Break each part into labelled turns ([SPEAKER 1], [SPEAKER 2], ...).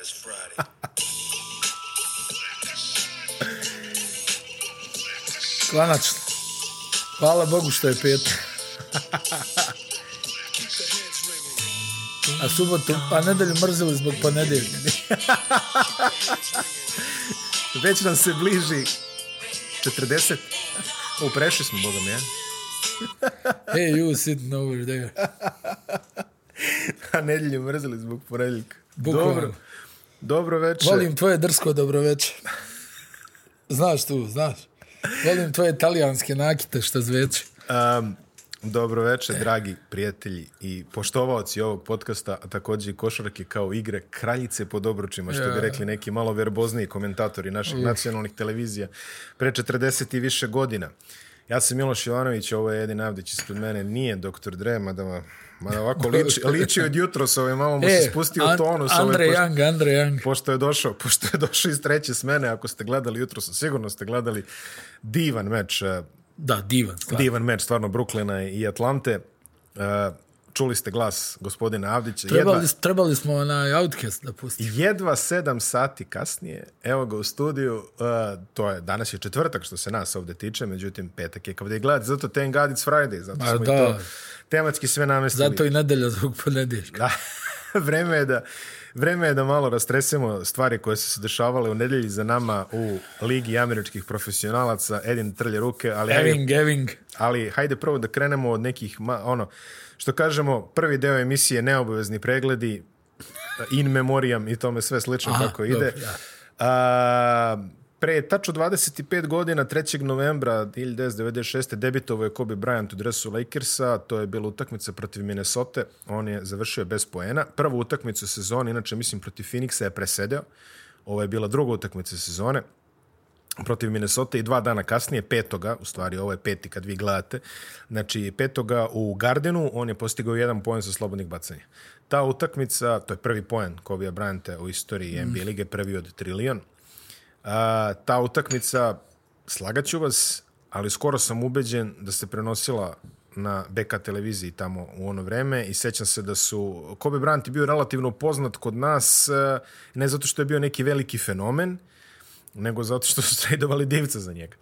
[SPEAKER 1] It's Friday.
[SPEAKER 2] Konačno. Hvala Bogu što je petak. A subotu, a nedelju mrzili zbog ponedjeljka.
[SPEAKER 3] Već nam se bliži 40. U, prešli smo, boga mi, ja?
[SPEAKER 2] Hey, you sitting over there.
[SPEAKER 3] A nedjelju mrzili zbog ponedjeljka.
[SPEAKER 2] Bukvalno.
[SPEAKER 3] Dobro. Dobro večer.
[SPEAKER 2] Volim tvoje drsko dobroveče. Znaš tu, znaš. Volim tvoje talijanske nakite što zveče.
[SPEAKER 3] Um, dobro večer, dragi prijatelji i poštovaoci ovog podcasta, a također i košarke kao igre kraljice pod obručima, što bi rekli neki malo verbozniji komentatori naših nacionalnih televizija pre 40 i više godina. Ja sam Miloš Jovanović, ovo je Edin Avdić ispred mene, nije doktor Dre, mada, ma- mada ovako liči, liči od jutros, ovaj, malo mu
[SPEAKER 2] Pa
[SPEAKER 3] se spustio
[SPEAKER 2] E, An-
[SPEAKER 3] tonus. ovaj,
[SPEAKER 2] Andre
[SPEAKER 3] pošto-
[SPEAKER 2] Young, Andre Young.
[SPEAKER 3] Pošto je došao, pošto je došao iz treće smene, ako ste gledali jutro, sigurno ste gledali divan meč, e,
[SPEAKER 2] Da, divan. stvarno.
[SPEAKER 3] divan meč stvarno Brooklyna i Atlante. E, Čuli ste glas gospodina Avdića. Jedva,
[SPEAKER 2] Trebali, trebali smo onaj Outcast da pustimo.
[SPEAKER 3] jedva sedam sati kasnije, evo ga u studiju, e, to je, danas je četvrtak što se nas ovdje tiče, međutim petak je kao da je gledati, zato Ten God It's Friday, zato
[SPEAKER 2] Ma
[SPEAKER 3] smo i
[SPEAKER 2] da.
[SPEAKER 3] to tematski sve namestili.
[SPEAKER 2] Zato i nedelja zbog ponedjeljka.
[SPEAKER 3] Da, vreme je da vreme je da malo rastresemo stvari koje su se dešavale u nedjelji za nama u Ligi američkih profesionalaca. Edin trlje ruke, ali hajde,
[SPEAKER 2] Eving, Eving.
[SPEAKER 3] ali hajde prvo da krenemo od nekih, ma- ono, što kažemo, prvi deo emisije neobavezni pregledi, in memoriam i tome sve slično
[SPEAKER 2] Aha,
[SPEAKER 3] kako
[SPEAKER 2] dobro,
[SPEAKER 3] ide.
[SPEAKER 2] da.
[SPEAKER 3] A, pre tačno 25 godina, 3. novembra 1996. debitovo je Kobe Bryant u dresu Lakersa, to je bila utakmica protiv Minnesota, on je završio bez poena. Prvu utakmicu sezone, inače mislim protiv Phoenixa je presedeo, ovo je bila druga utakmica sezone protiv Minnesota i dva dana kasnije, petoga, u stvari ovo je peti kad vi gledate, znači petoga u Gardenu, on je postigao jedan poen za slobodnih bacanja. Ta utakmica, to je prvi poen Kobe Bryanta u istoriji NBA lige, prvi od trilion. A, ta utakmica, slagaću vas, ali skoro sam ubeđen da se prenosila na BK televiziji tamo u ono vreme i sećam se da su Kobe Bryant je bio relativno poznat kod nas e, ne zato što je bio neki veliki fenomen nego zato što su tradovali divca za njega.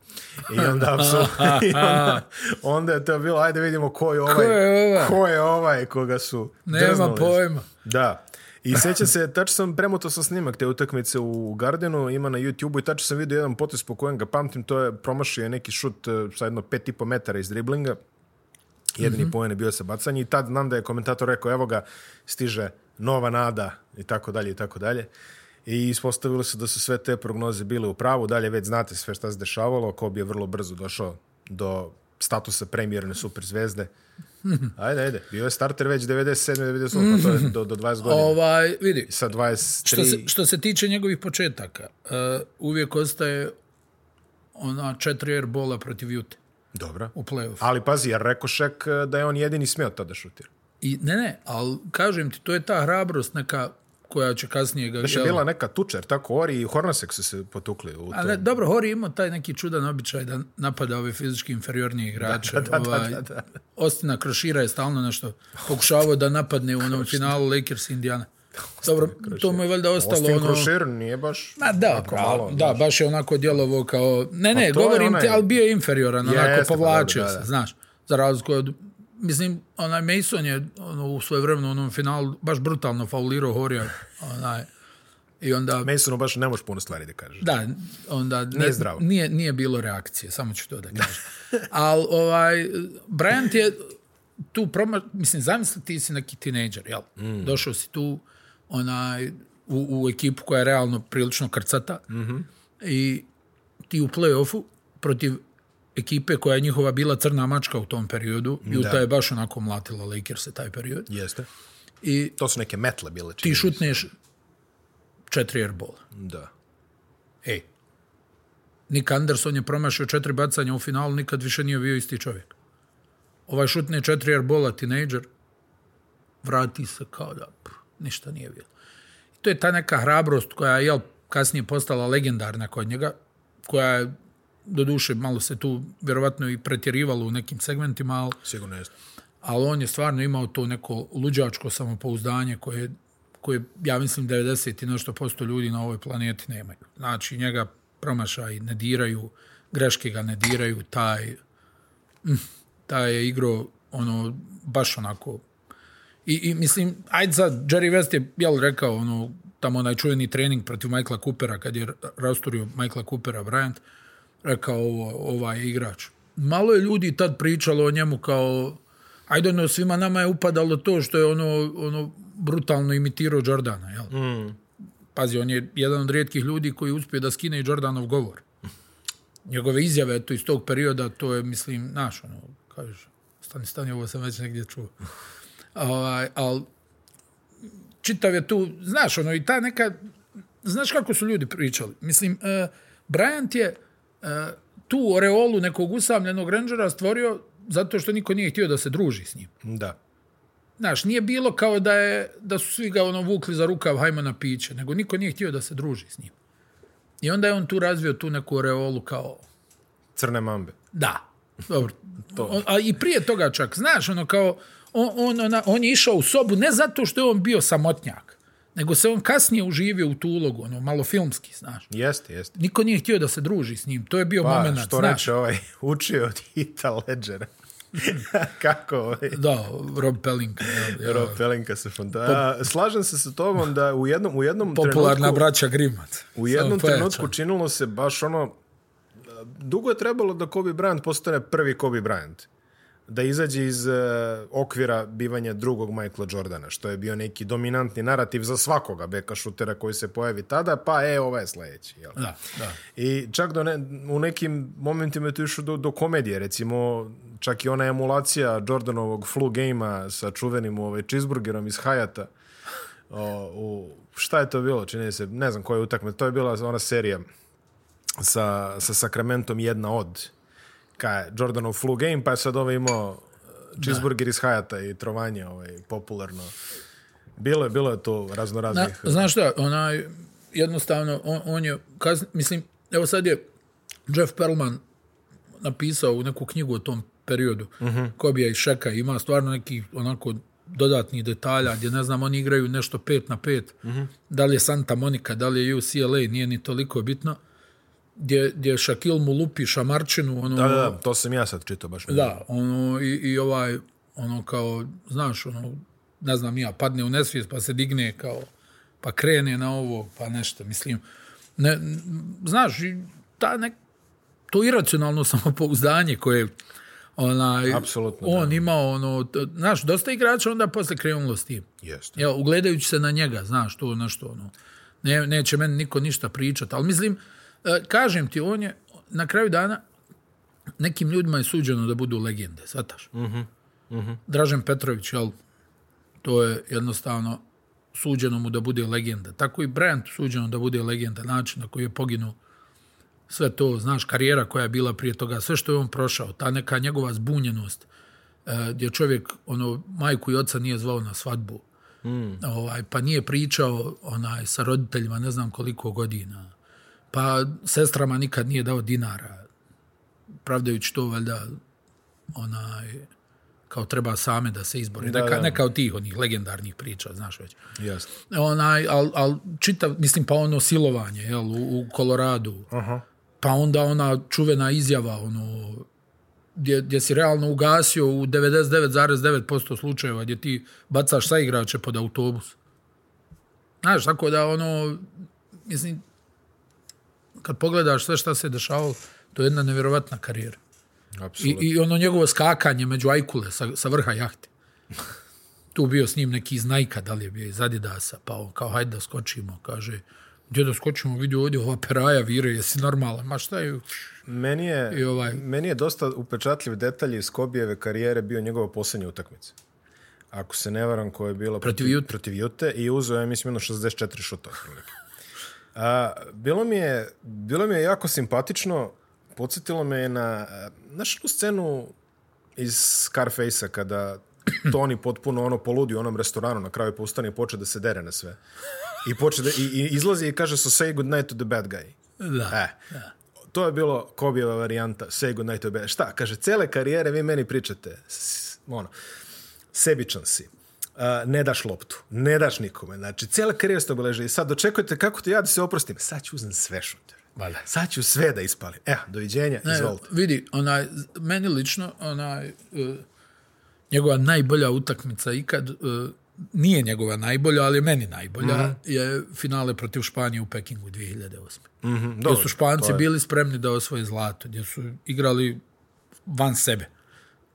[SPEAKER 3] I onda, apsolutno, i onda, onda je to bilo, ajde vidimo ko je ovaj,
[SPEAKER 2] je ovaj?
[SPEAKER 3] ko je ovaj koga su
[SPEAKER 2] Nema
[SPEAKER 3] drznuli.
[SPEAKER 2] pojma.
[SPEAKER 3] Da. I sećam se, tačno sam premotao sam snimak te utakmice u Gardenu, ima na YouTube-u i tačno sam vidio jedan potes po kojem ga pamtim, to je promašio je neki šut eh, sa jedno pet i po metara iz driblinga. Jedini
[SPEAKER 2] Mhm.
[SPEAKER 3] poen je bio sa bacanje i tad znam da je komentator rekao evo ga stiže nova nada i tako dalje i tako dalje. I ispostavilo se da su sve te prognoze bile u pravu, dalje već znate sve šta se dešavalo, Kobe je vrlo brzo došao do statusa premijerne superzvezde. Ajde, ajde, bio je starter već 97. 98. pa to je do, do 20 godina.
[SPEAKER 2] Ovaj, vidi,
[SPEAKER 3] Sa 23.
[SPEAKER 2] Što se, što se tiče njegovih početaka, e, uvijek ostaje ona četiri airbola protiv Jute
[SPEAKER 3] Dobro.
[SPEAKER 2] u play-offu.
[SPEAKER 3] Ali pazi, jer rekao Šek eh, da je on jedini smio tada šutira.
[SPEAKER 2] I, ne, ne, ali kažem ti, to je ta hrabrost neka koja će kasnije ga...
[SPEAKER 3] Znači,
[SPEAKER 2] jel-
[SPEAKER 3] bila neka tuča, jer tako Ori i Hornacek su se potukli u
[SPEAKER 2] A
[SPEAKER 3] tom.
[SPEAKER 2] ne, dobro, Hori imao taj neki čudan običaj da napada ove fizički inferiornije igrače. ovaj, Ostina Krošira je stalno nešto pokušavao da napadne u onom finalu Lakers Indiana. Dobro, to mu je valjda ostalo
[SPEAKER 3] Austin
[SPEAKER 2] ono...
[SPEAKER 3] Krošir nije baš...
[SPEAKER 2] Ma da,
[SPEAKER 3] Onako
[SPEAKER 2] pravo,
[SPEAKER 3] malo, Pa
[SPEAKER 2] da, baš je onako djelovo kao... Ne, ne,
[SPEAKER 3] to je
[SPEAKER 2] govorim ti,
[SPEAKER 3] onaj-
[SPEAKER 2] ali bio je inferioran, onako
[SPEAKER 3] Jeste, pa
[SPEAKER 2] povlačio
[SPEAKER 3] dobro, da, da.
[SPEAKER 2] se, znaš. Za razliku od... Mislim, onaj Mason je ono, u svoje vremenu u onom finalu baš brutalno faulirao Horija. Onaj, I onda...
[SPEAKER 3] Masonu baš ne možeš puno stvari da kažeš.
[SPEAKER 2] Da, onda ne-
[SPEAKER 3] Nije zdravo.
[SPEAKER 2] Nije, nije bilo reakcije, samo ću to da kažem. Ali ovaj, Bryant je tu proma... Mislim, zamisli ti si neki tinejdžer, jel?
[SPEAKER 3] Mm.
[SPEAKER 2] Došao si tu onaj, u, u ekipu koja je realno prilično krcata
[SPEAKER 3] Mhm.
[SPEAKER 2] i ti u play-offu protiv ekipe koja je njihova bila crna mačka u tom periodu. Utah je baš onako mlatila Lakers taj period.
[SPEAKER 3] Jeste.
[SPEAKER 2] I
[SPEAKER 3] To su neke metle bile.
[SPEAKER 2] ti
[SPEAKER 3] čini.
[SPEAKER 2] šutneš četiri airbola.
[SPEAKER 3] Da.
[SPEAKER 2] Ej, E, Nick Anderson je promašio četiri bacanja u finalu, nikad više nije bio isti čovjek. Ovaj šutne četiri airbola, tinejdžer, vrati se kao da pff, ništa nije bilo. I to je ta neka hrabrost koja je jel, kasnije postala legendarna kod njega, koja je doduše malo se tu vjerovatno i pretjerivalo u nekim segmentima, ali
[SPEAKER 3] Sigurno jeste.
[SPEAKER 2] ali on je stvarno imao to neko luđačko samopouzdanje koje, koje, ja mislim, 90 i nešto posto ljudi na ovoj planeti nemaju. Znači, njega promašaj ne diraju, greške ga ne diraju, taj, mm, taj je igro, ono, baš onako... I, i mislim, ajde sad, Jerry West je, jel, rekao, ono, tamo onaj čuveni trening protiv Michaela Coopera, kad je rasturio Michaela Coopera Bryant, rekao ovo, ovaj igrač. Malo je ljudi tad pričalo o njemu kao, ajde ono, svima nama je upadalo to što je ono, ono brutalno imitirao Jordana, jel? Pazi, on je jedan od rijetkih ljudi koji uspije da skine i Jordanov govor. Njegove izjave, eto, iz tog perioda, to je, mislim, naš, ono, kažeš, stani, stani, ovo sam već negdje čuo. Ovaj, ali čitav je tu, znaš, ono, i ta neka, znaš kako su ljudi pričali. Mislim, e, Bryant je e, tu oreolu nekog usamljenog rangera stvorio zato što niko nije htio da se druži s njim.
[SPEAKER 3] Da.
[SPEAKER 2] Znaš, nije bilo kao da, je, da su svi ga ono vukli za rukav hajmo na piće, nego niko nije htio da se druži s njim. I onda je on tu razvio tu neku oreolu kao,
[SPEAKER 3] Crne mambe.
[SPEAKER 2] da, dobro. On, a i prije toga čak, znaš, ono kao, on, on, ona, on je išao u sobu ne zato što je on bio samotnjak, nego se on kasnije uživio u tu ulogu, ono, malo filmski, znaš.
[SPEAKER 3] Jeste, jeste.
[SPEAKER 2] Niko nije htio da se druži s njim, to je bio
[SPEAKER 3] Pa,
[SPEAKER 2] moment,
[SPEAKER 3] što
[SPEAKER 2] znaš.
[SPEAKER 3] reče ovaj, učio od Hita Ledgera. Kako ovaj...
[SPEAKER 2] Da, Rob Pelling. jel, jel,
[SPEAKER 3] Rob Pelinka se fonda. A, Slažem se sa tobom da u jednom, u jednom
[SPEAKER 2] Popularna
[SPEAKER 3] trenutku...
[SPEAKER 2] braća Grimac.
[SPEAKER 3] U jednom
[SPEAKER 2] Samo pojača.
[SPEAKER 3] trenutku činilo se baš ono, dugo je trebalo da Kobe Bryant postane prvi Kobe Bryant. Da izađe iz e, okvira bivanja drugog Michaela Jordana, što je bio neki dominantni narativ za svakoga beka šutera koji se pojavi tada, pa e, ovaj je sledeći. Jel?
[SPEAKER 2] Da, da.
[SPEAKER 3] I čak do ne, u nekim momentima je to išlo do, do komedije, recimo čak i ona emulacija Jordanovog flu gamea sa čuvenim ovaj, cheeseburgerom iz Hayata. O, u, šta je to bilo? Čini se, ne znam koja je utakmica. To je bila ona serija sa, sa Sacramentom jedna od ka je Jordanov flu game, pa je sad ovaj imao e, cheeseburger iz Hayata i trovanje ovaj, popularno. Bilo je, bilo je to
[SPEAKER 2] Na,
[SPEAKER 3] raznoraznih...
[SPEAKER 2] znaš šta, onaj, jednostavno, on, on je, kaz, mislim, evo sad je Jeff Perlman napisao u neku knjigu o tom periodu,
[SPEAKER 3] Mhm.
[SPEAKER 2] Kobija i Šeka, ima stvarno neki onako dodatnih detalja, gdje ne znam, oni igraju nešto pet na pet,
[SPEAKER 3] Mhm.
[SPEAKER 2] da li je Santa Monica, da li je UCLA, nije ni toliko bitno, gdje, gdje Shaquille mu lupi šamarčinu, ono,
[SPEAKER 3] Da, da, da, to sam ja sad čitao baš.
[SPEAKER 2] Da, ono, i, i ovaj, ono kao, znaš, ono, ne znam nija, padne u nesvijest, pa se digne kao, pa krene na ovo, pa nešto, mislim. Ne, n- znaš, i ta nek, to iracionalno samopouzdanje koje onaj,
[SPEAKER 3] Apsolutno,
[SPEAKER 2] on imao, ono, t- znaš, dosta igrača onda posle krenulo s tim.
[SPEAKER 3] Jeste.
[SPEAKER 2] Jel, ugledajući se na njega, znaš, to nešto, ono, ne, neće meni niko ništa pričat, ali mislim, e, kažem ti, on je na kraju dana nekim ljudima je suđeno da budu legende, shvataš? Dražen Petrović, jel, to je jednostavno suđeno mu da bude legenda. Tako i Bryant suđeno da bude legenda, način na koji je poginuo sve to, znaš, karijera koja je bila prije toga, sve što je on prošao, ta neka njegova zbunjenost, e, gdje čovjek, ono, majku i oca nije zvao na svadbu, ovaj, pa nije pričao onaj, sa roditeljima ne znam koliko godina, pa sestrama nikad nije dao dinara, pravdajući to valjda onaj, kao treba same da se izbore.
[SPEAKER 3] Da,
[SPEAKER 2] neka,
[SPEAKER 3] da.
[SPEAKER 2] neka od tih onih legendarnih priča, znaš već
[SPEAKER 3] Jeste.
[SPEAKER 2] onaj, al, al čitav, mislim, pa ono silovanje, jel, u, u Koloradu. Pa onda ona čuvena izjava, ono, gdje, gdje si realno ugasio u 99,9% slučajeva gdje ti bacaš sa igrače pod autobus. Znaš, tako da, ono, mislim, kad pogledaš sve šta se dešavalo, to je jedna nevjerovatna karijera. I,
[SPEAKER 3] Apsolutno.
[SPEAKER 2] I ono njegovo skakanje među ajkule sa, sa vrha jahte. Tu bio s njim neki iz Nike, da li je bio iz Adidasa, pa on kao, hajde da skočimo, kaže, gdje da skočimo, vidi ovdje ova peraja vire, jesi normalan, ma šta je,
[SPEAKER 3] Meni je,
[SPEAKER 2] I ovaj-
[SPEAKER 3] meni je dosta upečatljiv detalj iz Kobijeve karijere bio njegova posljednja utakmica. Ako se ne varam, koja je bila
[SPEAKER 2] Protiv Jute.
[SPEAKER 3] protiv Jute i uzeo je, mislim, jedno 64 šuta. otprilike. A, bilo, mi je, bilo mi je jako simpatično, podsjetilo me je na a, znaš onu scenu iz Scarface-a kada Tony potpuno ono poludi u onom restoranu na kraju postane i poče da se dere na sve. I, poče da, i, i izlazi i kaže so say good night to the bad guy.
[SPEAKER 2] da.
[SPEAKER 3] E, to je bilo Kobijeva varijanta Say goodnight to bed. Šta? Kaže, cele karijere vi meni pričate. S, ono, sebičan si. a, ne daš loptu, ne daš nikome. Znači, cijela karijera ste obeležili. Sad, očekujete kako to ja da se oprostim. Sad ću uzem sve šuter.
[SPEAKER 2] Valjda.
[SPEAKER 3] Sad ću sve da ispalim. Evo, doviđenja,
[SPEAKER 2] Ne, Mm,
[SPEAKER 3] izvolite.
[SPEAKER 2] Vidi, onaj, meni lično, onaj, e, njegova najbolja utakmica ikad, e, nije njegova najbolja, ali je meni najbolja, je finale protiv Španije u Pekingu 2008.
[SPEAKER 3] Mhm,
[SPEAKER 2] Gdje
[SPEAKER 3] dobro,
[SPEAKER 2] su Španci
[SPEAKER 3] to je-
[SPEAKER 2] bili spremni da osvoje zlato, gdje su igrali van sebe.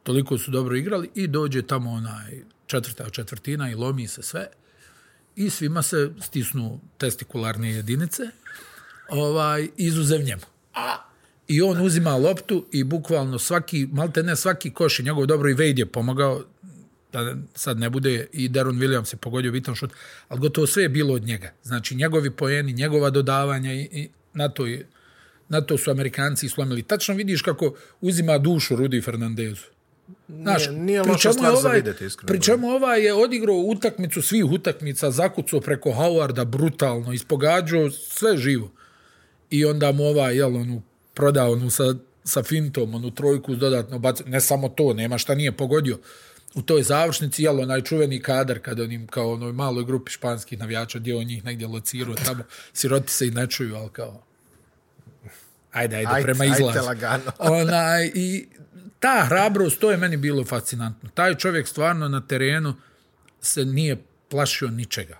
[SPEAKER 2] Toliko su dobro igrali i dođe tamo onaj četvrta četvrtina i lomi se sve i svima se stisnu testikularne jedinice ovaj, izuzev njemu. I on uzima loptu i bukvalno svaki, malte ne svaki koš i njegov dobro i Wade je pomogao, da sad ne bude, i Deron Williams je pogodio bitan šut, ali gotovo sve je bilo od njega. Znači njegovi poeni, njegova dodavanja i, i na to je na to su Amerikanci i slomili. Tačno vidiš kako uzima dušu Rudi Fernandezu. Znaš,
[SPEAKER 3] nije
[SPEAKER 2] pri
[SPEAKER 3] loša
[SPEAKER 2] čemu je
[SPEAKER 3] stvar za vidjeti, iskreno.
[SPEAKER 2] Pri čemu ovaj je odigrao utakmicu svih utakmica, zakucao preko Howarda brutalno, ispogađao sve živo. I onda mu ovaj, jel, onu, prodao onu sa, sa fintom, onu trojku dodatno bacio. Ne samo to, nema šta nije pogodio. U toj završnici, jel, onaj čuveni kadar kada onim, kao onoj maloj grupi španskih navijača, gdje on njih negdje locirao tamo, siroti se i ne čuju, ali kao, ajde, ajde,
[SPEAKER 3] Ajde,
[SPEAKER 2] prema
[SPEAKER 3] ajde
[SPEAKER 2] izlazu.
[SPEAKER 3] lagano.
[SPEAKER 2] Onaj, i ta hrabrost, to je meni bilo fascinantno. Taj čovjek stvarno na terenu se nije plašio ničega.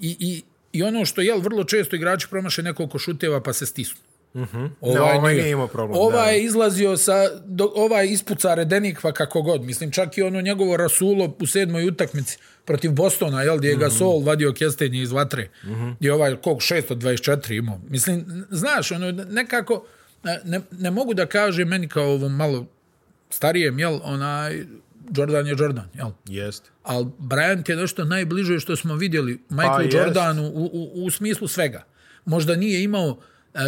[SPEAKER 2] I, i, i ono što, jel, vrlo često igrači promaše nekoliko šuteva pa se stisnu.
[SPEAKER 3] Ne, ovaj nije imao problem,
[SPEAKER 2] Ovaj
[SPEAKER 3] da.
[SPEAKER 2] je izlazio sa, do, ovaj ispuca redenik pa kako god. Mislim, čak i ono njegovo rasulo u sedmoj utakmici protiv Bostona, jel, gdje je
[SPEAKER 3] Mhm.
[SPEAKER 2] Gasol vadio kjestenje iz vatre. Gdje je ovaj, koliko, 624 imao. Mislim, n- znaš, ono, nekako, e, ne, ne mogu da kažem meni kao ovom malo starijem, jel, onaj, Jordan je Jordan, jel?
[SPEAKER 3] Jeste.
[SPEAKER 2] Ali Bryant je nešto najbliže što smo vidjeli Michael
[SPEAKER 3] Pa jest.
[SPEAKER 2] Jordanu u, u, u smislu svega. Možda nije imao e,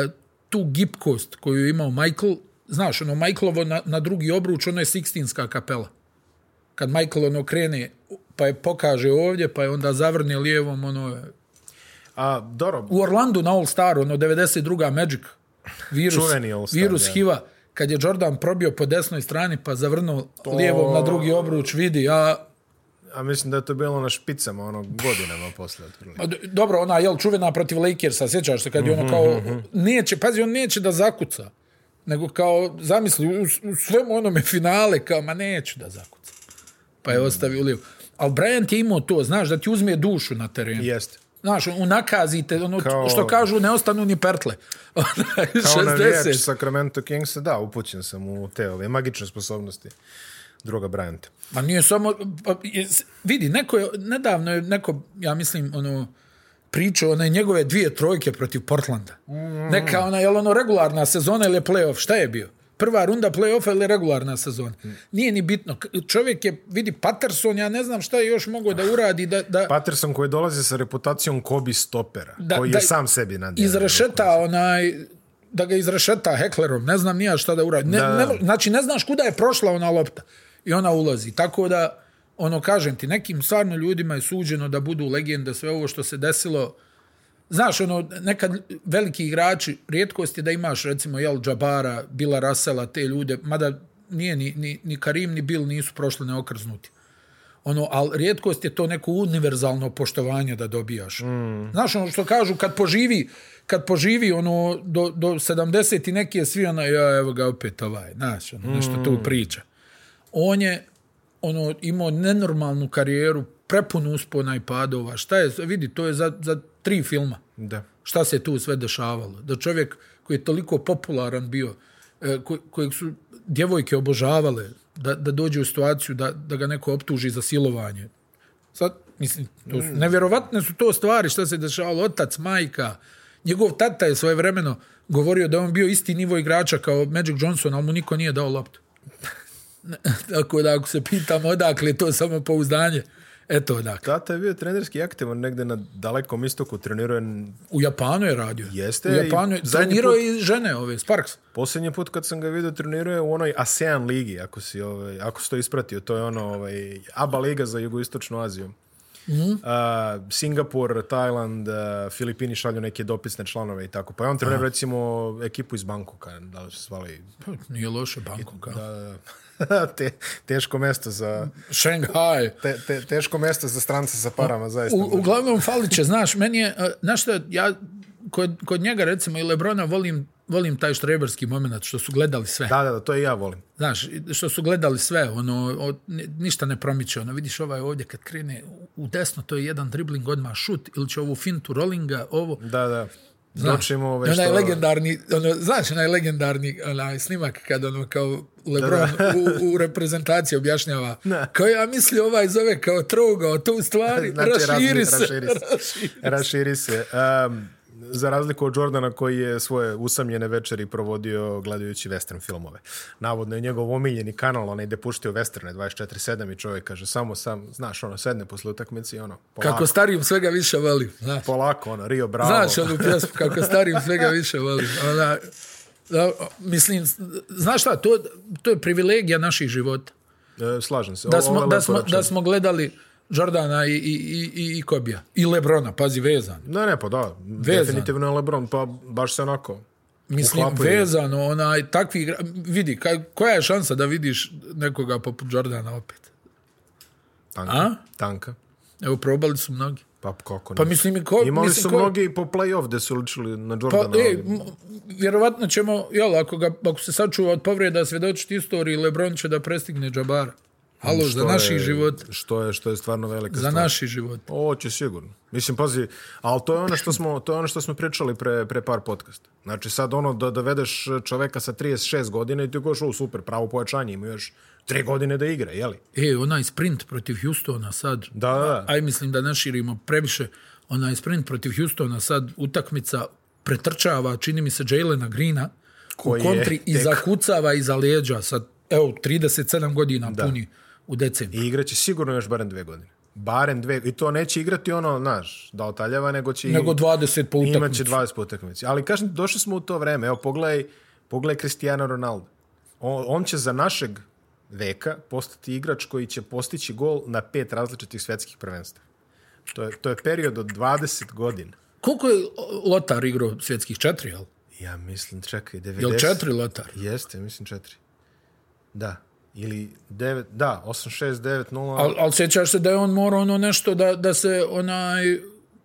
[SPEAKER 2] tu gipkost koju je imao Michael. Znaš, ono, Michaelovo na, na drugi obruč, ono je Sixtinska kapela. Kad Michael ono krene, pa je pokaže ovdje, pa je onda zavrne lijevom, ono je-
[SPEAKER 3] A, dobro,
[SPEAKER 2] U Orlandu na All Star, ono, 92. Magic, virus,
[SPEAKER 3] Čuveni All Star,
[SPEAKER 2] virus
[SPEAKER 3] da.
[SPEAKER 2] hiva, kad je Jordan probio po desnoj strani, pa zavrnuo lijevom na drugi obruč, vidi, a
[SPEAKER 3] a mislim da je to bilo na špicama, ono, godinama poslije. otprilike.
[SPEAKER 2] Pa d- Dobro, ona, jel, čuvena protiv Lakersa, sjećaš se kad je ono
[SPEAKER 3] Mhm,
[SPEAKER 2] kao, neće, pazi, on neće da zakuca, nego kao, zamisli, u, u svemu onome finale, kao, ma neću da zakuca. Pa je
[SPEAKER 3] Mhm.
[SPEAKER 2] ostavio lijevo. Ali Bryant je imao to, znaš, da ti uzme dušu na terenu.
[SPEAKER 3] Jeste.
[SPEAKER 2] Znaš, unakazite, ono
[SPEAKER 3] Kao-
[SPEAKER 2] što kažu, ne ostanu ni pertle. Onaj,
[SPEAKER 3] Kao navijač
[SPEAKER 2] 60.
[SPEAKER 3] Sacramento Kingsa, da, upućen sam u te ove magične sposobnosti druga Bryanta.
[SPEAKER 2] Ma nije samo... pa je- vidi, neko je, nedavno je neko, ja mislim, ono, pričao one njegove dvije trojke protiv Portlanda. Neka ona, je li ono regularna sezona ili je playoff? Šta je bio? Prva runda playoffa ili regularna sezona? Nije ni bitno. K- Čovjek je, vidi, Patterson, ja ne znam šta je još mogao da uradi, da, da
[SPEAKER 3] Patterson koji dolazi sa reputacijom Kobe Stopera,
[SPEAKER 2] Da-
[SPEAKER 3] koji je
[SPEAKER 2] da-
[SPEAKER 3] sam sebi nadio.
[SPEAKER 2] izrešeta onaj da ga izrešeta heklerom, ne znam nija šta da uradi. Ne,
[SPEAKER 3] Da.
[SPEAKER 2] ne- znači, ne znaš kuda je prošla ona lopta i ona ulazi. Tako da, ono, kažem ti, nekim stvarno ljudima je suđeno da budu legende sve ovo što se desilo. Znaš, ono, nekad veliki igrači, rijetkost je da imaš, recimo, jel, Džabara, Bila Rasela, te ljude, mada nije ni, ni, ni Karim, ni Bil nisu prošli neokrznuti. Ono, ali rijetkost je to neko univerzalno poštovanje da dobijaš. Znaš ono što kažu, kad poživi, kad poživi ono, do, do 70 i neki je svi ono, ja, evo ga opet ovaj, znaš, ono, nešto tu priča. On je ono, imao nenormalnu karijeru, prepun uspona i padova. Šta je, vidi, to je za, za tri filma
[SPEAKER 3] Da.
[SPEAKER 2] šta se tu sve dešavalo. Da čovjek koji je toliko popularan bio, e, ko- kojeg su djevojke obožavale, da, da dođe u situaciju da, da ga neko optuži za silovanje. Sad, mislim, to su, nevjerovatne su to stvari šta se dešavalo. Otac, majka, njegov tata je svojevremeno govorio da je on bio isti nivo igrača kao Magic Johnson, ali mu niko nije dao loptu. Tako da ako se pitamo odakle je to samo pouzdanje, eto odakle.
[SPEAKER 3] Tata je bio trenerski aktivan negde na dalekom istoku, trenirao je
[SPEAKER 2] U Japanu je radio.
[SPEAKER 3] Jeste,
[SPEAKER 2] U Japanu
[SPEAKER 3] i
[SPEAKER 2] je.
[SPEAKER 3] zadnji
[SPEAKER 2] Trenirao
[SPEAKER 3] put-
[SPEAKER 2] je i žene ove, Sparks.
[SPEAKER 3] Posljednji put kad sam ga vidio trenirao je u onoj ASEAN ligi, ako si, ovaj, ako si to ispratio, to je ono ovaj, ABA liga za jugoistočnu Aziju.
[SPEAKER 2] Mhm.
[SPEAKER 3] A, Singapur, Tajland, a, Filipini šalju neke dopisne članove i tako. Pa ja on trener recimo ekipu iz Bankoka, da li se zvali
[SPEAKER 2] Pa, nije loše Bangkoka.
[SPEAKER 3] Da, te, teško mesto za
[SPEAKER 2] Shanghai.
[SPEAKER 3] te, te- teško mesto za strance sa parama zaista.
[SPEAKER 2] U, uglavnom falit će, znaš, meni je, a, znaš šta, ja kod, kod njega recimo i Lebrona volim, volim taj štreberski moment što su gledali sve.
[SPEAKER 3] Da, da, da, to i ja volim.
[SPEAKER 2] Znaš, što su gledali sve, ono, od, ni- ništa ne promiče. Ono, vidiš ovaj ovdje kad krene u desno, to je jedan dribling, odmah šut, ili će ovu fintu rollinga, ovo.
[SPEAKER 3] Da, da.
[SPEAKER 2] Znaš,
[SPEAKER 3] Dočimo ove
[SPEAKER 2] i
[SPEAKER 3] ovaj što...
[SPEAKER 2] onaj legendarni, ono, znaš, onaj legendarni onaj snimak kad ono kao Lebron u, u reprezentaciji objašnjava kao ja misli ovaj zove kao trougao, to u stvari raširi
[SPEAKER 3] razni-
[SPEAKER 2] se.
[SPEAKER 3] Znači, Raširi se. Raširi se. Um, za razliku od Jordana koji je svoje usamljene večeri provodio gledajući western filmove. Navodno je njegov omiljeni kanal, onaj gde puštio westerne 24-7 i čovjek kaže samo sam, znaš, ono, sedne posle utakmice i ono, polako,
[SPEAKER 2] Kako starijim svega više volim. Znaš,
[SPEAKER 3] polako ono, Rio Bravo.
[SPEAKER 2] znaš onu pjesmu, kako starijim svega više volim. Ona, da, mislim, znaš šta, to, to je privilegija naših života.
[SPEAKER 3] E, slažem se.
[SPEAKER 2] Da
[SPEAKER 3] Ovo- ovo
[SPEAKER 2] smo,
[SPEAKER 3] je
[SPEAKER 2] da
[SPEAKER 3] lepo
[SPEAKER 2] smo,
[SPEAKER 3] rečeno.
[SPEAKER 2] da smo gledali Jordana i, i, i, i- i Kobija. I Lebrona, pazi, vezan.
[SPEAKER 3] Ne, ne, pa da, definitivno je LeBron, pa baš se onako...
[SPEAKER 2] Mislim,
[SPEAKER 3] uklapaju.
[SPEAKER 2] vezano, onaj, takvi igra... Vidi, ka- koja je šansa da vidiš nekoga poput Jordana opet?
[SPEAKER 3] Tanka.
[SPEAKER 2] A?
[SPEAKER 3] Tanka.
[SPEAKER 2] Evo, probali su mnogi.
[SPEAKER 3] Pa kako ne?
[SPEAKER 2] Pa mislim i ko...
[SPEAKER 3] Imali
[SPEAKER 2] mislim,
[SPEAKER 3] su
[SPEAKER 2] ko-
[SPEAKER 3] mnogi i po play-off gde su ličili na
[SPEAKER 2] Pa,
[SPEAKER 3] Jordana.
[SPEAKER 2] ej,
[SPEAKER 3] ali-
[SPEAKER 2] m- vjerovatno ćemo, jel, ako, ga, ako se sačuva od povreda svjedočiti istoriji, Lebron će da prestigne Jabara. Halo, za
[SPEAKER 3] Mm, Što
[SPEAKER 2] naših
[SPEAKER 3] je-
[SPEAKER 2] život.
[SPEAKER 3] Što je, što je stvarno velika
[SPEAKER 2] Za
[SPEAKER 3] stvar.
[SPEAKER 2] naših život.
[SPEAKER 3] Ovo će sigurno. Mislim, pazi, ali to je ono što smo, to je ono što smo pričali pre, pre par podcasta. Znači sad ono da dovedeš čoveka sa 36 godina i ti goš, u super, pravo pojačanje, ima još 3 godine da igra, jeli?
[SPEAKER 2] E, onaj sprint protiv Houstona sad.
[SPEAKER 3] Da, da, da.
[SPEAKER 2] Aj, mislim da ne širimo previše. Onaj sprint protiv Houstona sad utakmica pretrčava, čini mi se, Jalena Greena
[SPEAKER 3] Koji
[SPEAKER 2] u
[SPEAKER 3] je
[SPEAKER 2] kontri i
[SPEAKER 3] tek-
[SPEAKER 2] zakucava iza leđa. Sad, evo, 37 godina puni u decembru.
[SPEAKER 3] I igraće sigurno još barem dve godine. Barem dve, i to neće igrati ono, znaš, da otaljava, nego će...
[SPEAKER 2] Nego 20 po
[SPEAKER 3] Imaće
[SPEAKER 2] utakmicu.
[SPEAKER 3] 20 po utakmici. Ali kažem, ti, došli smo u to vreme. Evo, pogledaj, pogledaj Cristiano Ronaldo. On, on će za našeg veka postati igrač koji će postići gol na pet različitih svjetskih prvenstva. To je, to je period od 20 godina.
[SPEAKER 2] Koliko je Lotar igrao svjetskih četiri, jel?
[SPEAKER 3] Ja mislim, čekaj, 90...
[SPEAKER 2] Jel četiri Lotar?
[SPEAKER 3] Jeste, mislim četiri. Da. Ili 9, da, 8, 6, 9, 0...
[SPEAKER 2] Ali al sjećaš se da je on morao ono nešto da, da se onaj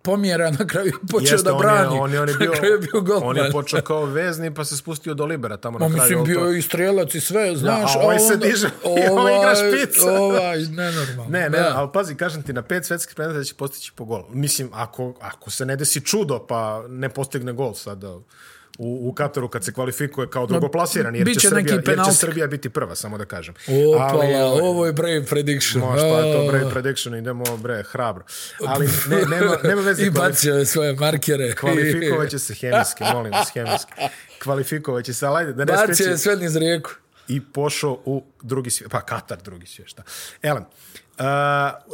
[SPEAKER 2] pomjera na kraju je počeo da brani.
[SPEAKER 3] On je, on je, on je bio,
[SPEAKER 2] na kraju je bio golman.
[SPEAKER 3] on je počeo kao vezni pa se spustio do libera tamo na
[SPEAKER 2] Ma,
[SPEAKER 3] kraju.
[SPEAKER 2] mislim,
[SPEAKER 3] ali to-
[SPEAKER 2] bio je i strelac i sve, znaš.
[SPEAKER 3] a ovaj se
[SPEAKER 2] onda-
[SPEAKER 3] diže i ovaj igra špica.
[SPEAKER 2] Ovaj, nenormalno.
[SPEAKER 3] Ne, ne,
[SPEAKER 2] da.
[SPEAKER 3] ali pazi, kažem ti, na pet svetskih predmeta će postići po gol. Mislim, ako, ako se ne desi čudo, pa ne postigne gol sada u, u Kataru kad se kvalifikuje kao drugoplasirani, jer,
[SPEAKER 2] bit
[SPEAKER 3] će
[SPEAKER 2] će neki
[SPEAKER 3] Srbija, jer će
[SPEAKER 2] penaltik.
[SPEAKER 3] Srbija biti prva, samo da kažem.
[SPEAKER 2] Opala,
[SPEAKER 3] ovaj,
[SPEAKER 2] ovo je brave prediction.
[SPEAKER 3] Ma, šta je to,
[SPEAKER 2] A.
[SPEAKER 3] bre, prediction, idemo, bre, hrabro. Ali ne, nema, nema veze.
[SPEAKER 2] I
[SPEAKER 3] kvali-
[SPEAKER 2] bacio je svoje markere.
[SPEAKER 3] Kvalifikovat će se hemijski, molim vas, hemijski. Kvalifikovat će se, ali ajde, da ne
[SPEAKER 2] Bacio
[SPEAKER 3] skreći
[SPEAKER 2] je sve niz rijeku.
[SPEAKER 3] i pošao u drugi svijet, pa Katar drugi svijet, šta. Elem, uh,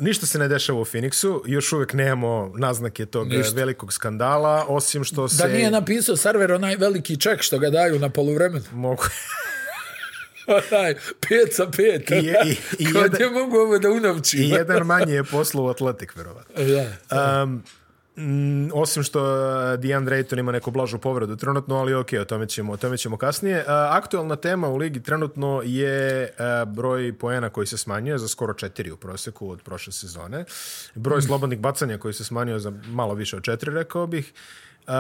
[SPEAKER 3] ništa se ne dešava u Phoenixu, još uvijek nemamo naznake tog eh, velikog skandala, osim što se...
[SPEAKER 2] Da nije napisao server onaj veliki ček što ga daju na poluvremenu.
[SPEAKER 3] Mogu...
[SPEAKER 2] Onaj, pet sa pet. I,
[SPEAKER 3] je- i- i jedan-
[SPEAKER 2] ne mogu ovo da unovčim.
[SPEAKER 3] I jedan manje je poslu u Atletik, verovatno.
[SPEAKER 2] Da.
[SPEAKER 3] Um, mm, osim što eh, DeAndre Ayton ima neku blažu povredu trenutno, ali ok, o tome ćemo, o tome ćemo kasnije. Eh, aktualna tema u ligi trenutno je eh, broj poena koji se smanjuje za skoro četiri u proseku od prošle sezone. Broj slobodnih bacanja koji se smanjio za malo više od četiri, rekao bih. Eh,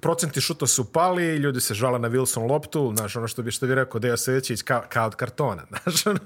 [SPEAKER 3] procenti šuta su pali, ljudi se žale na Wilson loptu, znaš, ono što bi, što bi rekao Deja Sevićić, kao, kao od kartona, znaš, ono,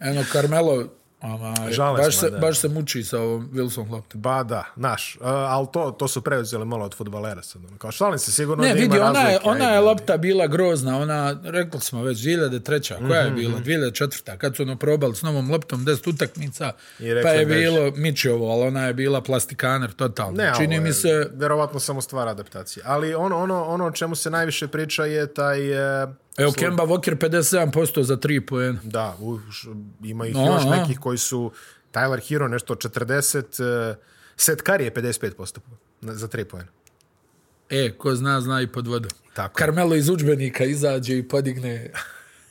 [SPEAKER 2] Eno, Carmelo, onaj,
[SPEAKER 3] Žalosno,
[SPEAKER 2] baš, se,
[SPEAKER 3] da.
[SPEAKER 2] baš se muči sa ovom Wilson loptom.
[SPEAKER 3] Ba da, naš, uh, ali to, to su preuzeli malo od futbalera sad. ono. Kao šalim se sigurno
[SPEAKER 2] Ne,
[SPEAKER 3] da
[SPEAKER 2] vidi,
[SPEAKER 3] ima
[SPEAKER 2] ona je,
[SPEAKER 3] razlike,
[SPEAKER 2] ona
[SPEAKER 3] ajde,
[SPEAKER 2] je
[SPEAKER 3] ali-
[SPEAKER 2] lopta bila grozna, ona, rekli smo već, 2003. Koja
[SPEAKER 3] Mhm,
[SPEAKER 2] je bila? 2004. Kad su ono probali s novom loptom 10 utakmica,
[SPEAKER 3] I rekli
[SPEAKER 2] pa je
[SPEAKER 3] beži.
[SPEAKER 2] bilo Mičevo, ali ona je bila plastikaner totalno.
[SPEAKER 3] Ne,
[SPEAKER 2] Čini
[SPEAKER 3] ovo je
[SPEAKER 2] mi se,
[SPEAKER 3] Verovatno samo stvar adaptacije. Ali ono, ono, ono o čemu se najviše priča je taj... e,
[SPEAKER 2] evo, Kemba Walker 57% za 3 poena.
[SPEAKER 3] da, u, š- ima ih
[SPEAKER 2] A,
[SPEAKER 3] još
[SPEAKER 2] a.
[SPEAKER 3] nekih koji su... Tyler Hero nešto 40... Uh, Seth Curry je 55% na- za 3 pojena.
[SPEAKER 2] E, ko zna, zna i pod vodu.
[SPEAKER 3] Tako.
[SPEAKER 2] Carmelo iz udžbenika izađe i podigne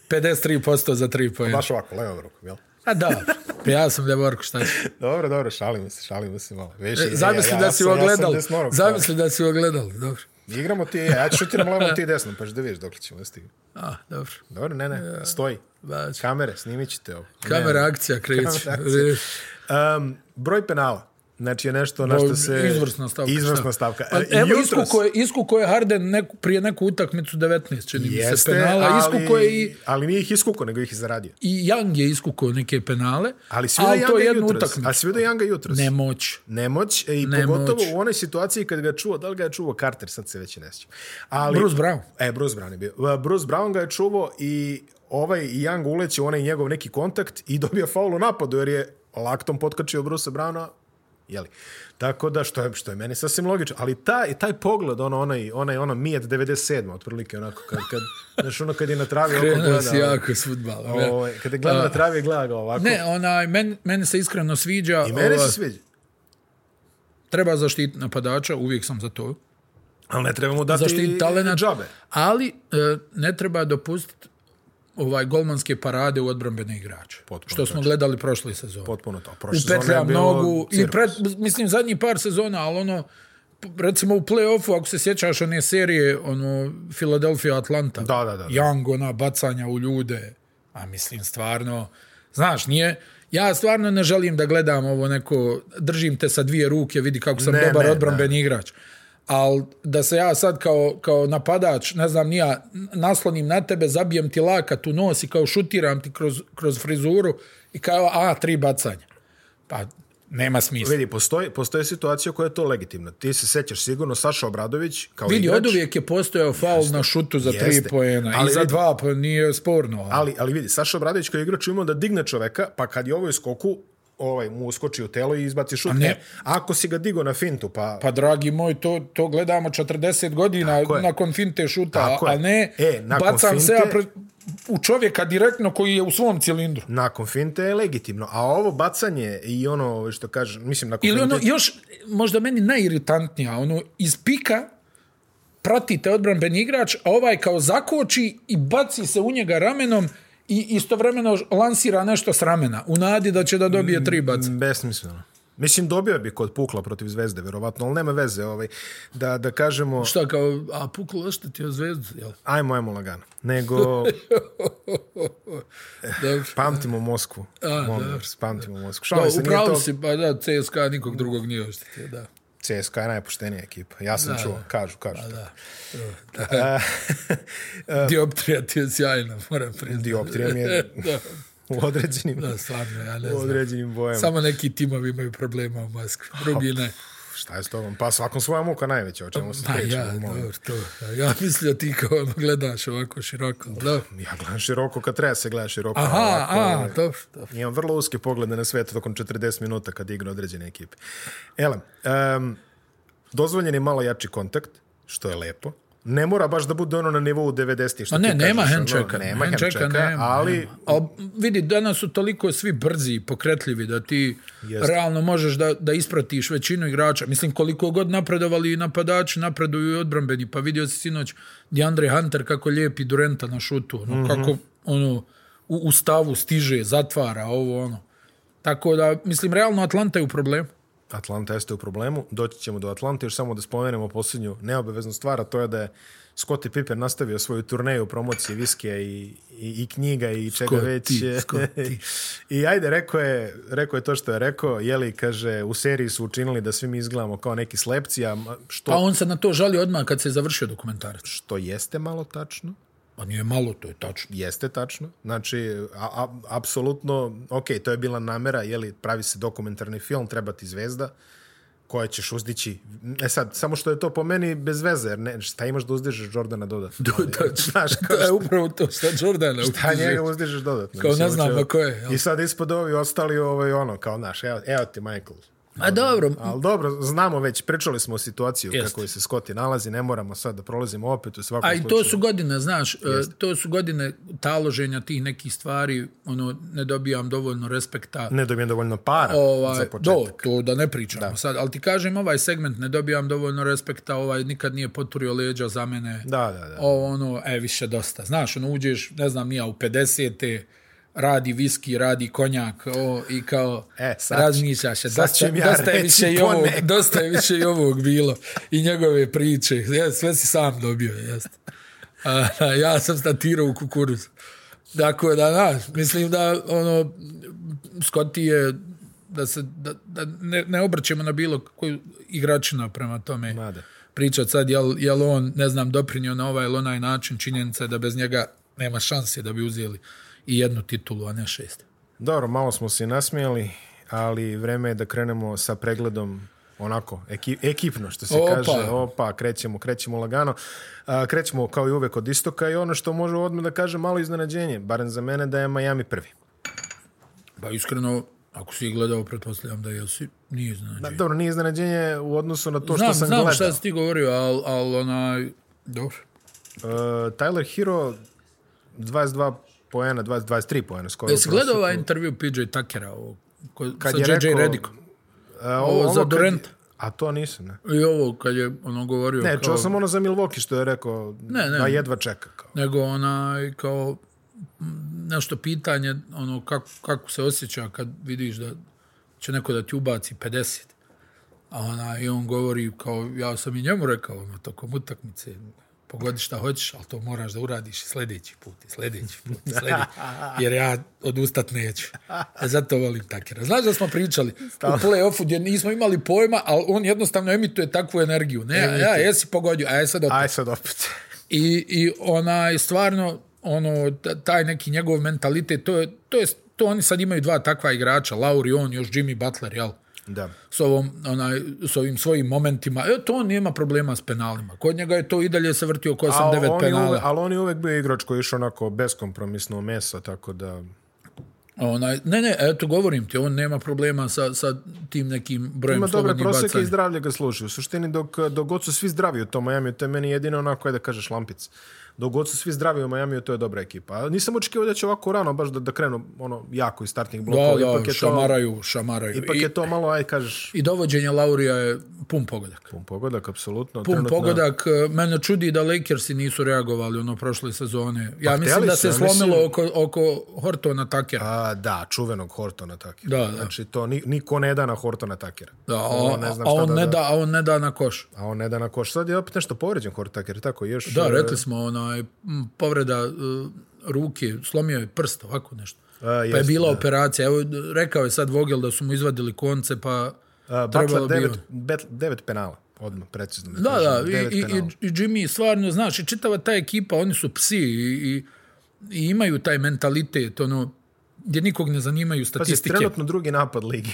[SPEAKER 2] 53% za 3 poena.
[SPEAKER 3] Baš ovako, levom rukom, jel?
[SPEAKER 2] A dobro, ja sam Devorko, šta ću?
[SPEAKER 3] Dobro, dobro, šalimo se, šalimo se malo. Više,
[SPEAKER 2] E, Zamisli da si
[SPEAKER 3] E, sam-
[SPEAKER 2] ogledal.
[SPEAKER 3] sam desnorog,
[SPEAKER 2] Zamisli da si ogledal, dobro.
[SPEAKER 3] pa. Igramo ti, ja ću šutiram levo ti desno, pa ćeš da vidiš dok ćemo da stignu.
[SPEAKER 2] A, dobro.
[SPEAKER 3] Dobro, ne, ne, stoji.
[SPEAKER 2] Da,
[SPEAKER 3] Kamere, snimit ćete ovo.
[SPEAKER 2] Kamera akcija, kreći.
[SPEAKER 3] Kamera akcija. Um, broj penala. Znači je nešto na što se...
[SPEAKER 2] Izvrsna stavka.
[SPEAKER 3] Izvrsna
[SPEAKER 2] šta?
[SPEAKER 3] stavka.
[SPEAKER 2] Pa,
[SPEAKER 3] E,
[SPEAKER 2] evo,
[SPEAKER 3] jutros-
[SPEAKER 2] iskuko je, iskuko je Harden neku, prije neku utakmicu 19, čini mi se,
[SPEAKER 3] Jeste,
[SPEAKER 2] penala.
[SPEAKER 3] ali,
[SPEAKER 2] Iskuko je i,
[SPEAKER 3] ali nije ih iskuko, nego ih je zaradio.
[SPEAKER 2] i Young je iskuko neke penale,
[SPEAKER 3] Ali svi da
[SPEAKER 2] ali to
[SPEAKER 3] Janga
[SPEAKER 2] je jedna
[SPEAKER 3] jutros. A
[SPEAKER 2] utakmica.
[SPEAKER 3] svi da Janga jutros.
[SPEAKER 2] Ne moć.
[SPEAKER 3] Nemoć, e, i
[SPEAKER 2] Nemoć.
[SPEAKER 3] pogotovo u onoj situaciji kad ga je čuo, da li ga je čuo Carter, sad se već i ne sjećam. Ali,
[SPEAKER 2] Bruce Brown.
[SPEAKER 3] E, Bruce Brown je bio. E, Bruce Brown ga je čuvao i ovaj Young uleće u onaj njegov neki kontakt i dobija faul u napadu jer je laktom potkačio Bruce Browna jeli. Tako da, što je, što je meni sasvim logično. Ali taj, taj pogled, ono, onaj, onaj, ono, Mijet 97, otprilike, onako, kad, kad, znaš, ono, kad je na travi oko
[SPEAKER 2] Krenuo
[SPEAKER 3] gleda. ono,
[SPEAKER 2] si jako s futbalom. ja.
[SPEAKER 3] Ovaj, kada gleda na travi, gleda ga ovako.
[SPEAKER 2] Ne, onaj, men, meni se iskreno sviđa.
[SPEAKER 3] I meni
[SPEAKER 2] ovaj,
[SPEAKER 3] se sviđa.
[SPEAKER 2] Treba zaštiti napadača, uvijek sam za to.
[SPEAKER 3] Ali ne trebamo dati
[SPEAKER 2] Zaštiti talenat.
[SPEAKER 3] džabe.
[SPEAKER 2] Ali e, ne treba dopustiti ovaj golmanske parade u odbrambene igrače.
[SPEAKER 3] Potpuno
[SPEAKER 2] što smo gledali prošle sezone.
[SPEAKER 3] Potpuno to. Prošle sezone je
[SPEAKER 2] Upetljam
[SPEAKER 3] bilo
[SPEAKER 2] nogu. I
[SPEAKER 3] cirkus.
[SPEAKER 2] pred, mislim, zadnjih par sezona, ali ono, p- recimo u play-offu, ako se sjećaš one serije, ono, Philadelphia Atlanta.
[SPEAKER 3] Da, da, da, da.
[SPEAKER 2] Young, ona, bacanja u ljude. A mislim, stvarno, znaš, nije... Ja stvarno ne želim da gledam ovo neko, držim te sa dvije ruke, vidi kako sam
[SPEAKER 3] Ne,
[SPEAKER 2] dobar
[SPEAKER 3] ne,
[SPEAKER 2] odbranbeni igrač. Ali da se ja sad kao, kao napadač, ne znam, nija, naslonim na tebe, zabijem ti lakat u nos i kao šutiram ti kroz, kroz frizuru i kao, a, tri bacanja. Pa, nema smisla.
[SPEAKER 3] Vidi, postoji, postoji situacija koja je to legitimna. Ti se sećaš sigurno Saša Obradović kao
[SPEAKER 2] Vidi,
[SPEAKER 3] igrač,
[SPEAKER 2] od uvijek je postojao faul na šutu za tri
[SPEAKER 3] jeste.
[SPEAKER 2] poena
[SPEAKER 3] Ali
[SPEAKER 2] i za
[SPEAKER 3] vidi-
[SPEAKER 2] dva, pa nije sporno. ali-
[SPEAKER 3] ali, ali vidi, Saša Obradović kao igrač imao da digne čoveka, pa kad je ovo iskoku, ovaj mu uskoči u telo i izbaci šut.
[SPEAKER 2] ne.
[SPEAKER 3] E, ako si ga digo na fintu, pa...
[SPEAKER 2] Pa dragi moj, to, to gledamo 40 godina
[SPEAKER 3] Tako je.
[SPEAKER 2] nakon finte šuta,
[SPEAKER 3] Tako je.
[SPEAKER 2] a ne
[SPEAKER 3] E, nakon
[SPEAKER 2] bacam se ja
[SPEAKER 3] finte-
[SPEAKER 2] pre- u čovjeka direktno koji je u svom cilindru.
[SPEAKER 3] Nakon finte je legitimno, a ovo bacanje i ono što kaže, mislim, nakon
[SPEAKER 2] Ili
[SPEAKER 3] finte...
[SPEAKER 2] ono, još možda meni najiritantnija, ono, iz pika pratite odbranbeni igrač, a ovaj kao zakoči i baci se u njega ramenom i istovremeno lansira nešto s ramena, u nadi da će da dobije tri baca.
[SPEAKER 3] Besmisleno. Mislim, dobio bi kod Pukla protiv Zvezde, verovatno, ali nema veze. Ovaj, da, da kažemo...
[SPEAKER 2] Šta kao, a puklo oštetio zvezdu, jel?
[SPEAKER 3] Ajmo, ajmo lagano. Nego,
[SPEAKER 2] Dobro.
[SPEAKER 3] pamtimo Moskvu.
[SPEAKER 2] A,
[SPEAKER 3] Molim vas, pamtimo Moskvu.
[SPEAKER 2] Da,
[SPEAKER 3] Šalim se, nije
[SPEAKER 2] upravo
[SPEAKER 3] to...
[SPEAKER 2] si, pa da, CSKA nikog drugog nije oštetio, da.
[SPEAKER 3] CSKA je najpoštenija ekipa. Ja sam čuo, kažu, kažu. Da,
[SPEAKER 2] Dioptrija ti je sjajna, moram priznati.
[SPEAKER 3] Dioptrija mi je
[SPEAKER 2] da,
[SPEAKER 3] u određenim,
[SPEAKER 2] da, stvarno, ja ne
[SPEAKER 3] u
[SPEAKER 2] znam.
[SPEAKER 3] određenim bojama.
[SPEAKER 2] Samo neki timovi imaju problema u Moskvi, drugi ne.
[SPEAKER 3] Šta je s tobom? Pa svakom svoja muka najveća, o čemu se
[SPEAKER 2] Pa
[SPEAKER 3] pričamo.
[SPEAKER 2] ja,
[SPEAKER 3] molim.
[SPEAKER 2] dobro, to. Ja mislio ti kao ono gledaš ovako široko, da.
[SPEAKER 3] Ja gledam široko kad treba se gleda široko.
[SPEAKER 2] Aha,
[SPEAKER 3] ovako,
[SPEAKER 2] a,
[SPEAKER 3] ovaj,
[SPEAKER 2] dobro, dobro.
[SPEAKER 3] Imam vrlo uske poglede na svet tokom 40 minuta kad igra određene ekipe. Elem, um, dozvoljen je malo jači kontakt, što je lepo. Ne mora baš da bude ono na nivou 90-ih. što
[SPEAKER 2] Ma ne,
[SPEAKER 3] ti
[SPEAKER 2] nema
[SPEAKER 3] kažeš, ono,
[SPEAKER 2] handchecka.
[SPEAKER 3] Nema
[SPEAKER 2] handchecka,
[SPEAKER 3] handchecka,
[SPEAKER 2] nema,
[SPEAKER 3] ali
[SPEAKER 2] nema. Al, vidi, danas su toliko svi brzi i pokretljivi da ti realno možeš da, da ispratiš većinu igrača. Mislim, koliko god napredovali i napadači, napreduju i odbrambeni. Pa vidio si sinoć DeAndre Hunter kako lijepi Durenta na šutu.
[SPEAKER 3] Mhm.
[SPEAKER 2] Ono, Kako ono, u, u stavu stiže, zatvara, ovo ono. Tako da, mislim, realno Atlanta je u problemu.
[SPEAKER 3] Atlanta jeste u problemu. Doći ćemo do Atlante. Još samo da spomenemo posljednju neobaveznu stvar, a to je da je Scottie Pippen nastavio svoju turneju promocije viskija i, i, i knjiga i čega
[SPEAKER 2] Scottie,
[SPEAKER 3] već.
[SPEAKER 2] Scottie.
[SPEAKER 3] I ajde, rekao je, rekao je to što je rekao. Jeli, kaže, u seriji su učinili da svi mi izgledamo kao neki slepci, a ma- što,
[SPEAKER 2] Pa on se na to žali odmah kad se je završio dokumentarac.
[SPEAKER 3] što jeste malo tačno.
[SPEAKER 2] Pa nije malo, to je tačno.
[SPEAKER 3] Jeste tačno. Znači, a, a, apsolutno, ok, to je bila namera, jeli, pravi se dokumentarni film, treba ti zvezda, koja ćeš uzdići. E sad, samo što je to po meni bez veze, jer ne, šta imaš da uzdižeš Jordana dodatno? Ali,
[SPEAKER 2] tačno.
[SPEAKER 3] Znaš, kao
[SPEAKER 2] Da je upravo to šta Jordana
[SPEAKER 3] šta njega uzdižeš dodatno?
[SPEAKER 2] Kao
[SPEAKER 3] Mislim,
[SPEAKER 2] ne znam,
[SPEAKER 3] hoće-
[SPEAKER 2] pa ko je, jel?
[SPEAKER 3] I sad ispod ovi ostali ovaj, ono, kao naš, evo, evo ti Michael.
[SPEAKER 2] A dobro,
[SPEAKER 3] Ali dobro, znamo već, pričali smo o situaciju
[SPEAKER 2] Jeste.
[SPEAKER 3] kako kakvoj se Scottie nalazi, ne moramo sad da prolazimo opet u svakom
[SPEAKER 2] a i
[SPEAKER 3] slučaju.
[SPEAKER 2] to su godine, znaš, e, to su godine taloženja tih nekih stvari, ono, ne dobijam dovoljno respekta.
[SPEAKER 3] Ne dobijem dovoljno para za
[SPEAKER 2] Ovaj,
[SPEAKER 3] početak.
[SPEAKER 2] do, to da ne pričamo sad, ali ti kažem ovaj segment, ne dobijam dovoljno respekta, ovaj nikad nije poturio leđa za mene. Ovaj.
[SPEAKER 3] Da, da, da.
[SPEAKER 2] Ovo, ono, e, više dosta. Znaš, ono, uđeš, ne znam, nija u 50. radi viski, radi konjak o, i kao
[SPEAKER 3] E, sad-
[SPEAKER 2] razmišljaš se,
[SPEAKER 3] sad
[SPEAKER 2] dosta,
[SPEAKER 3] ću im ja
[SPEAKER 2] dosta, je
[SPEAKER 3] reći
[SPEAKER 2] više i
[SPEAKER 3] po
[SPEAKER 2] ovog,
[SPEAKER 3] neku.
[SPEAKER 2] dosta je više i ovog bilo i njegove priče, Ja, sve si sam dobio, jeste. A, ja sam statirao u kukuruz. Dakle, da, da, mislim da ono, Skoti je da se da, da ne, ne obrćemo na bilo koju igračina prema tome
[SPEAKER 3] Mada.
[SPEAKER 2] pričat sad jel, jel on ne znam doprinio na ovaj ili onaj način činjenica je da bez njega nema šanse da bi uzeli i jednu titulu a ne šest
[SPEAKER 3] Dobro, malo smo se i nasmijali, ali vreme je da krenemo sa pregledom onako, eki, ekipno što se
[SPEAKER 2] Opa.
[SPEAKER 3] kaže. Opa, krećemo, krećemo lagano. A, krećemo kao i uvek od istoka i ono što može odmah da kažem malo iznenađenje, barem za mene da je Miami prvi.
[SPEAKER 2] pa iskreno ako si ih gledao pretpostavljam da jesi nije znači. iznenađenje
[SPEAKER 3] Dobro, nije iznenađenje u odnosu na to što
[SPEAKER 2] znam,
[SPEAKER 3] sam
[SPEAKER 2] znam
[SPEAKER 3] gledao.
[SPEAKER 2] šta si ti govorio ali al, onaj dobro
[SPEAKER 3] E, Tyler Hero 22 poena, 20, 23 poena skoro.
[SPEAKER 2] jesi
[SPEAKER 3] u
[SPEAKER 2] gledao
[SPEAKER 3] prosjeku.
[SPEAKER 2] ovaj intervju PJ Tuckera ovog, ko,
[SPEAKER 3] Kad
[SPEAKER 2] sa
[SPEAKER 3] je
[SPEAKER 2] JJ
[SPEAKER 3] rekao-
[SPEAKER 2] Redickom
[SPEAKER 3] E, ovo,
[SPEAKER 2] ovo za
[SPEAKER 3] kad je-
[SPEAKER 2] Duranta.
[SPEAKER 3] A to nisam, ne.
[SPEAKER 2] i ovo kad je ono govorio
[SPEAKER 3] Ne,
[SPEAKER 2] kao-
[SPEAKER 3] čuo sam ono za Milwaukee što je rekao
[SPEAKER 2] Ne, ne.
[SPEAKER 3] da jedva čeka. Kao.
[SPEAKER 2] nego onaj kao m, nešto pitanje ono kako, kako se osjeća kad vidiš da će neko da ti ubaci 50 a ona, i on govori kao ja sam i njemu rekao ono, tokom utakmice pogodi šta hoćeš ali to moraš da uradiš i sljedeći put i sljedeći put i sljedeći jer ja odustat neću e, zato volim takera znaš da smo pričali u play-offu gdje nismo imali pojma ali on jednostavno emituje takvu energiju ne, a ja jesi pogodio a ja sad opet
[SPEAKER 3] Aj sad opet.
[SPEAKER 2] I, i onaj, stvarno, ono, t- taj neki njegov mentalitet, to je, to je, to oni sad imaju dva takva igrača, Lauri, on, još Jimmy Butler, jel?
[SPEAKER 3] Da.
[SPEAKER 2] S, ovom, onaj, s ovim svojim momentima. E, to on nema problema s penalima. Kod njega je to i dalje se vrtio oko
[SPEAKER 3] A
[SPEAKER 2] 8-9
[SPEAKER 3] on je
[SPEAKER 2] penala.
[SPEAKER 3] uvek, ali on je uvek bio igrač koji je išao onako beskompromisno u meso, tako da...
[SPEAKER 2] Onaj, ne, ne, eto, govorim ti, on nema problema sa, sa tim nekim brojem
[SPEAKER 3] Ima dobre
[SPEAKER 2] slobodnih
[SPEAKER 3] proseke i
[SPEAKER 2] bacanja.
[SPEAKER 3] zdravlje ga služi. U suštini, dok, dok god su svi zdravi u tom Miami, to je meni jedino onako, je da kažeš, lampic. Dok god su svi zdravi u Miami, to je dobra ekipa. A Nisam očekivao da će ovako rano baš da, da krenu ono, jako iz startnih blokova.
[SPEAKER 2] Da,
[SPEAKER 3] ipak
[SPEAKER 2] da,
[SPEAKER 3] je to,
[SPEAKER 2] šamaraju, šamaraju.
[SPEAKER 3] ipak
[SPEAKER 2] I,
[SPEAKER 3] je to malo, aj kažeš,
[SPEAKER 2] I dovođenje Laurija je pun pogodak.
[SPEAKER 3] pun pogodak, apsolutno.
[SPEAKER 2] Pun
[SPEAKER 3] Trenutno-
[SPEAKER 2] pogodak. e, Mene čudi da Lakersi nisu reagovali ono prošle sezone. Ja mislim
[SPEAKER 3] Pa htjeli
[SPEAKER 2] da
[SPEAKER 3] su,
[SPEAKER 2] se
[SPEAKER 3] ja
[SPEAKER 2] slomilo
[SPEAKER 3] mislim-
[SPEAKER 2] oko, oko Hortona Takera.
[SPEAKER 3] A, da, čuvenog Hortona Takera.
[SPEAKER 2] Da, da.
[SPEAKER 3] Znači, to ni, niko ne da na Hortona Takera.
[SPEAKER 2] Da, a,
[SPEAKER 3] Ono, ne znam
[SPEAKER 2] a
[SPEAKER 3] šta
[SPEAKER 2] on
[SPEAKER 3] da
[SPEAKER 2] ne
[SPEAKER 3] da.
[SPEAKER 2] da, a on ne da na koš.
[SPEAKER 3] A on ne da na koš. Sad je opet nešto povređen Horton Taker, tako još...
[SPEAKER 2] Da,
[SPEAKER 3] e,
[SPEAKER 2] rekli smo, onaj, m, povreda e, ruke, slomio je prst, ovako nešto.
[SPEAKER 3] A,
[SPEAKER 2] pa je
[SPEAKER 3] jeste,
[SPEAKER 2] bila operacija. Evo, rekao je sad Vogel da su mu izvadili konce, pa
[SPEAKER 3] a,
[SPEAKER 2] trebalo
[SPEAKER 3] Butler
[SPEAKER 2] bi...
[SPEAKER 3] devet,
[SPEAKER 2] on.
[SPEAKER 3] bet- devet penala, odmah, precizno.
[SPEAKER 2] Da, da,
[SPEAKER 3] kažem,
[SPEAKER 2] i,
[SPEAKER 3] devet
[SPEAKER 2] i,
[SPEAKER 3] penala.
[SPEAKER 2] i- i Jimmy stvarno, znaš, i čitava ta ekipa, oni su psi i, i, i imaju taj mentalitet, ono, gdje nikog ne zanimaju
[SPEAKER 3] Pazi,
[SPEAKER 2] statistike.
[SPEAKER 3] trenutno drugi napad ligi.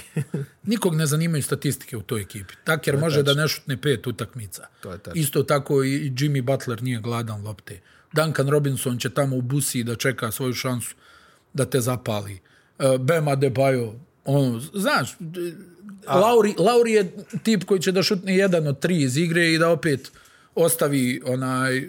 [SPEAKER 2] Nikog ne zanimaju statistike u toj ekipi. Taker može da ne šutne pet utakmica.
[SPEAKER 3] To je tačno.
[SPEAKER 2] Isto tako i i Jimmy Butler nije gladan lopte. Duncan Robinson će tamo u busi da čeka svoju šansu da te zapali. E, Bema Debajo, ono, znaš, d- Lauri, Lauri je tip koji će da šutne jedan od tri iz igre i da opet ostavi onaj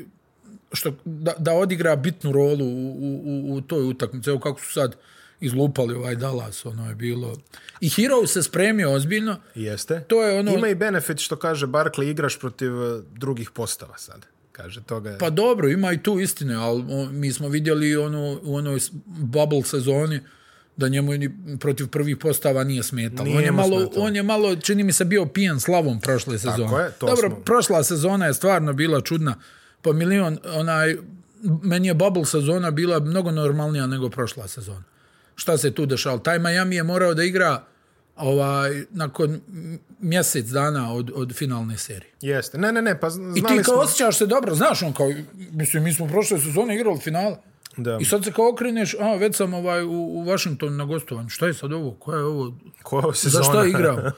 [SPEAKER 2] što da, da odigra bitnu rolu u, u, u- u toj utakmici. Evo kako su sad izlupali ovaj Dallas, ono je bilo. I Hero se spremio ozbiljno.
[SPEAKER 3] Jeste.
[SPEAKER 2] To je ono-
[SPEAKER 3] Ima i benefit što kaže Barkley, igraš protiv e, drugih postava sad. Kaže, toga je...
[SPEAKER 2] Pa dobro, ima i tu istine, ali o, mi smo vidjeli ono, u onoj s- bubble sezoni da njemu ni protiv prvih postava nije smetalo.
[SPEAKER 3] Nije
[SPEAKER 2] on, je
[SPEAKER 3] mu
[SPEAKER 2] malo,
[SPEAKER 3] smetalo.
[SPEAKER 2] on je malo, čini mi se, bio pijen slavom prošle sezone.
[SPEAKER 3] je, to
[SPEAKER 2] dobro,
[SPEAKER 3] smo-
[SPEAKER 2] prošla sezona je stvarno bila čudna. Pa milion, onaj, meni je bubble sezona bila mnogo normalnija nego prošla sezona. Šta se tu dešalo? Taj Miami je morao da igra ovaj, nakon mjesec dana od, od finalne serije.
[SPEAKER 3] Jeste. Ne, ne, ne, pa zn-
[SPEAKER 2] I
[SPEAKER 3] znali
[SPEAKER 2] ti kao
[SPEAKER 3] smo...
[SPEAKER 2] osjećaš se dobro, znaš on kao, mislim, mi smo prošle sezone igrali finale.
[SPEAKER 3] Da.
[SPEAKER 2] I sad se kao okreneš, a već sam ovaj, u, u Washingtonu na gostovanju, šta je sad ovo, koja je ovo,
[SPEAKER 3] Koja je sezona?
[SPEAKER 2] za šta igrao?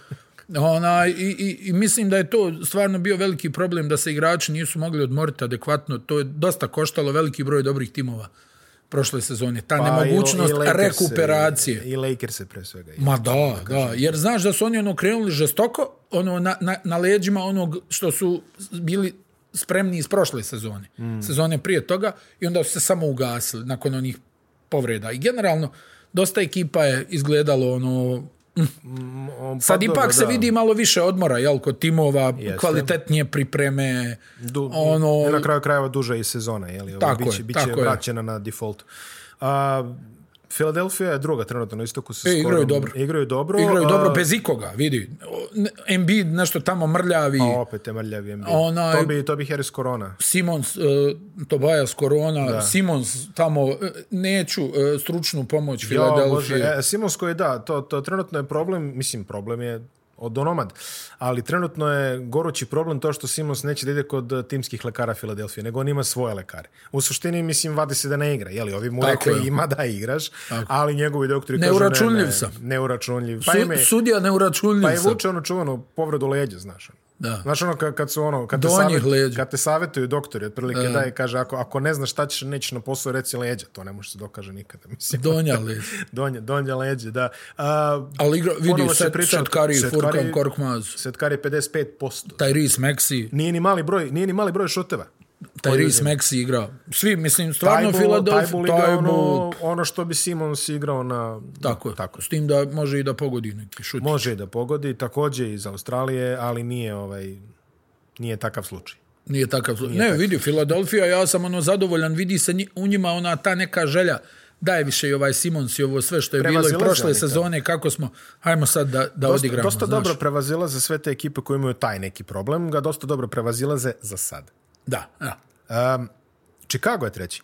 [SPEAKER 2] Ona, i, i, I mislim da je to stvarno bio veliki problem da se igrači nisu mogli odmoriti adekvatno, to je dosta koštalo veliki broj dobrih timova prošle sezone, ta
[SPEAKER 3] Pa i- i
[SPEAKER 2] nemogućnost
[SPEAKER 3] Lakers se-
[SPEAKER 2] rekuperacije.
[SPEAKER 3] I Lakers se pre svega.
[SPEAKER 2] Ma da, da, jer znaš da su oni ono krenuli žestoko, ono na, na, na leđima onog što su bili spremni iz prošle sezone,
[SPEAKER 3] Mm.
[SPEAKER 2] sezone prije toga, i onda su se samo ugasili nakon onih povreda. I generalno, dosta ekipa je izgledalo ono...
[SPEAKER 3] Mm,
[SPEAKER 2] Sad
[SPEAKER 3] pa
[SPEAKER 2] ipak
[SPEAKER 3] dobro,
[SPEAKER 2] se
[SPEAKER 3] da.
[SPEAKER 2] vidi malo više odmora, jel, kod timova, kvalitetnije pripreme,
[SPEAKER 3] Du,
[SPEAKER 2] ono...
[SPEAKER 3] na kraju krajeva duža je i sezona, je li? Ovo
[SPEAKER 2] Tako
[SPEAKER 3] biće,
[SPEAKER 2] je,
[SPEAKER 3] biće
[SPEAKER 2] tako je.
[SPEAKER 3] vraćena na default. A, Philadelphia je druga trenutno na istoku sa
[SPEAKER 2] E,
[SPEAKER 3] skorom.
[SPEAKER 2] igraju dobro.
[SPEAKER 3] Igraju dobro.
[SPEAKER 2] Igraju
[SPEAKER 3] a-
[SPEAKER 2] dobro bez ikoga, vidi. O, Embiid nešto tamo mrljavi.
[SPEAKER 3] a opet je mrljavi Embiid.
[SPEAKER 2] Onaj-
[SPEAKER 3] To bi, to bi Harris Corona.
[SPEAKER 2] Simons, e, Tobias Corona, Simons tamo, e, neću e, stručnu pomoć
[SPEAKER 3] Ja,
[SPEAKER 2] Filadelfije.
[SPEAKER 3] Bože, e, Simonsko je da, to, to trenutno je problem, mislim problem je od onomad, ali trenutno je gorući problem to što Simons neće da ide kod e, timskih lekara Filadelfije, nego on ima svoje lekare. U suštini, mislim, vadi se da ne igra, jeli, ovi mu
[SPEAKER 2] Tako
[SPEAKER 3] rekli
[SPEAKER 2] je.
[SPEAKER 3] ima da igraš, ali njegovi doktori kažu
[SPEAKER 2] Neuračunljiv
[SPEAKER 3] ne, ne,
[SPEAKER 2] sam.
[SPEAKER 3] Neuračunljiv. Pa
[SPEAKER 2] Su-
[SPEAKER 3] ime,
[SPEAKER 2] sudija neuračunljiv
[SPEAKER 3] pa je
[SPEAKER 2] sam.
[SPEAKER 3] vuče ono čuvanu povredu leđa, znaš. ono.
[SPEAKER 2] Da.
[SPEAKER 3] Znaš ono kad, kad su ono, kad te,
[SPEAKER 2] Donjih
[SPEAKER 3] savjet-
[SPEAKER 2] leđa.
[SPEAKER 3] kad te savjetuju doktori, otprilike da je kaže, ako, ako ne znaš šta ćeš, nećeš na posao, reci leđa, to ne može se dokaže nikada, mislim.
[SPEAKER 2] Donja li.
[SPEAKER 3] Donja, donja leđe, da. A,
[SPEAKER 2] Ali igra, vidi,
[SPEAKER 3] Ponovo se
[SPEAKER 2] Seth,
[SPEAKER 3] priča-
[SPEAKER 2] Seth Curry,
[SPEAKER 3] Seth
[SPEAKER 2] Furkan
[SPEAKER 3] Curry-
[SPEAKER 2] Korkmaz,
[SPEAKER 3] Setkar je 55%.
[SPEAKER 2] Tyrese Maxi.
[SPEAKER 3] Nije ni mali broj, nije ni mali broj šuteva.
[SPEAKER 2] Tyrese Maxi igra. Svi, mislim, stvarno
[SPEAKER 3] Tajbul-
[SPEAKER 2] Filadelfija,
[SPEAKER 3] Tajbul igra
[SPEAKER 2] Tajbu,
[SPEAKER 3] ono, ono što bi Simons igrao na...
[SPEAKER 2] tako, tako. S tim da može i da pogodi neki šut.
[SPEAKER 3] Može i da pogodi, takođe iz Australije, ali nije ovaj nije takav slučaj.
[SPEAKER 2] Nije takav slučaj. Ne, vidi, Filadelfija, ja sam ono zadovoljan, vidi se nji- u njima ona ta neka želja daj više i ovaj Simons i ovo sve što je bilo i
[SPEAKER 3] Prevazilaze
[SPEAKER 2] prošle
[SPEAKER 3] oni to.
[SPEAKER 2] sezone, kako smo, hajmo sad da, da
[SPEAKER 3] Dosta,
[SPEAKER 2] odigramo.
[SPEAKER 3] dosta
[SPEAKER 2] znaš.
[SPEAKER 3] dobro prevazilaze sve te ekipe koje imaju taj neki problem, ga dosta dobro prevazilaze za sad.
[SPEAKER 2] Da, da.
[SPEAKER 3] Um, Chicago je treći.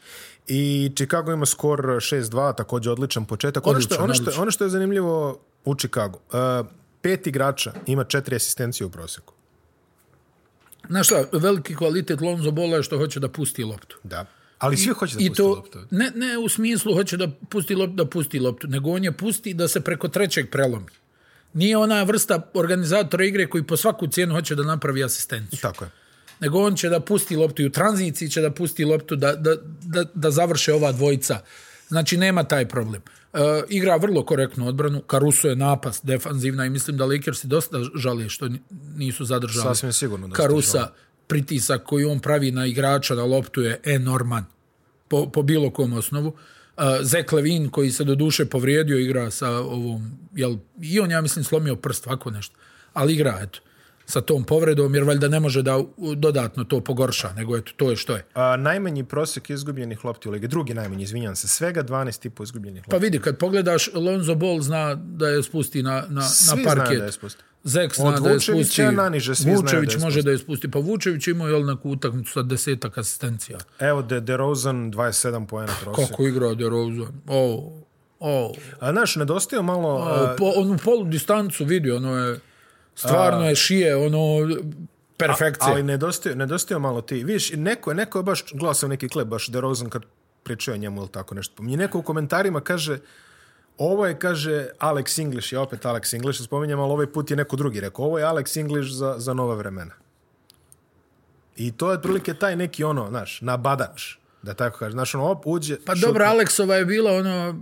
[SPEAKER 3] I Chicago ima skor 6-2, također odličan početak. Ono što,
[SPEAKER 2] Odličan,
[SPEAKER 3] ono, što,
[SPEAKER 2] odličan.
[SPEAKER 3] ono što je zanimljivo u Chicago, uh, pet igrača ima četiri asistencije u proseku.
[SPEAKER 2] Znaš šta, veliki kvalitet Lonzo Bola je što hoće da pusti loptu.
[SPEAKER 3] Da. Ali svi hoće da
[SPEAKER 2] I
[SPEAKER 3] pusti
[SPEAKER 2] to,
[SPEAKER 3] loptu.
[SPEAKER 2] ne, ne u smislu hoće da pusti loptu, da pusti loptu, nego on je pusti da se preko trećeg prelomi. Nije ona vrsta organizatora igre koji po svaku cijenu hoće da napravi asistenciju.
[SPEAKER 3] Tako je.
[SPEAKER 2] nego on će da pusti loptu i u tranziciji će da pusti loptu da, da, da, da završe ova dvojica. Znači, nema taj problem. E, igra vrlo korektnu odbranu, Caruso je napas, defanzivna i mislim da Lakersi dosta žale što ni- nisu zadržali.
[SPEAKER 3] Sasvim sigurno dosta
[SPEAKER 2] Carusa,
[SPEAKER 3] žale.
[SPEAKER 2] pritisak koji on pravi na igrača na loptu je enorman po, po bilo kom osnovu. Uh, Zek Levin koji se doduše povrijedio igra sa ovom, jel, i on ja mislim slomio prst, ovako nešto, ali igra eto, sa tom povredom jer valjda ne može da u- dodatno to pogorša, nego eto, to je što je.
[SPEAKER 3] A, najmanji prosek izgubljenih lopti u ligi. Drugi najmanji, izvinjam se. Svega 12,5 izgubljenih lopti.
[SPEAKER 2] Pa vidi, kad pogledaš, Lonzo Ball zna da je spusti na, na,
[SPEAKER 3] Svi
[SPEAKER 2] na
[SPEAKER 3] znaju
[SPEAKER 2] parket.
[SPEAKER 3] da je spusti.
[SPEAKER 2] Zek zna
[SPEAKER 3] Od
[SPEAKER 2] da je
[SPEAKER 3] Vučevića
[SPEAKER 2] spusti.
[SPEAKER 3] naniže, svi znaju da je
[SPEAKER 2] Vučević može da je spusti. Pa Vučević imao je neku utakmicu sa desetak asistencija.
[SPEAKER 3] Evo De, DeRozan 27 poena prosek.
[SPEAKER 2] Kako igrao DeRozan. O, o,
[SPEAKER 3] A, znaš, nedostaje malo...
[SPEAKER 2] o,
[SPEAKER 3] a,
[SPEAKER 2] po, onu polu distancu vidi, ono je, stvarno je šije, ono, perfekcija.
[SPEAKER 3] Ali nedostaju, nedostaju malo ti. Vidiš, neko, je- neko je baš glasao neki klep, baš DeRozan kad pričao o njemu ili tako nešto. Mi neko u komentarima kaže, ovo je, kaže, Alex English, ja opet Alex English spominjem, ali ovaj put je neko drugi rekao, ovo je Alex English za, za nova vremena. I to je otprilike taj neki ono, znaš, nabadač, da tako kažem. Znaš, ono, op, uđe...
[SPEAKER 2] pa
[SPEAKER 3] šutne.
[SPEAKER 2] dobro, Aleksova je bila, ono,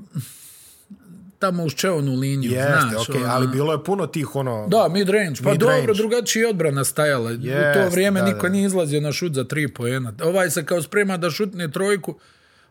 [SPEAKER 2] tamo uz čeonu liniju,
[SPEAKER 3] Jeste,
[SPEAKER 2] znaš.
[SPEAKER 3] okej,
[SPEAKER 2] ono.
[SPEAKER 3] ali bilo je puno tih, ono...
[SPEAKER 2] Da, midrange. Pa
[SPEAKER 3] Midrange.
[SPEAKER 2] dobro, drugačije je odbrana stajala. U to
[SPEAKER 3] Jest,
[SPEAKER 2] vrijeme
[SPEAKER 3] da,
[SPEAKER 2] niko
[SPEAKER 3] da.
[SPEAKER 2] nije izlazio na šut za tri poena. Ovaj se kao sprema da šutne trojku,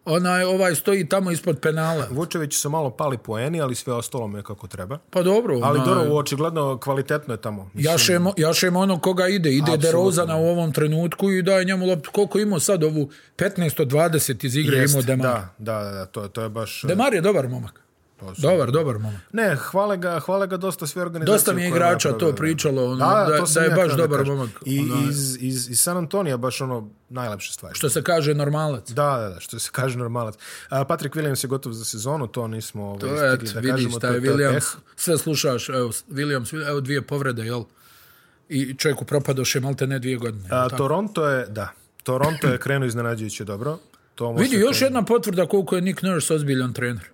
[SPEAKER 2] onaj, ovaj stoji tamo ispod penala.
[SPEAKER 3] Vučević su malo pali poeni, ali sve ostalo mu je kako treba.
[SPEAKER 2] Pa dobro,
[SPEAKER 3] Ali
[SPEAKER 2] onaj,
[SPEAKER 3] dobro, očigledno kvalitetno je tamo. Mislim,
[SPEAKER 2] Jašemo, jašemo ono koga ide. Ide
[SPEAKER 3] Apsolutno.
[SPEAKER 2] DeRozana u ovom trenutku i daje njemu loptu. Koliko imao sad ovu 15-20 iz igre
[SPEAKER 3] Jest,
[SPEAKER 2] imao Demar.
[SPEAKER 3] Da, Pa, da, da, da, to, to je baš...
[SPEAKER 2] Demar je dobar momak.
[SPEAKER 3] To su-
[SPEAKER 2] Dobar, dobar momak.
[SPEAKER 3] Ne, hvale ga, hvale ga dosta sve organizacije.
[SPEAKER 2] Dosta mi je
[SPEAKER 3] koje
[SPEAKER 2] igrača
[SPEAKER 3] naprave,
[SPEAKER 2] to
[SPEAKER 3] da.
[SPEAKER 2] pričalo, ono,
[SPEAKER 3] Da,
[SPEAKER 2] da, da,
[SPEAKER 3] to sam
[SPEAKER 2] je
[SPEAKER 3] ja
[SPEAKER 2] baš
[SPEAKER 3] htio da
[SPEAKER 2] dobar
[SPEAKER 3] kažem.
[SPEAKER 2] momak.
[SPEAKER 3] I
[SPEAKER 2] Ono,
[SPEAKER 3] iz, iz, iz San Antonija baš ono najlepše stvari.
[SPEAKER 2] što se kaže normalac.
[SPEAKER 3] Da, da, da, što se kaže normalac. A, Patrick Williams je gotov za sezonu, to nismo ovaj,
[SPEAKER 2] To
[SPEAKER 3] stigli
[SPEAKER 2] je, eto,
[SPEAKER 3] da
[SPEAKER 2] vidiš,
[SPEAKER 3] kažemo.
[SPEAKER 2] taj
[SPEAKER 3] to eh. je
[SPEAKER 2] Williams, sve slušaš, evo, Williams, evo dvije povrede, jel? I čovjeku propadoše malte ne dvije godine.
[SPEAKER 3] A, Toronto je, da, Toronto je krenuo iznenađujuće dobro. To može
[SPEAKER 2] Vidi, još jedna potvrda koliko je Nick Nurse ozbiljan trener.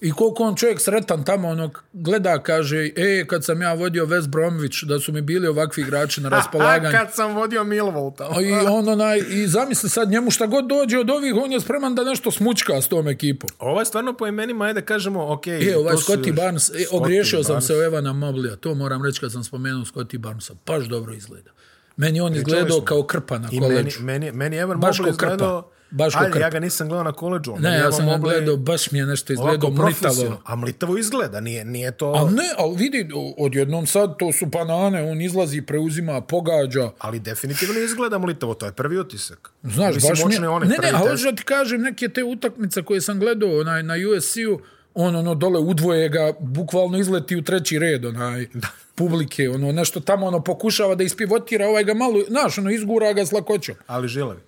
[SPEAKER 2] I koliko on čovjek sretan tamo, ono, gleda, kaže, e, kad sam ja vodio West Bromwich, da su mi bili ovakvi igrači na
[SPEAKER 3] A
[SPEAKER 2] raspolaganju.
[SPEAKER 3] kad sam vodio Millwall tamo.
[SPEAKER 2] I, on onaj, I zamisli sad njemu šta god dođe od ovih, on je spreman da nešto smučka s tom ekipom.
[SPEAKER 3] Ovo je stvarno po imenima, ajde da kažemo, ok.
[SPEAKER 2] E, ovaj
[SPEAKER 3] to su
[SPEAKER 2] Scotty
[SPEAKER 3] još-
[SPEAKER 2] Barnes, e,
[SPEAKER 3] Scotty
[SPEAKER 2] ogriješio sam
[SPEAKER 3] Barnes.
[SPEAKER 2] se o Evana Moblija, to moram reći kad sam spomenuo Scotty Barnesa, baš dobro izgleda. Meni on izgledao
[SPEAKER 3] E, smo.
[SPEAKER 2] kao krpa na
[SPEAKER 3] I meni,
[SPEAKER 2] koleđu.
[SPEAKER 3] meni, meni je Evan
[SPEAKER 2] Baš
[SPEAKER 3] Mobley
[SPEAKER 2] ko krpa.
[SPEAKER 3] izgledao...
[SPEAKER 2] Baš ko
[SPEAKER 3] Ajde,
[SPEAKER 2] krpa.
[SPEAKER 3] ja ga nisam gledao na koleđu. ali
[SPEAKER 2] Ne,
[SPEAKER 3] Evan
[SPEAKER 2] ja sam ga
[SPEAKER 3] Mobley
[SPEAKER 2] gledao, baš mi je nešto izgledao
[SPEAKER 3] Ovako
[SPEAKER 2] mlitavo.
[SPEAKER 3] profesionalno. A mlitavo izgleda, nije, nije to...
[SPEAKER 2] A ne, ali vidi, o- odjednom sad to su banane, on izlazi, preuzima, pogađa.
[SPEAKER 3] Ali definitivno izgleda mlitavo, to je prvi utisak.
[SPEAKER 2] Znaš,
[SPEAKER 3] Mislim,
[SPEAKER 2] baš mi je...
[SPEAKER 3] očne one
[SPEAKER 2] Ne, ne,
[SPEAKER 3] prvi
[SPEAKER 2] a
[SPEAKER 3] test.
[SPEAKER 2] hoću da ti kažem, neke te utakmice koje sam gledao na, na USC-u, on ono dole udvoje ga, bukvalno izleti u treći red onaj publike, ono nešto tamo ono pokušava da ispivotira, ovaj ga malo, znaš, ono izgura ga s lakoćom.
[SPEAKER 3] Ali žilavi.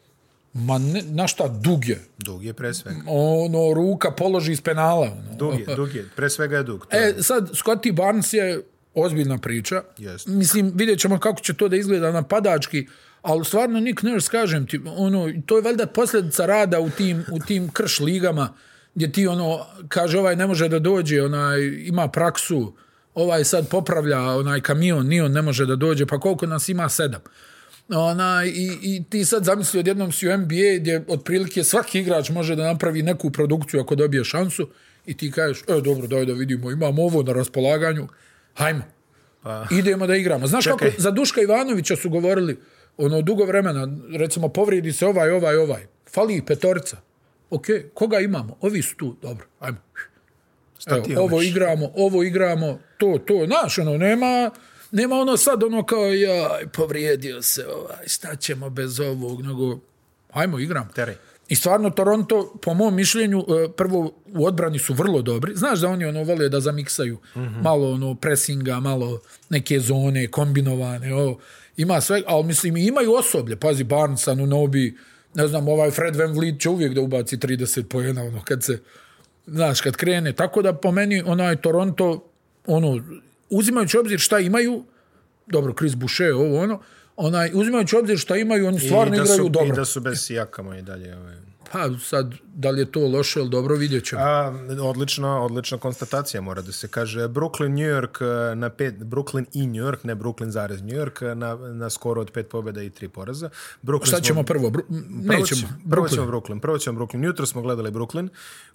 [SPEAKER 2] Ma ne, na šta, dug je.
[SPEAKER 3] Dug je pre svega.
[SPEAKER 2] Ono, ruka položi iz penala. Ono.
[SPEAKER 3] Dug je, dug je. Pre svega je dug. To je-
[SPEAKER 2] E, sad, Scotty Barnes je ozbiljna priča.
[SPEAKER 3] Jest.
[SPEAKER 2] Mislim, vidjet ćemo kako će to da izgleda napadački, ali stvarno Nick Nurse, kažem ti, ono, to je valjda posljedica rada u tim, u tim krš ligama, gdje ti ono, kaže ovaj ne može da dođe, onaj ima praksu, ovaj sad popravlja onaj kamion, ni on ne može da dođe, pa koliko nas ima sedam. Ona, i, I ti sad zamisli odjednom si u NBA gdje otprilike svaki igrač može da napravi neku produkciju ako dobije šansu i ti kažeš, e dobro, daj da vidimo, imamo ovo na raspolaganju, hajmo, idemo da igramo. Znaš
[SPEAKER 3] Čekaj.
[SPEAKER 2] kako, za Duška Ivanovića su govorili, ono, dugo vremena, recimo, povrijedi se ovaj, ovaj, ovaj, fali ih petorica. Ok, koga imamo? Ovi su tu, dobro, hajmo. Evo,
[SPEAKER 3] ti
[SPEAKER 2] ovo
[SPEAKER 3] umeš?
[SPEAKER 2] igramo, ovo igramo, to, to, znaš, ono, nema, nema ono sad ono kao, jaj, povrijedio se, ovaj, šta ćemo bez ovog, nego, hajmo, igram.
[SPEAKER 3] Teraj.
[SPEAKER 2] I stvarno, Toronto, po mom mišljenju, e, prvo, u odbrani su vrlo dobri. Znaš da oni ono vole da zamiksaju
[SPEAKER 3] Mhm.
[SPEAKER 2] malo ono presinga, malo neke zone kombinovane, ovo. Ima sve, ali mislim, i imaju osoblje. Pazi, Barnes, Anunobi, ne znam, ovaj Fred Van Vliet će uvijek da ubaci 30 pojena, ono, kad se, znaš, kad krene. Tako da, po meni, onaj Toronto, ono, uzimajući u obzir šta imaju, dobro, Chris Boucher, ovo, ono, onaj, uzimajući u obzir šta imaju, oni stvarno
[SPEAKER 3] I da
[SPEAKER 2] igraju
[SPEAKER 3] su,
[SPEAKER 2] dobro.
[SPEAKER 3] I da su bez sijakama i dalje. Ovaj.
[SPEAKER 2] Pa sad, da li je to loše ili dobro, vidjet ćemo.
[SPEAKER 3] A, odlična, odlična konstatacija mora da se kaže. Brooklyn, New York, eh, na pet, Brooklyn i New York, ne Brooklyn zarez New York, eh, na, na skoro od pet pobjeda i tri poraza. Brooklyn
[SPEAKER 2] Šta
[SPEAKER 3] smo-
[SPEAKER 2] ćemo prvo? Bru- m,
[SPEAKER 3] Prvo
[SPEAKER 2] Nećemo.
[SPEAKER 3] ćemo- Prvo ćemo Brooklyn. Prvo ćemo Brooklyn. Jutro smo gledali Brooklyn,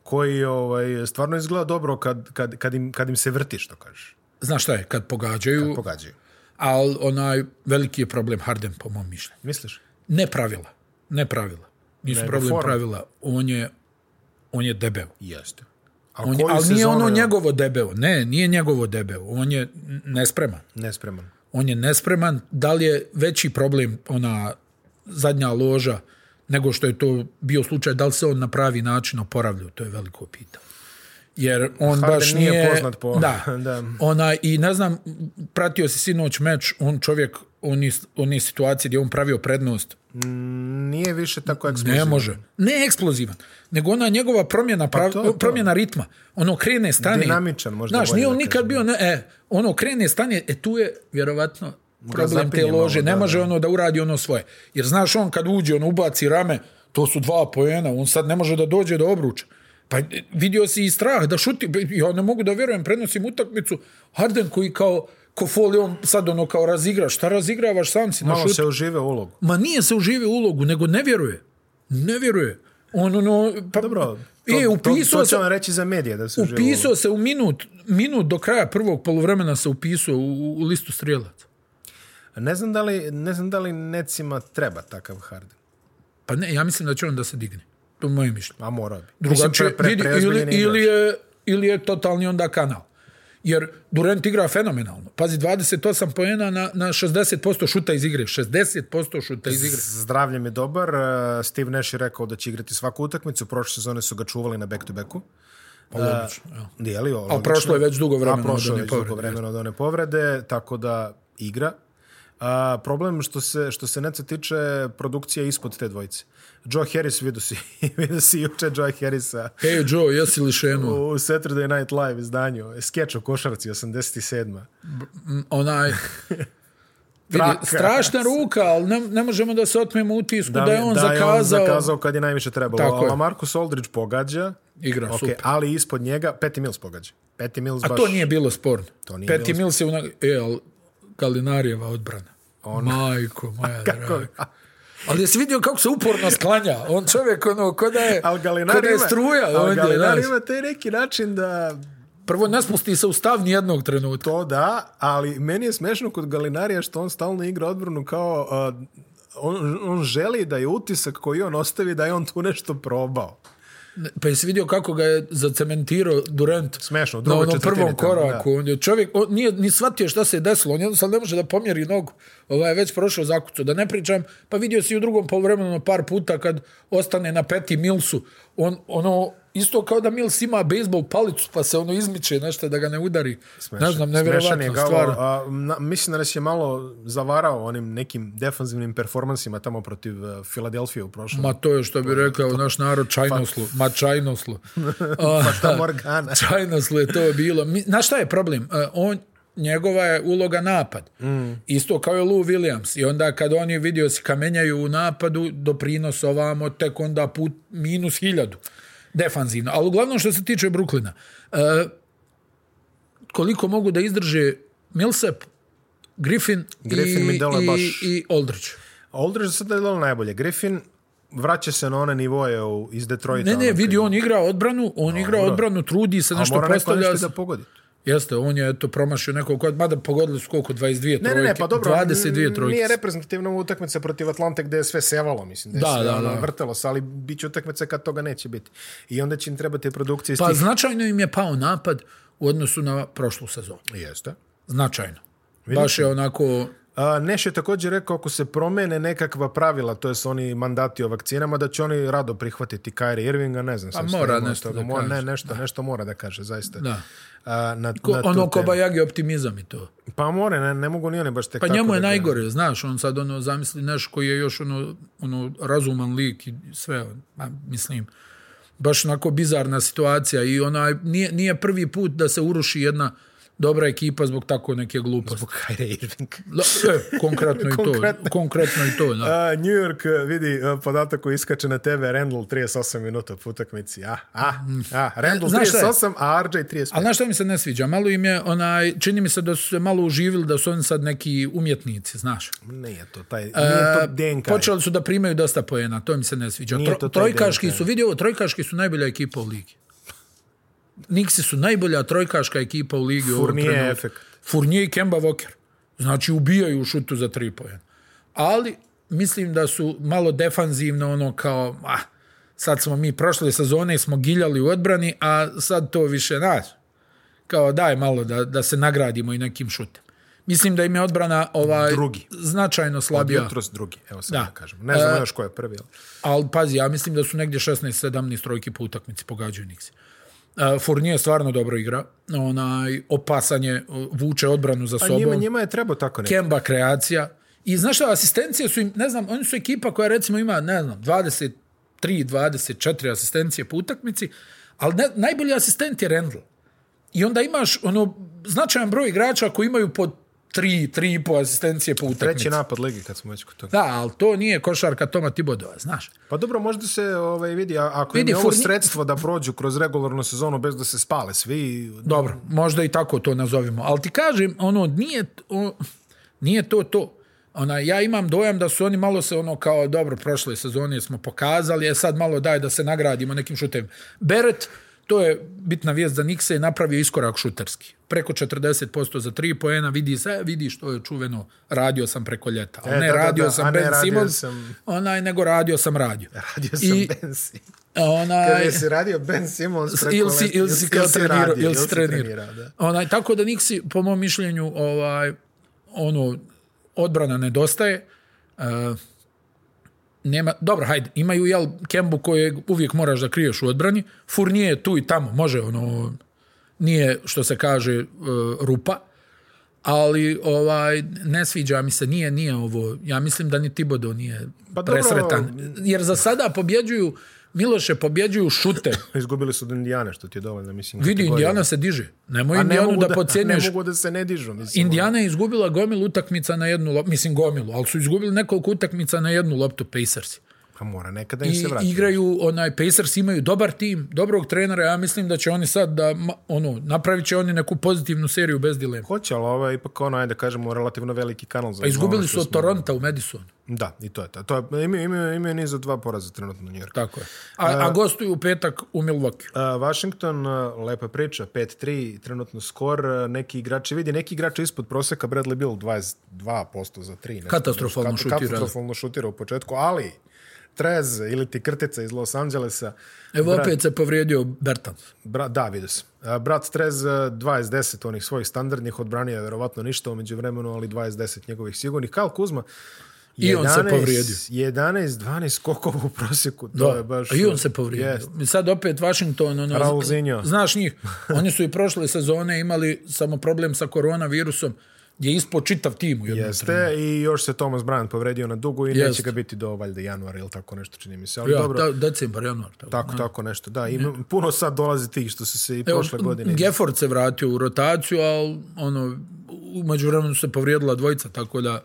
[SPEAKER 3] koji ovaj, stvarno izgleda dobro kad, kad, kad, im, kad im se vrti, što kažeš.
[SPEAKER 2] Znaš šta je, kad pogađaju,
[SPEAKER 3] Pogađaju.
[SPEAKER 2] ali onaj veliki je problem Harden, po mom mišljenju.
[SPEAKER 3] Misliš?
[SPEAKER 2] Ne pravila. Ne pravila. Nisu
[SPEAKER 3] Nego
[SPEAKER 2] problem
[SPEAKER 3] forma.
[SPEAKER 2] pravila. On je, on je debel.
[SPEAKER 3] Jeste. A
[SPEAKER 2] On je,
[SPEAKER 3] koju
[SPEAKER 2] ali nije
[SPEAKER 3] sezonu
[SPEAKER 2] ono
[SPEAKER 3] je on
[SPEAKER 2] njegovo debeo. Ne, nije njegovo debeo. On je n- nespreman.
[SPEAKER 3] Nespreman.
[SPEAKER 2] On je nespreman. Da li je veći problem ona zadnja loža nego što je to bio slučaj, da li se on na pravi način oporavljao, to je veliko pitanje. Jer on
[SPEAKER 3] Harden
[SPEAKER 2] baš
[SPEAKER 3] nije
[SPEAKER 2] nije...
[SPEAKER 3] poznat po-
[SPEAKER 2] Da.
[SPEAKER 3] da.
[SPEAKER 2] Ona, I ne znam, pratio si sinoć meč, on čovjek, on je, on je situacija gdje je on pravio prednost,
[SPEAKER 3] Mm, Nije više tako eksplozivan. Pa
[SPEAKER 2] ne može. Ne eksplozivan, nego ona njegova promjena, prav,
[SPEAKER 3] to je to.
[SPEAKER 2] promjena ritma. Ono krene, stane.
[SPEAKER 3] Dinamičan, možda
[SPEAKER 2] Znaš,
[SPEAKER 3] bolje
[SPEAKER 2] nije on
[SPEAKER 3] da
[SPEAKER 2] nikad bio, ne, e, ono krene, stane, e tu je vjerovatno problem te
[SPEAKER 3] zapinje malo,
[SPEAKER 2] lože. Ne
[SPEAKER 3] da,
[SPEAKER 2] može ono da uradi ono svoje. Jer znaš, on kad uđe, on ubaci rame, to su dva pojena, on sad ne može da dođe do obruča. Pa e, vidio si i strah da šuti, Be, ja ne mogu da vjerujem, prenosim utakmicu, Harden koji kao, ko foli, on sad ono kao razigra, šta razigravaš sam si na
[SPEAKER 3] Malo
[SPEAKER 2] šutu?
[SPEAKER 3] se užive u ulogu.
[SPEAKER 2] Ma nije se uživio u ulogu, nego ne vjeruje. Ne vjeruje. On ono... Pa,
[SPEAKER 3] Dobro, to,
[SPEAKER 2] e, upisao,
[SPEAKER 3] to, to će
[SPEAKER 2] se,
[SPEAKER 3] vam reći za medije da se užive u ulogu.
[SPEAKER 2] upisao se u minut, minut do kraja prvog poluvremena se upisao u, u listu strijelaca.
[SPEAKER 3] Ne znam da li, ne znam da li necima treba takav Harden.
[SPEAKER 2] Pa ne, ja mislim da će on da se digne. To je moje mišljenje.
[SPEAKER 3] A morao bi.
[SPEAKER 2] Drugačije,
[SPEAKER 3] Mislim, pre- pre-
[SPEAKER 2] vidi,
[SPEAKER 3] preozbiljen
[SPEAKER 2] ili,
[SPEAKER 3] je
[SPEAKER 2] ili,
[SPEAKER 3] igrač.
[SPEAKER 2] je, ili je totalni onda kanal. Jer Durant igra fenomenalno. Pazi, 28 poena na, na 60% šuta iz igre. 60% šuta iz igre.
[SPEAKER 3] Zdravljem je dobar. eh, Steve Nash je rekao da će igrati svaku utakmicu. Prošle sezone su ga čuvali na back-to-backu.
[SPEAKER 2] Pa logično, evo.
[SPEAKER 3] Dijeli,
[SPEAKER 2] A prošlo je već dugo vremena
[SPEAKER 3] A prošlo
[SPEAKER 2] od one
[SPEAKER 3] je već dugo
[SPEAKER 2] povrede.
[SPEAKER 3] vremena od one povrede, tako da igra. A, problem što se, što se Neca tiče produkcije ispod te dvojice. Joe Harris, vidio si, vidio si juče Joe Harrisa
[SPEAKER 2] Hej Joe, jesi li
[SPEAKER 3] u
[SPEAKER 2] šenuo?
[SPEAKER 3] Saturday Night Live izdanju. Skeč o košarci, 87.
[SPEAKER 2] onaj... vidi,
[SPEAKER 3] Traka.
[SPEAKER 2] strašna ruka, ali ne, ne možemo da se otmemo utisku da, je on
[SPEAKER 3] da
[SPEAKER 2] zakazao.
[SPEAKER 3] zakazao kad je najviše trebalo.
[SPEAKER 2] Tako je.
[SPEAKER 3] A Marcus Aldridge pogađa.
[SPEAKER 2] Igra,
[SPEAKER 3] Ok,
[SPEAKER 2] super.
[SPEAKER 3] Ali ispod njega Patty Mills pogađa. Patty Mills
[SPEAKER 2] A
[SPEAKER 3] baš...
[SPEAKER 2] to nije bilo sporno.
[SPEAKER 3] To nije
[SPEAKER 2] Peti
[SPEAKER 3] bilo
[SPEAKER 2] Mills je unak... E, ali Galinarijeva odbrana. Majko, moja draga. Ali jesi vidio kako se uporno sklanja? On čovjek, ono, ko da je,
[SPEAKER 3] Al
[SPEAKER 2] ko
[SPEAKER 3] Galinar
[SPEAKER 2] da je
[SPEAKER 3] ima-
[SPEAKER 2] struja
[SPEAKER 3] Al
[SPEAKER 2] ovdje,
[SPEAKER 3] Galinar
[SPEAKER 2] znaš.
[SPEAKER 3] ima taj neki način da
[SPEAKER 2] Prvo, ne spusti se u stav nijednog trenutka.
[SPEAKER 3] To da, ali meni je smešno kod Galinarija što on stalno igra odbranu kao... uh, on, on želi da je utisak koji on ostavi da je on tu nešto probao.
[SPEAKER 2] Pa jesi vidio kako ga je zacementirao Durant
[SPEAKER 3] Smešno, u
[SPEAKER 2] na
[SPEAKER 3] drugoj
[SPEAKER 2] onom
[SPEAKER 3] četvrtini
[SPEAKER 2] prvom
[SPEAKER 3] tamo,
[SPEAKER 2] koraku. On je čovjek, on nije ni shvatio šta se je desilo, on jednostavno ne može da pomjeri nogu. Ovaj, je već prošao zakucu. Da ne pričam, pa vidio si i u drugom polovremenu par puta kad ostane na peti Milsu, on, ono, isto kao da Mills ima bejsbol palicu pa se ono izmiče nešto da ga ne udari.
[SPEAKER 3] Smešan-
[SPEAKER 2] Smešan, Znaš, nam nevjerovatno
[SPEAKER 3] smešan je Galo,
[SPEAKER 2] stvar.
[SPEAKER 3] a, na- mislim da nas je malo zavarao onim nekim defanzivnim performansima tamo protiv uh, Filadelfije u prošlom.
[SPEAKER 2] Ma to je što bi rekao naš narod čajnoslu. Ma čajnoslu.
[SPEAKER 3] pa šta Morgana?
[SPEAKER 2] Čajnoslu je to bilo. Mi- Znaš šta je problem? E, On, njegova je uloga napad.
[SPEAKER 3] Mm.
[SPEAKER 2] Isto kao je Lou Williams. I onda kad oni vidio se kamenjaju u napadu, doprinos ovamo, tek onda put minus hiljadu. Defanzivno. Ali uglavnom što se tiče Bruklina, e, koliko mogu da izdrže Millsap, Griffin,
[SPEAKER 3] Griffin
[SPEAKER 2] i,
[SPEAKER 3] mi dele
[SPEAKER 2] i,
[SPEAKER 3] baš-
[SPEAKER 2] i Aldridge.
[SPEAKER 3] Aldridge sad je dalo najbolje. Griffin vraća se na one nivoje u, iz Detroita.
[SPEAKER 2] Ne, ne,
[SPEAKER 3] ono,
[SPEAKER 2] vidi, on igra odbranu, on igra
[SPEAKER 3] dobro.
[SPEAKER 2] odbranu, trudi se,
[SPEAKER 3] kad- a
[SPEAKER 2] nešto
[SPEAKER 3] mora neko
[SPEAKER 2] postavlja.
[SPEAKER 3] nešto da pogodi.
[SPEAKER 2] Jeste, on je eto promašio nekog kod, mada pogodili su koliko, 22 trojke.
[SPEAKER 3] Ne, ne, ne, pa dobro,
[SPEAKER 2] 22 trojke.
[SPEAKER 3] nije reprezentativna utakmica protiv Atlante gde je sve sevalo, mislim, da je
[SPEAKER 2] Da,
[SPEAKER 3] sve
[SPEAKER 2] da,
[SPEAKER 3] ono,
[SPEAKER 2] da.
[SPEAKER 3] vrtelo se, ali bit će utakmica kad toga neće biti. I onda će im trebati produkcije iz
[SPEAKER 2] Pa
[SPEAKER 3] tih...
[SPEAKER 2] značajno im je pao napad u odnosu na prošlu sezonu.
[SPEAKER 3] Jeste.
[SPEAKER 2] Značajno. Baš je onako...
[SPEAKER 3] A, Neš je također rekao ako se promene nekakva pravila, to jest oni mandati o vakcinama, da će oni rado prihvatiti Kyrie Irvinga, ne znam. sam
[SPEAKER 2] Pa mora
[SPEAKER 3] šta ima od
[SPEAKER 2] nešto
[SPEAKER 3] toga.
[SPEAKER 2] da
[SPEAKER 3] Mo- Ne,
[SPEAKER 2] kaže.
[SPEAKER 3] nešto, nešto mora da kaže, zaista.
[SPEAKER 2] Da.
[SPEAKER 3] A, na,
[SPEAKER 2] Ko,
[SPEAKER 3] na tu
[SPEAKER 2] ono
[SPEAKER 3] temu.
[SPEAKER 2] Kobajagi optimizam i to.
[SPEAKER 3] Pa more, ne, ne mogu ni oni baš tek
[SPEAKER 2] Pa
[SPEAKER 3] tako
[SPEAKER 2] njemu je
[SPEAKER 3] da ga-
[SPEAKER 2] najgore, znaš, on sad ono zamisli naš koji je još ono, ono razuman lik i sve, ma, mislim, baš onako bizarna situacija i onaj, nije, nije prvi put da se uruši jedna dobra ekipa zbog tako neke gluposti.
[SPEAKER 3] Zbog Kyrie Irvinga.
[SPEAKER 2] Da, e, konkretno i to.
[SPEAKER 3] Konkretno.
[SPEAKER 2] Konkretno i to, da.
[SPEAKER 3] A, New York e, vidi e, podatak koji iskače na TV, Randall 38 minuta po utakmici. A, a, a, Randall
[SPEAKER 2] Znaš šta je?
[SPEAKER 3] 38, a RJ 35.
[SPEAKER 2] Ali znaš šta mi se ne sviđa? Malo im je, onaj, čini mi se da su se malo uživili, da su oni sad neki umjetnici, znaš.
[SPEAKER 3] Nije to
[SPEAKER 2] Eh,
[SPEAKER 3] taj, nije to DNK.
[SPEAKER 2] Počeli su da primaju dosta pojena, to mi se ne sviđa.
[SPEAKER 3] Nije
[SPEAKER 2] Tro-
[SPEAKER 3] to taj
[SPEAKER 2] trojkaški
[SPEAKER 3] DNK.
[SPEAKER 2] su, vidi ovo, trojkaški su najbolja ekipa u ligi. Niksi su najbolja trojkaška ekipa u ligi. u ovom
[SPEAKER 3] Fournier
[SPEAKER 2] trenutku.
[SPEAKER 3] efekt.
[SPEAKER 2] Fournier i Kemba Walker. Znači, ubijaju u šutu za tri pojena. Ali, mislim da su malo defanzivno, ono kao, ah, sad smo mi prošle sezone smo giljali u odbrani, a sad to više nas. Kao daj malo da, da se nagradimo i nekim šutem. Mislim da im je odbrana ovaj,
[SPEAKER 3] Drugi.
[SPEAKER 2] značajno slabija.
[SPEAKER 3] Jutros drugi, evo sad da,
[SPEAKER 2] Da. Eh,
[SPEAKER 3] kažem. Ne znam još ko je prvi, ali...
[SPEAKER 2] Ali pazi, ja mislim da su negdje 16-17 trojki po utakmici pogađaju Nixi. Uh, Fournier stvarno dobro igra. Onaj, opasan je, uh, vuče odbranu za
[SPEAKER 3] Pa
[SPEAKER 2] sobom.
[SPEAKER 3] njima, njima je trebao tako neki.
[SPEAKER 2] Kemba kreacija. I znaš šta, asistencije su im, ne znam, oni su ekipa koja recimo ima, ne znam, 23, 24 asistencije po utakmici, ali ne, najbolji asistent je Randall. I onda imaš ono, značajan broj igrača koji imaju po 3, 3,5 asistencije po utakmici.
[SPEAKER 3] Treći napad ligi kad smo već kod toga.
[SPEAKER 2] Da, ali to nije košarka Toma Tibodova, znaš.
[SPEAKER 3] Pa dobro, možda se ovaj, vidi, a- ako
[SPEAKER 2] Vidi,
[SPEAKER 3] im je ovo
[SPEAKER 2] Fournier-
[SPEAKER 3] sredstvo da prođu kroz regularnu sezonu bez da se spale svi,
[SPEAKER 2] Dobro, možda i tako to nazovimo. Ali ti kažem, ono, nije, t- o, nije to to. Ona, ja imam dojam da su oni malo se ono kao, dobro, prošle sezone smo pokazali, je sad malo daj da se nagradimo nekim šutem. Beret, to je bitna vijest za Nikse, je napravio iskorak šuterski. Preko 40% za tri poena, vidi se, vidi što je čuveno, radio sam preko ljeta.
[SPEAKER 3] E,
[SPEAKER 2] A ne,
[SPEAKER 3] da, da,
[SPEAKER 2] radio
[SPEAKER 3] da, a
[SPEAKER 2] sam
[SPEAKER 3] ne,
[SPEAKER 2] Ben
[SPEAKER 3] radio
[SPEAKER 2] Simmons,
[SPEAKER 3] sam-
[SPEAKER 2] onaj, nego radio sam radio.
[SPEAKER 3] radio sam
[SPEAKER 2] I-
[SPEAKER 3] Ben Simmons.
[SPEAKER 2] Onaj,
[SPEAKER 3] Kada si radio Ben Simmons preko
[SPEAKER 2] ili si,
[SPEAKER 3] leta-
[SPEAKER 2] ili si kao trenirao,
[SPEAKER 3] radio,
[SPEAKER 2] ili si trenirao.
[SPEAKER 3] trenirao, da.
[SPEAKER 2] Onaj, tako da Nixi, po mom mišljenju, ovaj, ono, odbrana nedostaje. E, nema, dobro, hajde, imaju jel Kembu kojeg uvijek moraš da kriješ u odbrani. Fournier je tu i tamo, može, ono, nije, što se kaže, e, rupa, ali ovaj ne sviđa mi se, nije, nije ovo. Ja mislim da ni Tibodo nije
[SPEAKER 3] Pa dobro.
[SPEAKER 2] presretan. Jer za sada pobjeđuju, Miloše, pobjeđuju šute.
[SPEAKER 3] Izgubili su od Indijane, što ti je dovoljno, mislim.
[SPEAKER 2] Vidi,
[SPEAKER 3] kategorija.
[SPEAKER 2] Indijana se diže. Nemoj
[SPEAKER 3] A ne
[SPEAKER 2] Indijanu
[SPEAKER 3] mogu
[SPEAKER 2] da,
[SPEAKER 3] Ne
[SPEAKER 2] podcjenjuješ.
[SPEAKER 3] mogu da se ne dižu, mislim.
[SPEAKER 2] Indijana je izgubila gomilu utakmica na jednu loptu. Mislim gomilu, ali su izgubili nekoliko utakmica na jednu loptu Pacersi.
[SPEAKER 3] Pa mora, nekada im
[SPEAKER 2] I
[SPEAKER 3] se vrati.
[SPEAKER 2] igraju, onaj, Pacers imaju dobar tim, dobrog trenera. Ja mislim da će oni sad da, ma- ono, napravit će oni neku pozitivnu seriju bez dilema.
[SPEAKER 3] Hoće, ali ovo je ipak ono, ajde da kažemo, relativno veliki kanal za...
[SPEAKER 2] Pa izgubili
[SPEAKER 3] ono što
[SPEAKER 2] su od
[SPEAKER 3] smo-
[SPEAKER 2] Toronta u Madisonu.
[SPEAKER 3] Da, i to je to. to je, imaju, imaju, imaju niz od dva poraza trenutno u New Yorku.
[SPEAKER 2] Tako je. A,
[SPEAKER 3] E,
[SPEAKER 2] a gostuju u petak u Milwaukee.
[SPEAKER 3] Uh, Washington, uh, lepa priča, 5-3, trenutno skor, uh, neki igrači, vidi, neki igrači ispod proseka, Bradley Bill 22% za 3. Nešto,
[SPEAKER 2] Katastrofalno
[SPEAKER 3] Kat-
[SPEAKER 2] šutira.
[SPEAKER 3] Katastrofalno šutira u početku, ali Trez ili ti Krtica iz Los Angelesa,
[SPEAKER 2] Evo
[SPEAKER 3] Bra-
[SPEAKER 2] opet se povrijedio Bertans.
[SPEAKER 3] Bra, da, vidio sam. A, Brat Trez 20-10 onih svojih standardnih odbranio je verovatno ništa umeđu vremenu, ali 20-10 njegovih sigurnih. Kal Kuzma,
[SPEAKER 2] I on se povrijedio.
[SPEAKER 3] 11, 12 kokova u prosjeku. To
[SPEAKER 2] Da,
[SPEAKER 3] je baš...
[SPEAKER 2] i on se povrijedio.
[SPEAKER 3] Jest.
[SPEAKER 2] I Sad opet Washington, ono,
[SPEAKER 3] Raulzinho.
[SPEAKER 2] znaš njih, oni su i prošle sezone imali samo problem sa koronavirusom, gdje je ispod čitav tim u jednom trenutku.
[SPEAKER 3] Jeste, i još se Thomas Bryant povredio na dugu i neće
[SPEAKER 2] Jest.
[SPEAKER 3] ga biti do valjda januara ili tako nešto čini mi se. Ali
[SPEAKER 2] Ja,
[SPEAKER 3] dobro,
[SPEAKER 2] da, decembar, januar. Tako.
[SPEAKER 3] tako, tako nešto. Da, ima, puno sad dolazi tih što su se i
[SPEAKER 2] Evo,
[SPEAKER 3] prošle godine...
[SPEAKER 2] Gefford se vratio u rotaciju, ali ono, umeđu vremenu se povrijedila dvojica, tako da...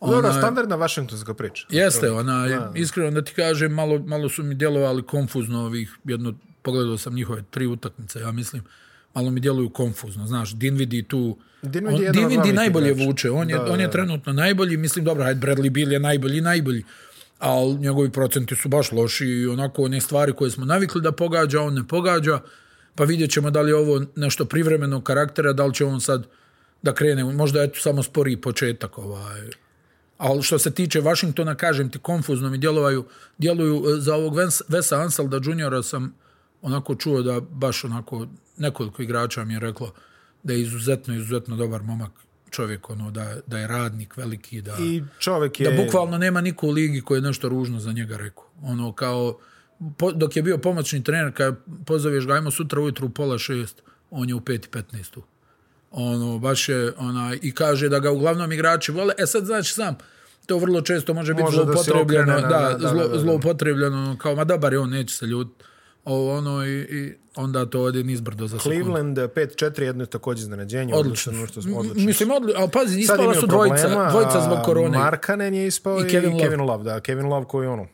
[SPEAKER 3] Dobro, standardna vašingtonska priča.
[SPEAKER 2] Jeste, ona, je, iskreno da ti kažem, malo, malo su mi djelovali konfuzno ovih, jedno, pogledao sam njihove tri utakmice, ja mislim, malo mi djeluju konfuzno, znaš, Dinvidi tu,
[SPEAKER 3] Dinwiddie
[SPEAKER 2] on-
[SPEAKER 3] je jedan od
[SPEAKER 2] Dinwiddie
[SPEAKER 3] glavnih
[SPEAKER 2] najbolje
[SPEAKER 3] igrača.
[SPEAKER 2] vuče, on, je,
[SPEAKER 3] Da,
[SPEAKER 2] on je
[SPEAKER 3] da.
[SPEAKER 2] trenutno najbolji, mislim, dobro, ajde, Bradley Bill je najbolji, najbolji, ali njegovi procenti su baš loši i onako one stvari koje smo navikli da pogađa, on ne pogađa, pa vidjet ćemo da li je ovo nešto privremenog karaktera, da li će on sad da krene, možda je tu samo spori početak ovaj, ali što se tiče Washingtona, kažem ti, konfuzno mi djelovaju, djeluju e, za ovog Vens- Vesa Anselda juniora sam onako čuo da baš onako nekoliko igrača mi je reklo da je izuzetno, izuzetno dobar momak čovjek, ono, da, da je radnik veliki, da,
[SPEAKER 3] I čovek je...
[SPEAKER 2] da bukvalno nema niko u ligi koji je nešto ružno za njega rekao. Ono, kao, po- dok je bio pomoćni trener, kad pozoveš ga, ajmo sutra ujutru u pola šest, on je u pet i petnaest tu. Ono, baš je, ona, i kaže da ga uglavnom igrači vole. E sad, znači, sam, to vrlo često može biti
[SPEAKER 3] Može da se
[SPEAKER 2] zloupotrebljeno,
[SPEAKER 3] okrene,
[SPEAKER 2] da,
[SPEAKER 3] da, da, da,
[SPEAKER 2] zlo-
[SPEAKER 3] da, da.
[SPEAKER 2] zloupotrebljeno, ono, kao, ma dobar je on, neće se ljut. Ovo, ono, i, i onda to ode nizbrdo za sekundu.
[SPEAKER 3] Cleveland 5-4, jedno je također iznenađenje.
[SPEAKER 2] Odlično.
[SPEAKER 3] Odlično. ono što
[SPEAKER 2] M-
[SPEAKER 3] smo odlično.
[SPEAKER 2] Mislim, odli, ali pazi,
[SPEAKER 3] Sad
[SPEAKER 2] ispala
[SPEAKER 3] imaju
[SPEAKER 2] su dvojica,
[SPEAKER 3] problema,
[SPEAKER 2] dvojica zbog
[SPEAKER 3] a
[SPEAKER 2] korone.
[SPEAKER 3] Markanen je ispao i,
[SPEAKER 2] Kevin
[SPEAKER 3] Kevin,
[SPEAKER 2] Love.
[SPEAKER 3] Love. Da, Kevin Love koji ono,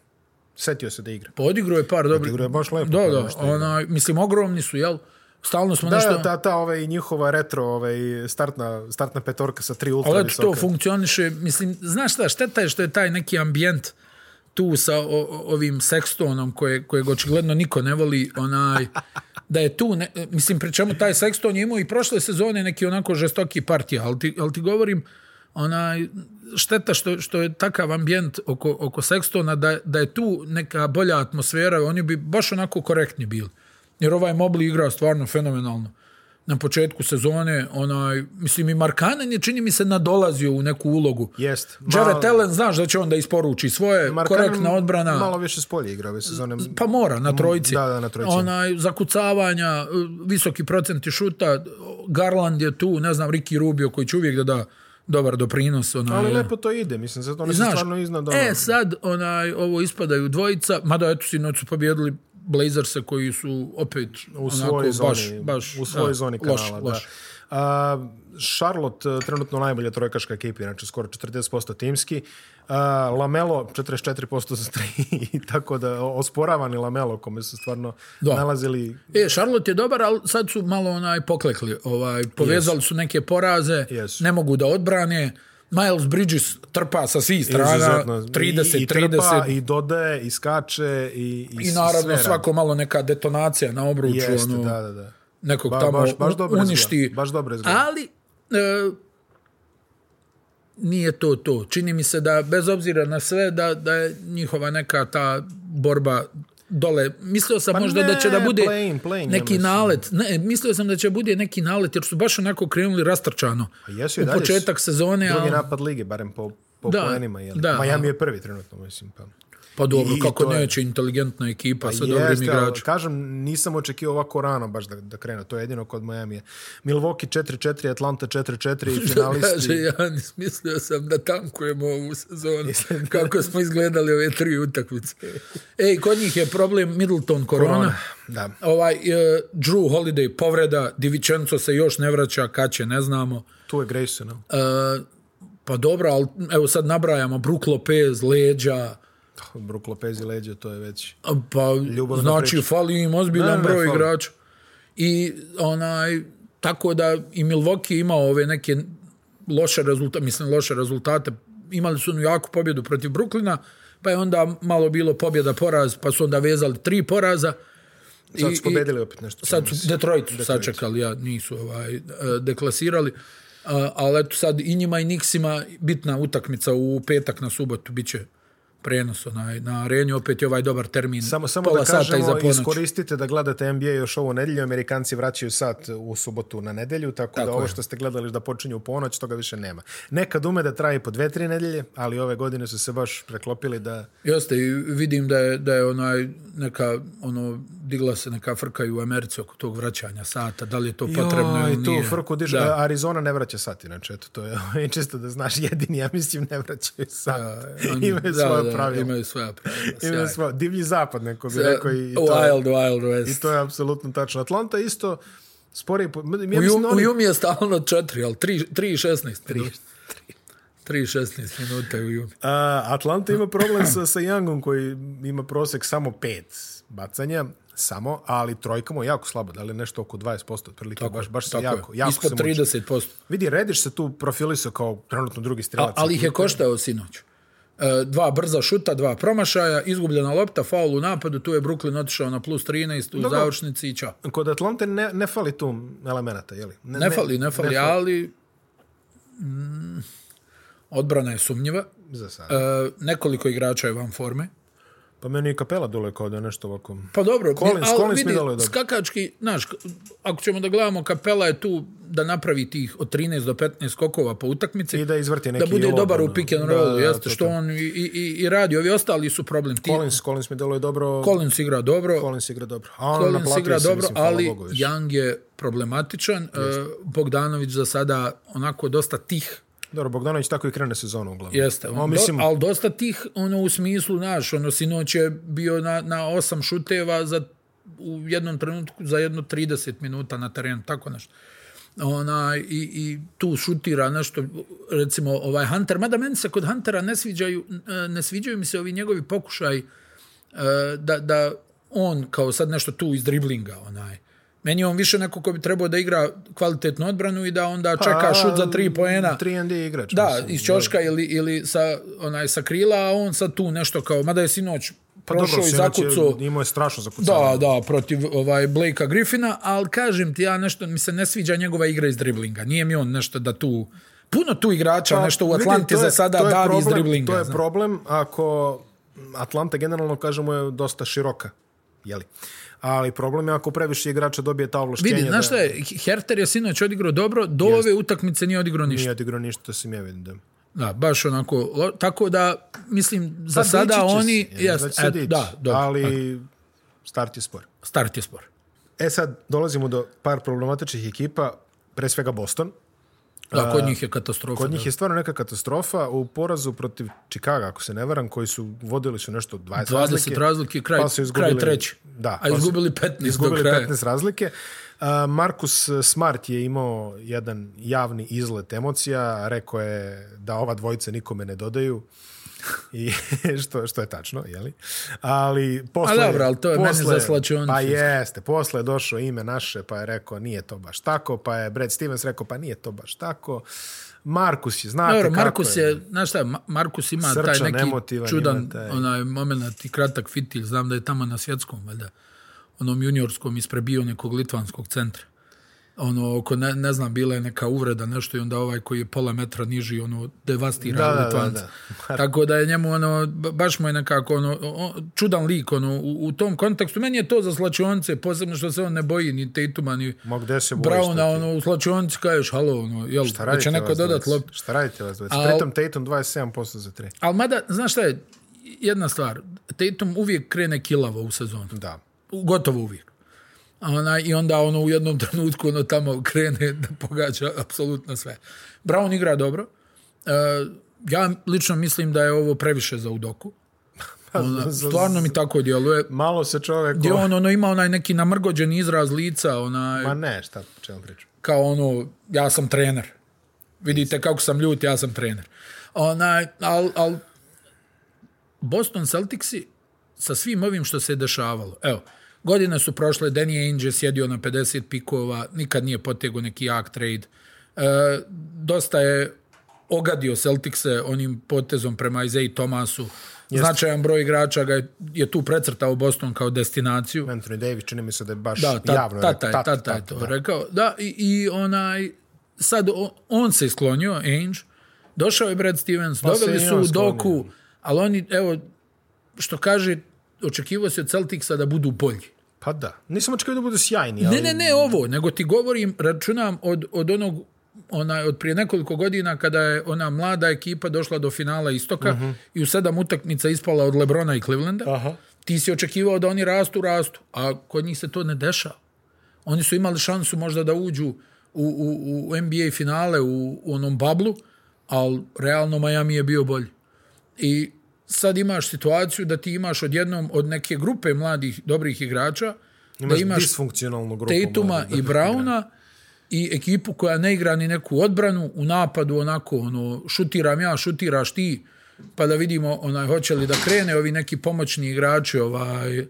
[SPEAKER 3] setio se da igra.
[SPEAKER 2] Pa odigrao je par dobrih.
[SPEAKER 3] Odigrao je baš lepo,
[SPEAKER 2] Da,
[SPEAKER 3] pa
[SPEAKER 2] da.
[SPEAKER 3] nešto
[SPEAKER 2] Ona, mislim, ogromni su, jel? Stalno smo
[SPEAKER 3] Da,
[SPEAKER 2] nešto...
[SPEAKER 3] da, ta, ta ovaj, njihova retro ovaj, startna, startna petorka sa tri ultra
[SPEAKER 2] ali eto,
[SPEAKER 3] visoka.
[SPEAKER 2] to funkcioniše. Mislim, znaš šta, šteta je što je taj neki ambijent tu sa o- o- ovim sekstonom koje, kojeg očigledno niko ne voli, onaj, da je tu, ne, mislim, pri čemu taj sekston je imao i prošle sezone neki onako žestoki partija, ali ti, ali ti govorim, onaj, šteta što, što je takav ambijent oko, oko sekstona, da, da je tu neka bolja atmosfera, oni bi baš onako korektni bili. Jer ovaj Mobley igra stvarno fenomenalno na početku sezone, onaj, mislim i Markanen je čini mi se nadolazio u neku ulogu.
[SPEAKER 3] Jest.
[SPEAKER 2] Jared Allen, znaš da će onda isporuči svoje,
[SPEAKER 3] Markkanen
[SPEAKER 2] korektna odbrana.
[SPEAKER 3] Malo više s polje igra ove sezone.
[SPEAKER 2] Pa mora, na trojici.
[SPEAKER 3] Da, da, na trojici.
[SPEAKER 2] Onaj, zakucavanja, e, visoki procenti šuta, Garland je tu, ne znam, Ricky Rubio koji će uvijek da da dobar doprinos. Onaj,
[SPEAKER 3] Ali lepo to ide, mislim, zato oni su
[SPEAKER 2] Znaš,
[SPEAKER 3] stvarno iznad ono.
[SPEAKER 2] e, sad, onaj, ovo ispadaju dvojica, mada eto, sinoć su pobjedili Blazerse koji su opet
[SPEAKER 3] u
[SPEAKER 2] onako,
[SPEAKER 3] svojoj zoni,
[SPEAKER 2] baš, baš,
[SPEAKER 3] u svojoj
[SPEAKER 2] da,
[SPEAKER 3] zoni
[SPEAKER 2] loš,
[SPEAKER 3] kanala, da.
[SPEAKER 2] loš.
[SPEAKER 3] A, Charlotte e, trenutno najbolja trojkaška ekipa, znači skoro 40% timski. A, Lamelo 44% za tri, i tako da o- osporavani Lamelo kome su stvarno
[SPEAKER 2] Da.
[SPEAKER 3] nalazili
[SPEAKER 2] E, Charlotte je dobar, ali sad su malo onaj poklekli. Ovaj, povezali su neke poraze,
[SPEAKER 3] Jesu.
[SPEAKER 2] ne mogu da odbrane. Miles Bridges trpa sa svih strana,
[SPEAKER 3] izuzetno.
[SPEAKER 2] 30,
[SPEAKER 3] I, i trpa,
[SPEAKER 2] 30. I,
[SPEAKER 3] i dodaje, i skače, i, i, s-
[SPEAKER 2] naravno
[SPEAKER 3] sve radi.
[SPEAKER 2] svako malo neka detonacija na obruču.
[SPEAKER 3] Jeste,
[SPEAKER 2] ono,
[SPEAKER 3] da, da, da.
[SPEAKER 2] Nekog
[SPEAKER 3] Ba-
[SPEAKER 2] tamo
[SPEAKER 3] baš- baš dobro
[SPEAKER 2] uništi.
[SPEAKER 3] izgleda, baš dobro izgleda.
[SPEAKER 2] Ali, e, nije to to. Čini mi se da, bez obzira na sve, da, da je njihova neka ta borba dole. Mislio sam možda da će da
[SPEAKER 3] Pa ne,
[SPEAKER 2] bude
[SPEAKER 3] play-in, play-in, ja
[SPEAKER 2] neki
[SPEAKER 3] mislim.
[SPEAKER 2] nalet. Ne, mislio sam da će bude neki nalet, jer su baš onako krenuli rastrčano.
[SPEAKER 3] Pa jesu i
[SPEAKER 2] u
[SPEAKER 3] dalje su.
[SPEAKER 2] početak sezone,
[SPEAKER 3] Drugi
[SPEAKER 2] ali...
[SPEAKER 3] napad lige, barem po, po
[SPEAKER 2] Da,
[SPEAKER 3] poenima. Jeli.
[SPEAKER 2] da.
[SPEAKER 3] Miami je prvi trenutno, mislim. Pa.
[SPEAKER 2] Pa dobro,
[SPEAKER 3] i- i
[SPEAKER 2] kako
[SPEAKER 3] to je. Pa
[SPEAKER 2] neće, inteligentna ekipa sa dobrim
[SPEAKER 3] Jeste, ali
[SPEAKER 2] igračima.
[SPEAKER 3] kažem, nisam očekio ovako rano baš da, da krenu. To je jedino kod Miami. je. Milwaukee 4-4, Atlanta 4-4 i
[SPEAKER 2] Kaže,
[SPEAKER 3] finalisti.
[SPEAKER 2] ja mislio sam da tankujemo ovu sezonu, kako smo izgledali ove tri utakmice. Ej, kod njih je problem Middleton korona.
[SPEAKER 3] Korona, Ono, da.
[SPEAKER 2] Ovaj, e, Drew Holiday povreda, Divičenco se još ne vraća, kad će, ne znamo.
[SPEAKER 3] Tu je Grayson. no.
[SPEAKER 2] E, pa dobro, ali evo sad nabrajamo, Brook Lopez, Leđa,
[SPEAKER 3] Brook Lopez i leđe, to je već...
[SPEAKER 2] a, pa
[SPEAKER 3] Ljubavna
[SPEAKER 2] znači
[SPEAKER 3] priča.
[SPEAKER 2] fali im
[SPEAKER 3] Ne,
[SPEAKER 2] ozbiljan
[SPEAKER 3] ne,
[SPEAKER 2] broj
[SPEAKER 3] fali.
[SPEAKER 2] igrača. I onaj, tako da i Milwaukee je imao ove neke loše rezultate, mislim loše rezultate. Imali su onu jaku pobjedu protiv Brooklyna, pa je onda malo bilo pobjeda poraz, pa su onda vezali tri poraza.
[SPEAKER 3] Sad
[SPEAKER 2] I-
[SPEAKER 3] su
[SPEAKER 2] i-
[SPEAKER 3] pobedili opet nešto.
[SPEAKER 2] Sad
[SPEAKER 3] čini mi
[SPEAKER 2] su
[SPEAKER 3] se.
[SPEAKER 2] Detroit su sačekali, ja, nisu ovaj, e, deklasirali. A, ali eto sad i njima i Nixima bitna utakmica u petak na subotu biće prenos onaj, na areni, opet je ovaj dobar termin,
[SPEAKER 3] Samo, samo
[SPEAKER 2] pola
[SPEAKER 3] da
[SPEAKER 2] sata iza
[SPEAKER 3] kažemo,
[SPEAKER 2] ponoći.
[SPEAKER 3] iskoristite da gledate NBA još ovu nedelju. Amerikanci vraćaju sat u subotu na nedelju, tako, da ovo što ste gledali da počinju u ponoć, toga više nema. Nekad ume da traje po dve, tri nedelje, ali ove godine su se baš preklopili da...
[SPEAKER 2] Jeste, i vidim da je, da je onaj neka, ono, digla se neka frka i u Americi oko tog vraćanja sata, da li je to potrebno
[SPEAKER 3] Joj,
[SPEAKER 2] ili
[SPEAKER 3] tu
[SPEAKER 2] nije.
[SPEAKER 3] frku dižu.
[SPEAKER 2] Da.
[SPEAKER 3] Arizona ne vraća sat, inače, eto, to je ovaj, čisto da znaš, jedini, ja mislim, ne vraćaju sat.
[SPEAKER 2] Oni-
[SPEAKER 3] imaju
[SPEAKER 2] da,
[SPEAKER 3] svoje
[SPEAKER 2] da,
[SPEAKER 3] pravila.
[SPEAKER 2] Imaju svoja pravila.
[SPEAKER 3] Imaju
[SPEAKER 2] sjajno.
[SPEAKER 3] svoje, divlji zapad, neko bi rekao. I, i to, je-
[SPEAKER 2] Wild, Wild West.
[SPEAKER 3] I to je apsolutno tačno. Atlanta isto spori... Po, ja
[SPEAKER 2] u,
[SPEAKER 3] mislim,
[SPEAKER 2] jum,
[SPEAKER 3] da
[SPEAKER 2] u
[SPEAKER 3] oni-
[SPEAKER 2] Jumi je stalno 4, ali 3, 3 i 16 minuta. 3 i 16 minuta je u Jumi.
[SPEAKER 3] A, Atlanta ima problem sa, sa Youngom koji ima prosek samo pet bacanja, samo, ali trojka mu je jako slaba, da li je nešto oko 20% otprilike, baš, baš se
[SPEAKER 2] Tako je.
[SPEAKER 3] jako, jako se
[SPEAKER 2] Ispod
[SPEAKER 3] muči.
[SPEAKER 2] 30%.
[SPEAKER 3] Vidi, Rediš se tu profilisao kao trenutno drugi
[SPEAKER 2] A,
[SPEAKER 3] strelac.
[SPEAKER 2] ali ih je koštao sinoć. E, Dva brza šuta, dva promašaja, izgubljena lopta, faul u napadu, tu je Brooklyn otišao na plus 13 u
[SPEAKER 3] Dobro.
[SPEAKER 2] završnici i čao.
[SPEAKER 3] Kod Atlante ne, ne fali tu elemenata, jeli?
[SPEAKER 2] Ne, fali, ne fali, ali mm, odbrana je sumnjiva.
[SPEAKER 3] Za sad.
[SPEAKER 2] E, nekoliko igrača je van forme.
[SPEAKER 3] Pa meni je kapela dole kao da je nešto ovako...
[SPEAKER 2] Pa dobro,
[SPEAKER 3] Collins-
[SPEAKER 2] ali
[SPEAKER 3] Collins mi
[SPEAKER 2] vidi,
[SPEAKER 3] djeluje dobro.
[SPEAKER 2] skakački, znaš, k- ako ćemo da gledamo, Kapela je tu da napravi tih od 13 do 15 skokova po utakmici.
[SPEAKER 3] I da izvrti neki
[SPEAKER 2] da bude
[SPEAKER 3] lob,
[SPEAKER 2] dobar
[SPEAKER 3] ono.
[SPEAKER 2] u pick and
[SPEAKER 3] Da,
[SPEAKER 2] rollu,
[SPEAKER 3] da,
[SPEAKER 2] jeste,
[SPEAKER 3] to,
[SPEAKER 2] što
[SPEAKER 3] to.
[SPEAKER 2] on i, i, i- i radi. Ovi ostali su problem. Ti, Collins,
[SPEAKER 3] Collins, Collins mi deluje dobro.
[SPEAKER 2] igra dobro, Collins,
[SPEAKER 3] Collins igra dobro. A on naplatio
[SPEAKER 2] igra
[SPEAKER 3] se,
[SPEAKER 2] dobro,
[SPEAKER 3] mislim, hvala
[SPEAKER 2] ali
[SPEAKER 3] Bogu već.
[SPEAKER 2] Young je problematičan. E, Bogdanović za sada onako dosta tih
[SPEAKER 3] Dobro, Bogdanović tako i krene sezonu uglavnom.
[SPEAKER 2] Jeste, on,
[SPEAKER 3] on, mislim,
[SPEAKER 2] do, ali dosta tih, ono, u smislu, znaš, ono, sinoć je bio na, na osam šuteva za, u jednom trenutku za jedno 30 minuta na terenu, tako nešto. Ona, i, i tu šutira nešto, recimo, ovaj Hunter, mada meni se kod Huntera ne sviđaju, e, ne sviđaju mi se ovi njegovi pokušaj e, da, da on kao sad nešto tu iz driblinga, onaj, Meni je on više neko ko bi trebao da igra kvalitetnu odbranu i da onda čeka šut za Pa, tri poena.
[SPEAKER 3] 3 ND igrač.
[SPEAKER 2] Da,
[SPEAKER 3] mislim.
[SPEAKER 2] iz Ćoška ili, ili sa, onaj, sa krila, a on sad tu nešto kao, mada je sinoć prošao
[SPEAKER 3] Pa Dobro,
[SPEAKER 2] i
[SPEAKER 3] sinoć je-
[SPEAKER 2] zakucao.
[SPEAKER 3] Imao je strašno
[SPEAKER 2] Da,
[SPEAKER 3] zakucavanje.
[SPEAKER 2] da, protiv ovaj Blakea Griffina, ali kažem ti ja nešto, mi se ne sviđa njegova igra iz driblinga. Nije mi on nešto da tu, puno tu igrača
[SPEAKER 3] Pa,
[SPEAKER 2] nešto u
[SPEAKER 3] vidi,
[SPEAKER 2] Atlanti
[SPEAKER 3] to
[SPEAKER 2] za
[SPEAKER 3] je-
[SPEAKER 2] sada
[SPEAKER 3] to je
[SPEAKER 2] davi iz
[SPEAKER 3] problem-
[SPEAKER 2] driblinga.
[SPEAKER 3] To je
[SPEAKER 2] znaš.
[SPEAKER 3] problem ako Atlanta generalno, kažemo, je dosta široka. Jeli? Ali problem je ako previše igrača dobije ta ovlašćenja.
[SPEAKER 2] Vidi, znaš
[SPEAKER 3] da
[SPEAKER 2] šta je, Herter je sinoć odigrao dobro, do ove utakmice nije odigrao ništa.
[SPEAKER 3] Nije odigrao ništa, to sam ja vidim da.
[SPEAKER 2] Da, baš onako, lo- tako da, mislim, za
[SPEAKER 3] Pa,
[SPEAKER 2] sada
[SPEAKER 3] dići će
[SPEAKER 2] oni,
[SPEAKER 3] se, jel,
[SPEAKER 2] jest,
[SPEAKER 3] već se
[SPEAKER 2] eto,
[SPEAKER 3] dići,
[SPEAKER 2] da, dobro,
[SPEAKER 3] ali start je spor.
[SPEAKER 2] start je spor.
[SPEAKER 3] E sad, dolazimo do par problematičnih ekipa, pre svega Boston.
[SPEAKER 2] Da, kod njih je katastrofa.
[SPEAKER 3] Kod
[SPEAKER 2] da.
[SPEAKER 3] njih je stvarno neka katastrofa u porazu protiv Čikaga, ako se ne varam, koji su vodili su nešto 20,
[SPEAKER 2] 20 razlike, kraj,
[SPEAKER 3] pa su izgubili-
[SPEAKER 2] kraj treći.
[SPEAKER 3] Da,
[SPEAKER 2] a
[SPEAKER 3] pa su-
[SPEAKER 2] izgubili 15
[SPEAKER 3] izgubili
[SPEAKER 2] do kraja.
[SPEAKER 3] 15 razlike. A, Markus Smart je imao jedan javni izlet emocija, rekao je da ova dvojica nikome ne dodaju. I što, što je tačno, jeli? Ali posle...
[SPEAKER 2] A dobro, ali to je meni
[SPEAKER 3] posle-
[SPEAKER 2] za slačionicu.
[SPEAKER 3] Pa jeste, posle je došlo ime naše, pa je rekao nije to baš tako, pa je Brad Stevens rekao pa nije to baš tako. Markus je, znate
[SPEAKER 2] Dobro,
[SPEAKER 3] kako
[SPEAKER 2] Markus je, znaš šta, Ma- Markus ima
[SPEAKER 3] Srčan,
[SPEAKER 2] taj neki
[SPEAKER 3] emotivan, ima
[SPEAKER 2] čudan
[SPEAKER 3] taj-
[SPEAKER 2] onaj moment i kratak fitil, znam da je tamo na svjetskom, valjda, onom juniorskom isprebio nekog litvanskog centra. Ono, oko, ne, ne znam, bila je neka uvreda, nešto i onda ovaj koji je pola metra niži, ono, devastira
[SPEAKER 3] Da, da, da,
[SPEAKER 2] Litvanca. Tako da je njemu, ono, ba- baš mu je nekako, ono, o- o- čudan lik, ono, u, u tom kontekstu. Meni je to za slačionice, posebno što se on ne boji ni Tatuma, ni
[SPEAKER 3] Ma gde se bojiš?
[SPEAKER 2] Browna,
[SPEAKER 3] to ti?
[SPEAKER 2] ono, u slačionici kažeš, halo, ono, jel,
[SPEAKER 3] Šta
[SPEAKER 2] da će
[SPEAKER 3] radite
[SPEAKER 2] neko
[SPEAKER 3] vas
[SPEAKER 2] dodat
[SPEAKER 3] dvojica?
[SPEAKER 2] loptu.
[SPEAKER 3] Šta radite vas dvojica?
[SPEAKER 2] Al-
[SPEAKER 3] Pritom Tatum 27% za 3.
[SPEAKER 2] Ali mada, znaš šta je, jedna stvar, Tatum uvijek krene kilavo u sezonu.
[SPEAKER 3] Da.
[SPEAKER 2] Gotovo uvijek. A Ona, I onda ono u jednom trenutku ono tamo krene da pogađa apsolutno sve. Brown igra dobro. E, ja lično mislim da je ovo previše za Udoku. Ona, stvarno mi tako djeluje.
[SPEAKER 3] Malo se čovek...
[SPEAKER 2] Gdje on ono, ima onaj neki namrgođen izraz lica, onaj,
[SPEAKER 3] Ma ne, šta, čemu pričam?
[SPEAKER 2] kao ono, ja sam trener. Vidite kako sam ljut, ja sam trener. Onaj, al, al, Boston Celticsi sa svim ovim što se je dešavalo, evo, godine su prošle, Danny Ainge je sjedio na 50 pikova, nikad nije potegao neki jak trade. E, dosta je ogadio Celticse onim potezom prema Isaiah Thomasu. Značajan broj igrača ga je, je tu precrtao Boston kao destinaciju
[SPEAKER 3] Anthony Davis čini mi se da je baš
[SPEAKER 2] da, ta,
[SPEAKER 3] javno...
[SPEAKER 2] tata, je,
[SPEAKER 3] rekao,
[SPEAKER 2] tata, je to rekao. Da, i, i onaj, sad o- on se sklonio, Ainge, došao je Brad Stevens,
[SPEAKER 3] Pa se
[SPEAKER 2] doveli
[SPEAKER 3] i
[SPEAKER 2] su
[SPEAKER 3] on
[SPEAKER 2] u
[SPEAKER 3] sklonio.
[SPEAKER 2] doku, ali oni, evo, što kaže, očekivao se od Celticsa da budu bolji.
[SPEAKER 3] Pa da. Nisam očekio da budu sjajni, ali...
[SPEAKER 2] Ne, ne, ne ovo, nego ti govorim, računam od, od onog onaj, od prije nekoliko godina kada je ona mlada ekipa došla do finala Istoka i u sedam utakmica ispala od Lebrona i Clevelanda.
[SPEAKER 3] Mhm. Aha.
[SPEAKER 2] Ti si očekivao da oni rastu, rastu, a kod njih se to ne dešava. Oni su imali šansu možda da uđu u, u, u NBA finale u, u onom bablu, ali realno Miami je bio bolji. I sad imaš situaciju da ti imaš odjednom od neke grupe mladih dobrih igrača,
[SPEAKER 3] Imaš,
[SPEAKER 2] da imaš
[SPEAKER 3] disfunkcionalnu grupu.
[SPEAKER 2] Tatuma
[SPEAKER 3] mladih,
[SPEAKER 2] i
[SPEAKER 3] da.
[SPEAKER 2] Brauna i ekipu koja ne igra ni neku odbranu, u napadu onako, ono, šutiram ja, šutiraš ti, pa da vidimo onaj, hoće li da krene ovi neki pomoćni igrači, ovaj,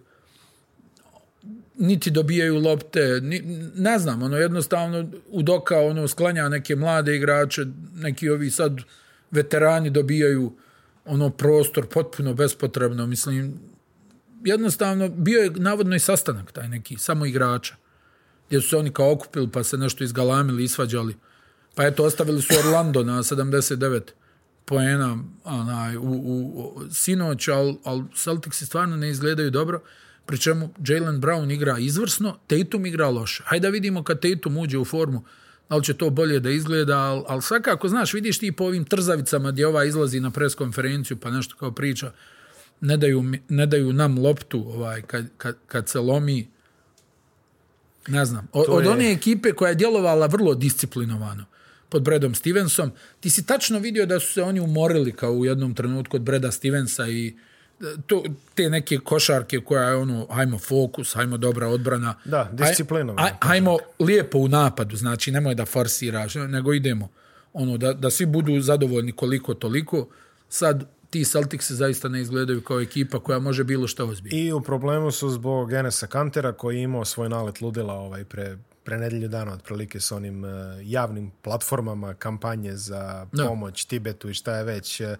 [SPEAKER 2] niti dobijaju lopte, ni, ne znam, ono, jednostavno u doka ono, sklanja neke mlade igrače, neki ovi sad veterani dobijaju ono prostor potpuno bespotrebno, mislim, jednostavno, bio je navodno i sastanak taj neki, samo igrača gdje su se oni kao okupili pa se nešto izgalamili, isvađali. Pa eto, ostavili su Orlando na 79 poena onaj, u, u, u sinoć, ali al Celticsi stvarno ne izgledaju dobro, pri čemu Jalen Brown igra izvrsno, Tatum igra loše. Hajde da vidimo kad Tatum uđe u formu, da li će to bolje da izgleda, ali al svakako, znaš, vidiš ti po ovim trzavicama gdje ova izlazi na preskonferenciju pa nešto kao priča, ne daju, mi- ne daju nam loptu ovaj, kad, kad, kad se lomi, ne znam. Od, od
[SPEAKER 3] je-
[SPEAKER 2] one ekipe koja je djelovala vrlo disciplinovano pod Bredom Stevensom, ti si tačno vidio da su se oni umorili kao u jednom trenutku od Breda Stevensa i e, to, te neke košarke koja je ono, hajmo fokus, hajmo dobra odbrana.
[SPEAKER 3] Da,
[SPEAKER 2] Aj-
[SPEAKER 3] disciplinovano,
[SPEAKER 2] aj- Hajmo lijepo u napadu, znači nemoj da forsiraš, nego idemo. Ono, da, da svi budu zadovoljni koliko toliko. Sad ti Celticsi zaista ne izgledaju kao ekipa koja može bilo šta ozbiljno.
[SPEAKER 3] I u problemu su zbog Enesa Kantera koji je imao svoj nalet ludila ovaj pre, pre nedelju dana otprilike sa onim eh, javnim platformama kampanje za pomoć Tibetu i šta je već. Eh,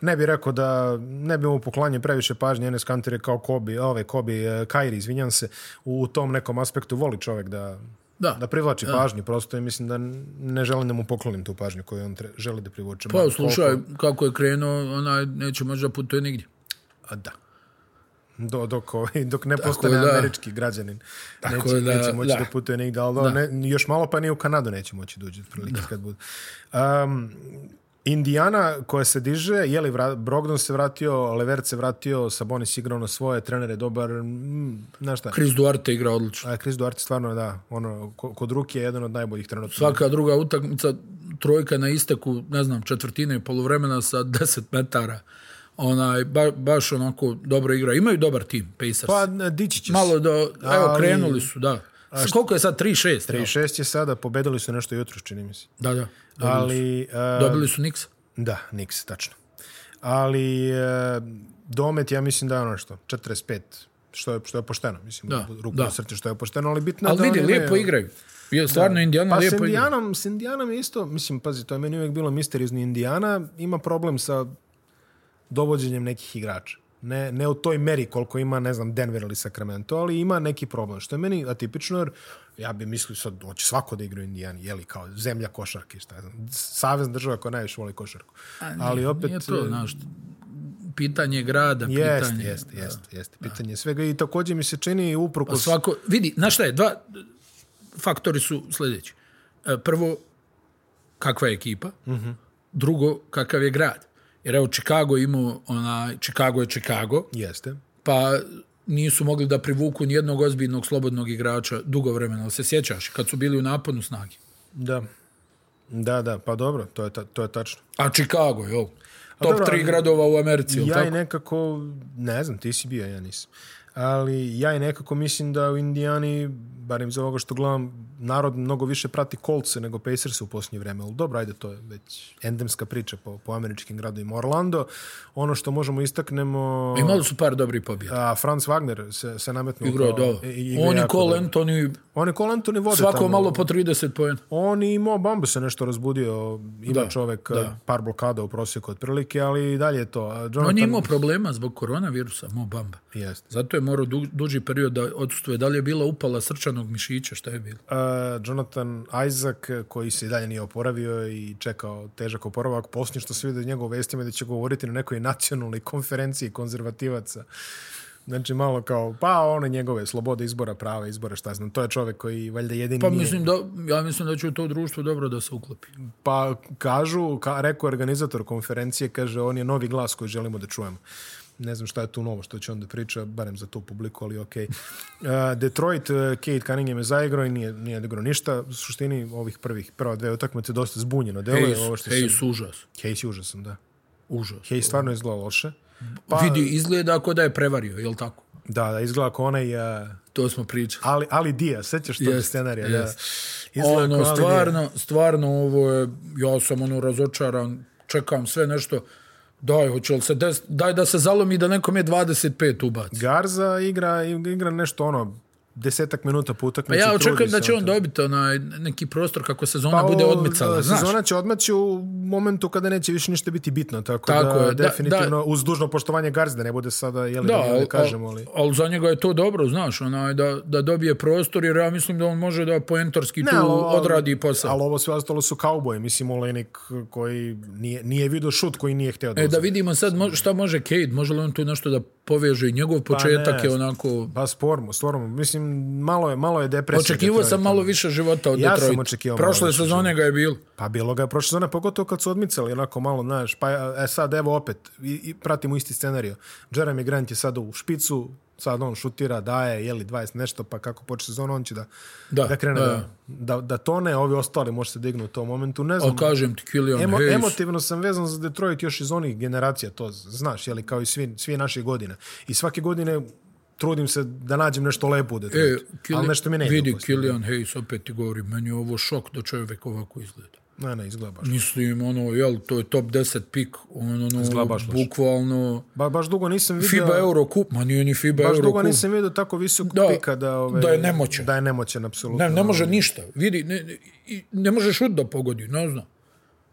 [SPEAKER 3] Ne bi rekao da ne bi mu poklanio previše pažnje Enes Kanter je kao Kobi, ove Kobi eh, Kairi, izvinjam se, u tom nekom aspektu voli čovjek da
[SPEAKER 2] Da.
[SPEAKER 3] da privlači pažnju, prosto i mislim da ne želim da mu poklonim tu pažnju koju on tre- želi da privuče.
[SPEAKER 2] Pa
[SPEAKER 3] Ma,
[SPEAKER 2] slušaj, kako je krenuo, onaj neće možda putuje nigdje.
[SPEAKER 3] A da. Do, dok, ovaj- dok ne postane
[SPEAKER 2] da.
[SPEAKER 3] američki građanin.
[SPEAKER 2] Tako
[SPEAKER 3] neće,
[SPEAKER 2] da,
[SPEAKER 3] neće moći da,
[SPEAKER 2] da.
[SPEAKER 3] putuje nigde, ali da. Ne, još malo pa ni u Kanadu neće moći da uđe. otprilike Kad bude. Um, Indiana koja se diže, je li vra- Brogdon se vratio, Levert se vratio, Sabonis igrao na svoje, trener je dobar, mm, znaš šta,
[SPEAKER 2] Chris Duarte igra odlično.
[SPEAKER 3] a Chris Duarte stvarno da, ono, ko- kod ruke je jedan od najboljih trenutno.
[SPEAKER 2] Svaka druga utakmica, trojka na isteku, ne znam, četvrtine i polovremena sa 10 metara. Onaj, ba- baš onako dobro igra. Imaju dobar tim, Pacers.
[SPEAKER 3] Pa n- dići će
[SPEAKER 2] Malo
[SPEAKER 3] se.
[SPEAKER 2] do, evo,
[SPEAKER 3] Ali-
[SPEAKER 2] krenuli su, da. S- Koliko je sad? 3-6?
[SPEAKER 3] I šest je sada, pobedili su nešto jutro, čini mi se.
[SPEAKER 2] Da, da. Dobili,
[SPEAKER 3] Ali, uh,
[SPEAKER 2] dobili su Knicks.
[SPEAKER 3] Da, Nix, tačno. Ali e, domet, ja mislim da je ono što, 45, što je, što je pošteno. Mislim,
[SPEAKER 2] Da,
[SPEAKER 3] ruku
[SPEAKER 2] da.
[SPEAKER 3] na srce što je pošteno, ali bitno je
[SPEAKER 2] Ali
[SPEAKER 3] da
[SPEAKER 2] vidi,
[SPEAKER 3] oni imaju-
[SPEAKER 2] lijepo igraju. Je, stvarno, Indiana
[SPEAKER 3] Pa s
[SPEAKER 2] lijepo igra.
[SPEAKER 3] Indijanom, s Indijanom je isto, mislim, pazi, to je meni uvijek bilo misteriozno. Indijana ima problem sa dovođenjem nekih igrača. Ne, ne u toj meri koliko ima, ne znam, Denver ili Sacramento, ali ima neki problem. Što je meni atipično, jer ja bi mislio sad, hoće svako da igra u Indijani, jeli, kao zemlja košarke, šta ja znam. Savez država koja najviše voli košarku. ali opet...
[SPEAKER 2] Nije to, znaš, pitanje grada,
[SPEAKER 3] Jeste,
[SPEAKER 2] pitanje... Pa
[SPEAKER 3] jeste, jeste, jeste. Pitanje je svega i također mi se čini uprkos
[SPEAKER 2] Svako, vidi, znaš šta je, dva faktori su sljedeći. E, Prvo, kakva je ekipa.
[SPEAKER 3] Mhm.
[SPEAKER 2] Drugo, kakav je grad. Jer evo, Chicago imao, onaj, Chicago je Chicago,
[SPEAKER 3] Jeste.
[SPEAKER 2] pa nisu mogli da privuku nijednog ozbiljnog slobodnog igrača dugo vremena. Ali se sjećaš, kad su bili u naponu snagi.
[SPEAKER 3] Da. Da, da, pa dobro, to je, ta- to je tačno.
[SPEAKER 2] A Chicago, jel? Top
[SPEAKER 3] dobro,
[SPEAKER 2] tri
[SPEAKER 3] ali-
[SPEAKER 2] gradova u Americi, jel
[SPEAKER 3] ja i
[SPEAKER 2] tako?
[SPEAKER 3] nekako, ne znam, ti si bio, ja nisam. Ali ja i nekako mislim da u Indijani, barem iz ovoga što gledam, narod mnogo više prati kolce nego Pacers u posljednje vreme. Ali dobro, ajde, to je već endemska priča po, po američkim gradovima. Orlando, ono što možemo istaknemo...
[SPEAKER 2] Imali su par dobrih pobjeda.
[SPEAKER 3] A, Franz Wagner se, se nametnuo.
[SPEAKER 2] Igrao je
[SPEAKER 3] kao-
[SPEAKER 2] dobro.
[SPEAKER 3] i- igra
[SPEAKER 2] On i
[SPEAKER 3] jako
[SPEAKER 2] Cole
[SPEAKER 3] dobro.
[SPEAKER 2] Anthony,
[SPEAKER 3] On i Cole Anthony vode
[SPEAKER 2] svako
[SPEAKER 3] tamo.
[SPEAKER 2] malo po 30 pojena.
[SPEAKER 3] On i Mo Bamba se nešto razbudio, ima
[SPEAKER 2] Da,
[SPEAKER 3] čovek
[SPEAKER 2] da.
[SPEAKER 3] par blokada u prosjeku otprilike, ali i dalje je to. A Jonathan...
[SPEAKER 2] On je imao problema zbog koronavirusa, Mo Bamba.
[SPEAKER 3] Jeste.
[SPEAKER 2] Zato je morao du- duži period da odsustuje. Da li je bila upala srčanog mišića, šta je bilo?
[SPEAKER 3] E, Jonathan Isaac, koji se i dalje nije oporavio i čekao težak oporavak, poslije što se vidi od njegove vestima da će govoriti na nekoj nacionalnoj konferenciji konzervativaca. Znači, malo kao, pa ono njegove, slobode izbora, prava izbora, šta znam. To je čovjek koji valjda jedini
[SPEAKER 2] Pa
[SPEAKER 3] nije-
[SPEAKER 2] mislim da, ja mislim da će u to društvo dobro da se uklopi.
[SPEAKER 3] Pa kažu, ka, rekao je organizator konferencije, kaže, on je novi glas koji želimo da čujemo. Ne znam šta je tu novo što će onda priča, barem za tu publiku, ali okej. Uh, Detroit, uh, Kate Cunningham je zaigrao i nije, nije odigrao ništa. U suštini ovih prvih, prva dve utakmice dosta zbunjeno deluje.
[SPEAKER 2] Hej,
[SPEAKER 3] ovo što
[SPEAKER 2] hej,
[SPEAKER 3] se...
[SPEAKER 2] užas.
[SPEAKER 3] Hayes je užasan, da.
[SPEAKER 2] Užas.
[SPEAKER 3] Hayes stvarno izgleda loše. Pa-
[SPEAKER 2] Vidi, izgleda ako da je prevario, jel tako?
[SPEAKER 3] Da, da, izgleda kao onaj uh,
[SPEAKER 2] To smo pričali.
[SPEAKER 3] Ali, ali Dija, sećaš tog
[SPEAKER 2] Jest,
[SPEAKER 3] scenarija?
[SPEAKER 2] jest.
[SPEAKER 3] Da. Izgleda kao
[SPEAKER 2] Ono,
[SPEAKER 3] Ali Dija.
[SPEAKER 2] stvarno, stvarno ovo je, ja sam ono razočaran, čekam sve nešto, daj, hoće li se des, daj da se zalomi da nekom je 25 ubaci.
[SPEAKER 3] Garza igra, igra nešto ono, desetak minuta po
[SPEAKER 2] Pa
[SPEAKER 3] utakmici.
[SPEAKER 2] ja
[SPEAKER 3] Znači, trudi
[SPEAKER 2] očekujem da
[SPEAKER 3] se
[SPEAKER 2] će
[SPEAKER 3] on
[SPEAKER 2] on
[SPEAKER 3] to.
[SPEAKER 2] dobiti onaj neki prostor kako sezona
[SPEAKER 3] Pa
[SPEAKER 2] bude
[SPEAKER 3] o-
[SPEAKER 2] odmicala,
[SPEAKER 3] da,
[SPEAKER 2] znaš.
[SPEAKER 3] Sezona će odmaći u momentu kada neće više ništa biti bitno, tako,
[SPEAKER 2] Tako
[SPEAKER 3] da,
[SPEAKER 2] je, da,
[SPEAKER 3] definitivno,
[SPEAKER 2] da.
[SPEAKER 3] uz dužno poštovanje Garza, da ne bude sada, jeli,
[SPEAKER 2] Da,
[SPEAKER 3] da,
[SPEAKER 2] ali,
[SPEAKER 3] kažemo, ali...
[SPEAKER 2] ali za njega je to dobro, znaš, onaj, da, da dobije prostor, jer ja mislim da on može da poentorski tu
[SPEAKER 3] ali ovo-
[SPEAKER 2] odradi posao.
[SPEAKER 3] Ali ovo sve ostalo su kauboje, mislim, Olejnik koji nije, nije vidio šut koji nije hteo da,
[SPEAKER 2] E, da
[SPEAKER 3] uzme.
[SPEAKER 2] vidimo sad mo- šta može Cade, može li on tu nešto da poveže, njegov početak je onako...
[SPEAKER 3] Pa spormo, spormo. Mislim, malo je, malo je depresija.
[SPEAKER 2] Očekivao sam
[SPEAKER 3] Detroita.
[SPEAKER 2] malo više života od
[SPEAKER 3] Ja sam
[SPEAKER 2] Detroita.
[SPEAKER 3] očekivao malo
[SPEAKER 2] Prošle
[SPEAKER 3] više
[SPEAKER 2] sezone ga je bilo.
[SPEAKER 3] Pa bilo ga je prošle sezone, pogotovo kad su odmicali, onako malo, znaš, pa e sad evo opet, i, i pratimo isti scenariju. Jeremy Grant je sad u špicu, sad on šutira, daje, jeli, 20 nešto, pa kako počne sezon, on će da,
[SPEAKER 2] Da,
[SPEAKER 3] da, krene
[SPEAKER 2] da.
[SPEAKER 3] da, da, da tone, ovi ostali može se dignu u tom momentu, ne znam.
[SPEAKER 2] Ali kažem ti, Killian
[SPEAKER 3] Emo,
[SPEAKER 2] Hayes,
[SPEAKER 3] emotivno sam vezan za Detroit još iz onih generacija, to znaš, jeli, kao i svi, svi naše godine. I svake godine trudim se da nađem nešto lepo u
[SPEAKER 2] e,
[SPEAKER 3] Detroitu, ali
[SPEAKER 2] Killian-
[SPEAKER 3] nešto mi ne ide.
[SPEAKER 2] vidi,
[SPEAKER 3] u kosti.
[SPEAKER 2] Killian Hayes, opet ti govori, meni je ovo šok da čovjek ovako izgleda.
[SPEAKER 3] Ne, ne, izgleda baš.
[SPEAKER 2] Mislim, ono, jel, to je top 10 pik, ono,
[SPEAKER 3] Izgleda
[SPEAKER 2] ono
[SPEAKER 3] baš loše.
[SPEAKER 2] bukvalno,
[SPEAKER 3] Ba, baš dugo nisam vidio...
[SPEAKER 2] FIBA Eurocup, ma nije ni FIBA
[SPEAKER 3] Baš dugo
[SPEAKER 2] Eurocup.
[SPEAKER 3] nisam vidio tako visok
[SPEAKER 2] Da,
[SPEAKER 3] pika da, ove,
[SPEAKER 2] da je nemoćan.
[SPEAKER 3] Da je nemoćan, apsolutno.
[SPEAKER 2] Ne, ne može ništa. Vidi, ne, ne, i ne može šut da pogodi, ne znam.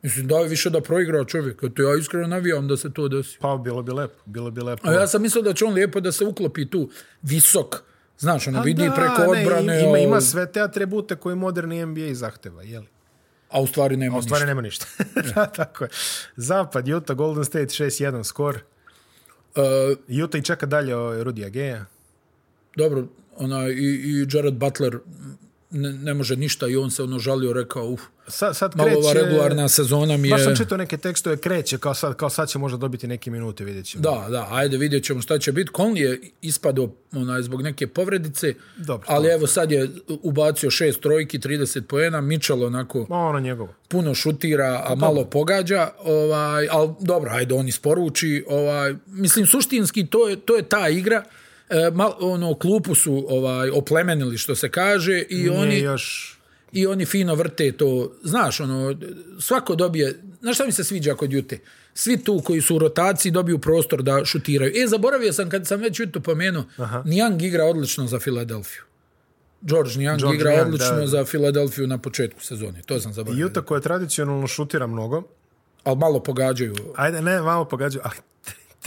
[SPEAKER 2] Mislim, da je više da proigra čovjek. To ja iskreno navijam da se to desi.
[SPEAKER 3] Pa bilo bi lepo, bilo bi lepo.
[SPEAKER 2] A ja sam mislio da će on lijepo da se uklopi tu visok. Znaš, ono,
[SPEAKER 3] Pa
[SPEAKER 2] vidi
[SPEAKER 3] da,
[SPEAKER 2] preko
[SPEAKER 3] ne,
[SPEAKER 2] odbrane. ovaj.
[SPEAKER 3] ima, ima
[SPEAKER 2] ovo,
[SPEAKER 3] sve te atribute koje moderni NBA zahteva, jeli?
[SPEAKER 2] A u stvari nema
[SPEAKER 3] A u stvari nema ništa. da, tako je. Zapad, Utah, Golden State 6-1 skor.
[SPEAKER 2] ništa. E,
[SPEAKER 3] Utah i čeka dalje ovaj, Rudija Geja.
[SPEAKER 2] dobro, ona, i, i Jared Butler ne, ne može ništa i on se ono žalio, rekao, uf,
[SPEAKER 3] Sad, sad
[SPEAKER 2] malo
[SPEAKER 3] kreće...
[SPEAKER 2] ova regularna sezona mi je...
[SPEAKER 3] Baš sam čitao neke tekstove, kreće, kao sad, kao sad će možda dobiti neke minute, vidjet ćemo.
[SPEAKER 2] Da, da, ajde vidjet ćemo šta će biti. Conley je ispadao onaj, zbog neke povredice,
[SPEAKER 3] Dobro,
[SPEAKER 2] ali evo sad je ubacio šest trojki, 30 poena, Mitchell onako
[SPEAKER 3] Ma, Ono njegovo.
[SPEAKER 2] puno šutira, a malo pogađa, ovaj, ali dobro, ajde, on isporuči. Ovaj, mislim, suštinski to je, to je ta igra, E, mal, ono, klupu su ovaj, oplemenili, što se kaže, i
[SPEAKER 3] Oni...
[SPEAKER 2] oni
[SPEAKER 3] još...
[SPEAKER 2] i oni fino vrte to. Znaš, ono, svako dobije, znaš šta mi se sviđa kod Jute? Svi tu koji su u rotaciji dobiju prostor da šutiraju. E, zaboravio sam kad sam već Jutu pomenuo, Niang igra odlično za Filadelfiju. George Niang
[SPEAKER 3] George
[SPEAKER 2] igra
[SPEAKER 3] Niang,
[SPEAKER 2] odlično
[SPEAKER 3] da.
[SPEAKER 2] za Filadelfiju na početku sezone. To sam zaboravio.
[SPEAKER 3] Utah koja tradicionalno šutira mnogo,
[SPEAKER 2] Ali malo pogađaju.
[SPEAKER 3] Ajde, ne, malo pogađaju, ali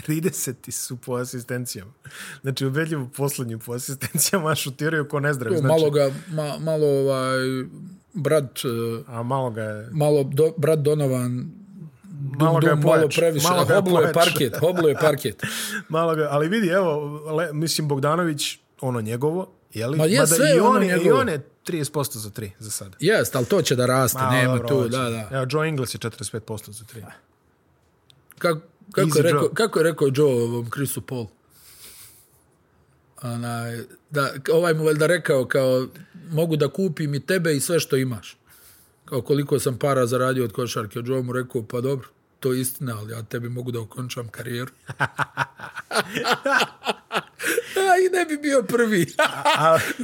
[SPEAKER 3] 30 su po asistencijama. Znači, ubedljivo poslednju po asistencijama, a šutiraju ko nezdravi. Znači,
[SPEAKER 2] Malo ga, ma- malo ovaj, brat, e,
[SPEAKER 3] A malo ga je...
[SPEAKER 2] malo do, brat Donovan
[SPEAKER 3] Malo ga je
[SPEAKER 2] dum, malo
[SPEAKER 3] pojač.
[SPEAKER 2] previše.
[SPEAKER 3] Malo ga je
[SPEAKER 2] hoblo je
[SPEAKER 3] pojač.
[SPEAKER 2] parket, hoblo je parket.
[SPEAKER 3] Malo ga, ali vidi, evo, le, mislim, Bogdanović, ono njegovo, jeli?
[SPEAKER 2] Ma je,
[SPEAKER 3] Mada
[SPEAKER 2] sve
[SPEAKER 3] i
[SPEAKER 2] je ono
[SPEAKER 3] on, je- I
[SPEAKER 2] njegovo.
[SPEAKER 3] on je 30% za 3 za sada.
[SPEAKER 2] Jest, ali to će da raste,
[SPEAKER 3] A,
[SPEAKER 2] nema
[SPEAKER 3] dobro,
[SPEAKER 2] tu,
[SPEAKER 3] hoće.
[SPEAKER 2] da, da. Ah.
[SPEAKER 3] Evo, Joe Ingles je 45% za 3.
[SPEAKER 2] Kako, kako,
[SPEAKER 3] Easy
[SPEAKER 2] je rekao,
[SPEAKER 3] drop.
[SPEAKER 2] kako je rekao Joe ovom Chrisu Paul? Onaj, da, ovaj mu valjda rekao kao mogu da kupim i tebe i sve što imaš. Kao koliko sam para zaradio od košarke. Joe mu rekao pa dobro, to je istina, ali ja tebi mogu da okončam karijeru. A, I ne bi bio prvi.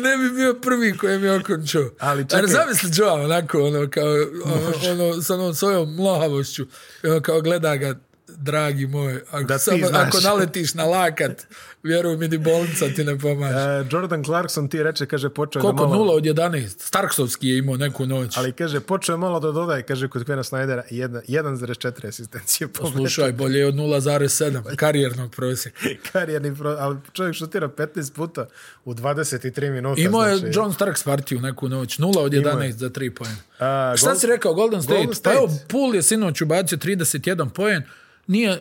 [SPEAKER 2] ne bi bio prvi koji mi je okončao.
[SPEAKER 3] Ali čekaj.
[SPEAKER 2] Jer zamisli Joe onako, ono, kao, ono, ono, sa onom svojom mlohavošću. I ono, kao gleda ga dragi moj, ako,
[SPEAKER 3] Da ti
[SPEAKER 2] samo,
[SPEAKER 3] znaš.
[SPEAKER 2] ako naletiš na lakat, vjeruj mi ni bolnica ti ne pomaže.
[SPEAKER 3] E, Jordan Clarkson ti reče, kaže, počeo je da
[SPEAKER 2] Koliko?
[SPEAKER 3] malo...
[SPEAKER 2] 0 od 11. Starksovski je imao neku noć.
[SPEAKER 3] Ali kaže, počeo je malo da dodaje, kaže, kod Kvena Snydera, jedna- 1,4 asistencije po
[SPEAKER 2] Slušaj, bolje je od 0,7 karijernog prosjeka.
[SPEAKER 3] Pa karijerni, pro... ali čovjek šutira 15 puta u 23 minuta.
[SPEAKER 2] Imao je
[SPEAKER 3] znači,
[SPEAKER 2] John Starks partiju neku noć, 0 od 11 za 3 pojena.
[SPEAKER 3] A,
[SPEAKER 2] Šta
[SPEAKER 3] Gol-
[SPEAKER 2] si rekao, Golden State?
[SPEAKER 3] Golden
[SPEAKER 2] Pa
[SPEAKER 3] State.
[SPEAKER 2] evo, Pool je sinoć ubacio 31 pojen, nije... Uh,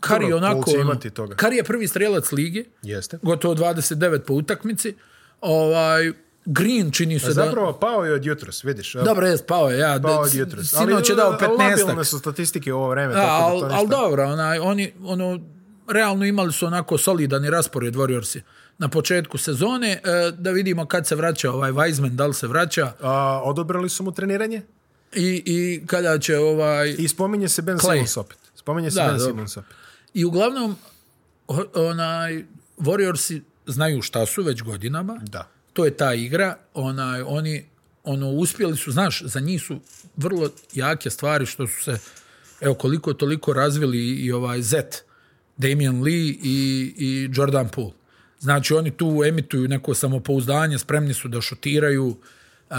[SPEAKER 2] Kari
[SPEAKER 3] Dobro, Poole
[SPEAKER 2] onako...
[SPEAKER 3] će
[SPEAKER 2] ono,
[SPEAKER 3] imati toga.
[SPEAKER 2] Kari je prvi strelac lige,
[SPEAKER 3] Jeste.
[SPEAKER 2] gotovo 29 po utakmici. Ovaj, Green čini se da...
[SPEAKER 3] E, Zapravo, pao je od jutros, vidiš.
[SPEAKER 2] Dobro, je, pao je, ja.
[SPEAKER 3] Pao
[SPEAKER 2] da-
[SPEAKER 3] od jutros.
[SPEAKER 2] Sinoć je dao 15
[SPEAKER 3] Labilne su statistike u ovo vreme.
[SPEAKER 2] Da,
[SPEAKER 3] tako da to
[SPEAKER 2] ali
[SPEAKER 3] ništa-
[SPEAKER 2] al dobro, onaj, oni, ono, realno imali su onako solidan i raspored Warriorsi na početku sezone, e, da vidimo kad se vraća ovaj Weizman, da li se vraća
[SPEAKER 3] A, odobrali su mu treniranje
[SPEAKER 2] i, i kada će ovaj...
[SPEAKER 3] i spominje se Ben
[SPEAKER 2] Clay.
[SPEAKER 3] Simmons opet. Spominje se
[SPEAKER 2] Da,
[SPEAKER 3] Ben
[SPEAKER 2] dobro.
[SPEAKER 3] Simmons opet.
[SPEAKER 2] I uglavnom, o- onaj, Warriorsi znaju šta su već godinama,
[SPEAKER 3] Da.
[SPEAKER 2] to je ta igra, onaj, oni ono, uspjeli su, znaš, za njih su vrlo jake stvari što su se, evo koliko toliko razvili i, i ovaj Zet, Damian Lee i, i Jordan Poole. Znači oni tu emituju neko samopouzdanje, spremni su da šutiraju. E,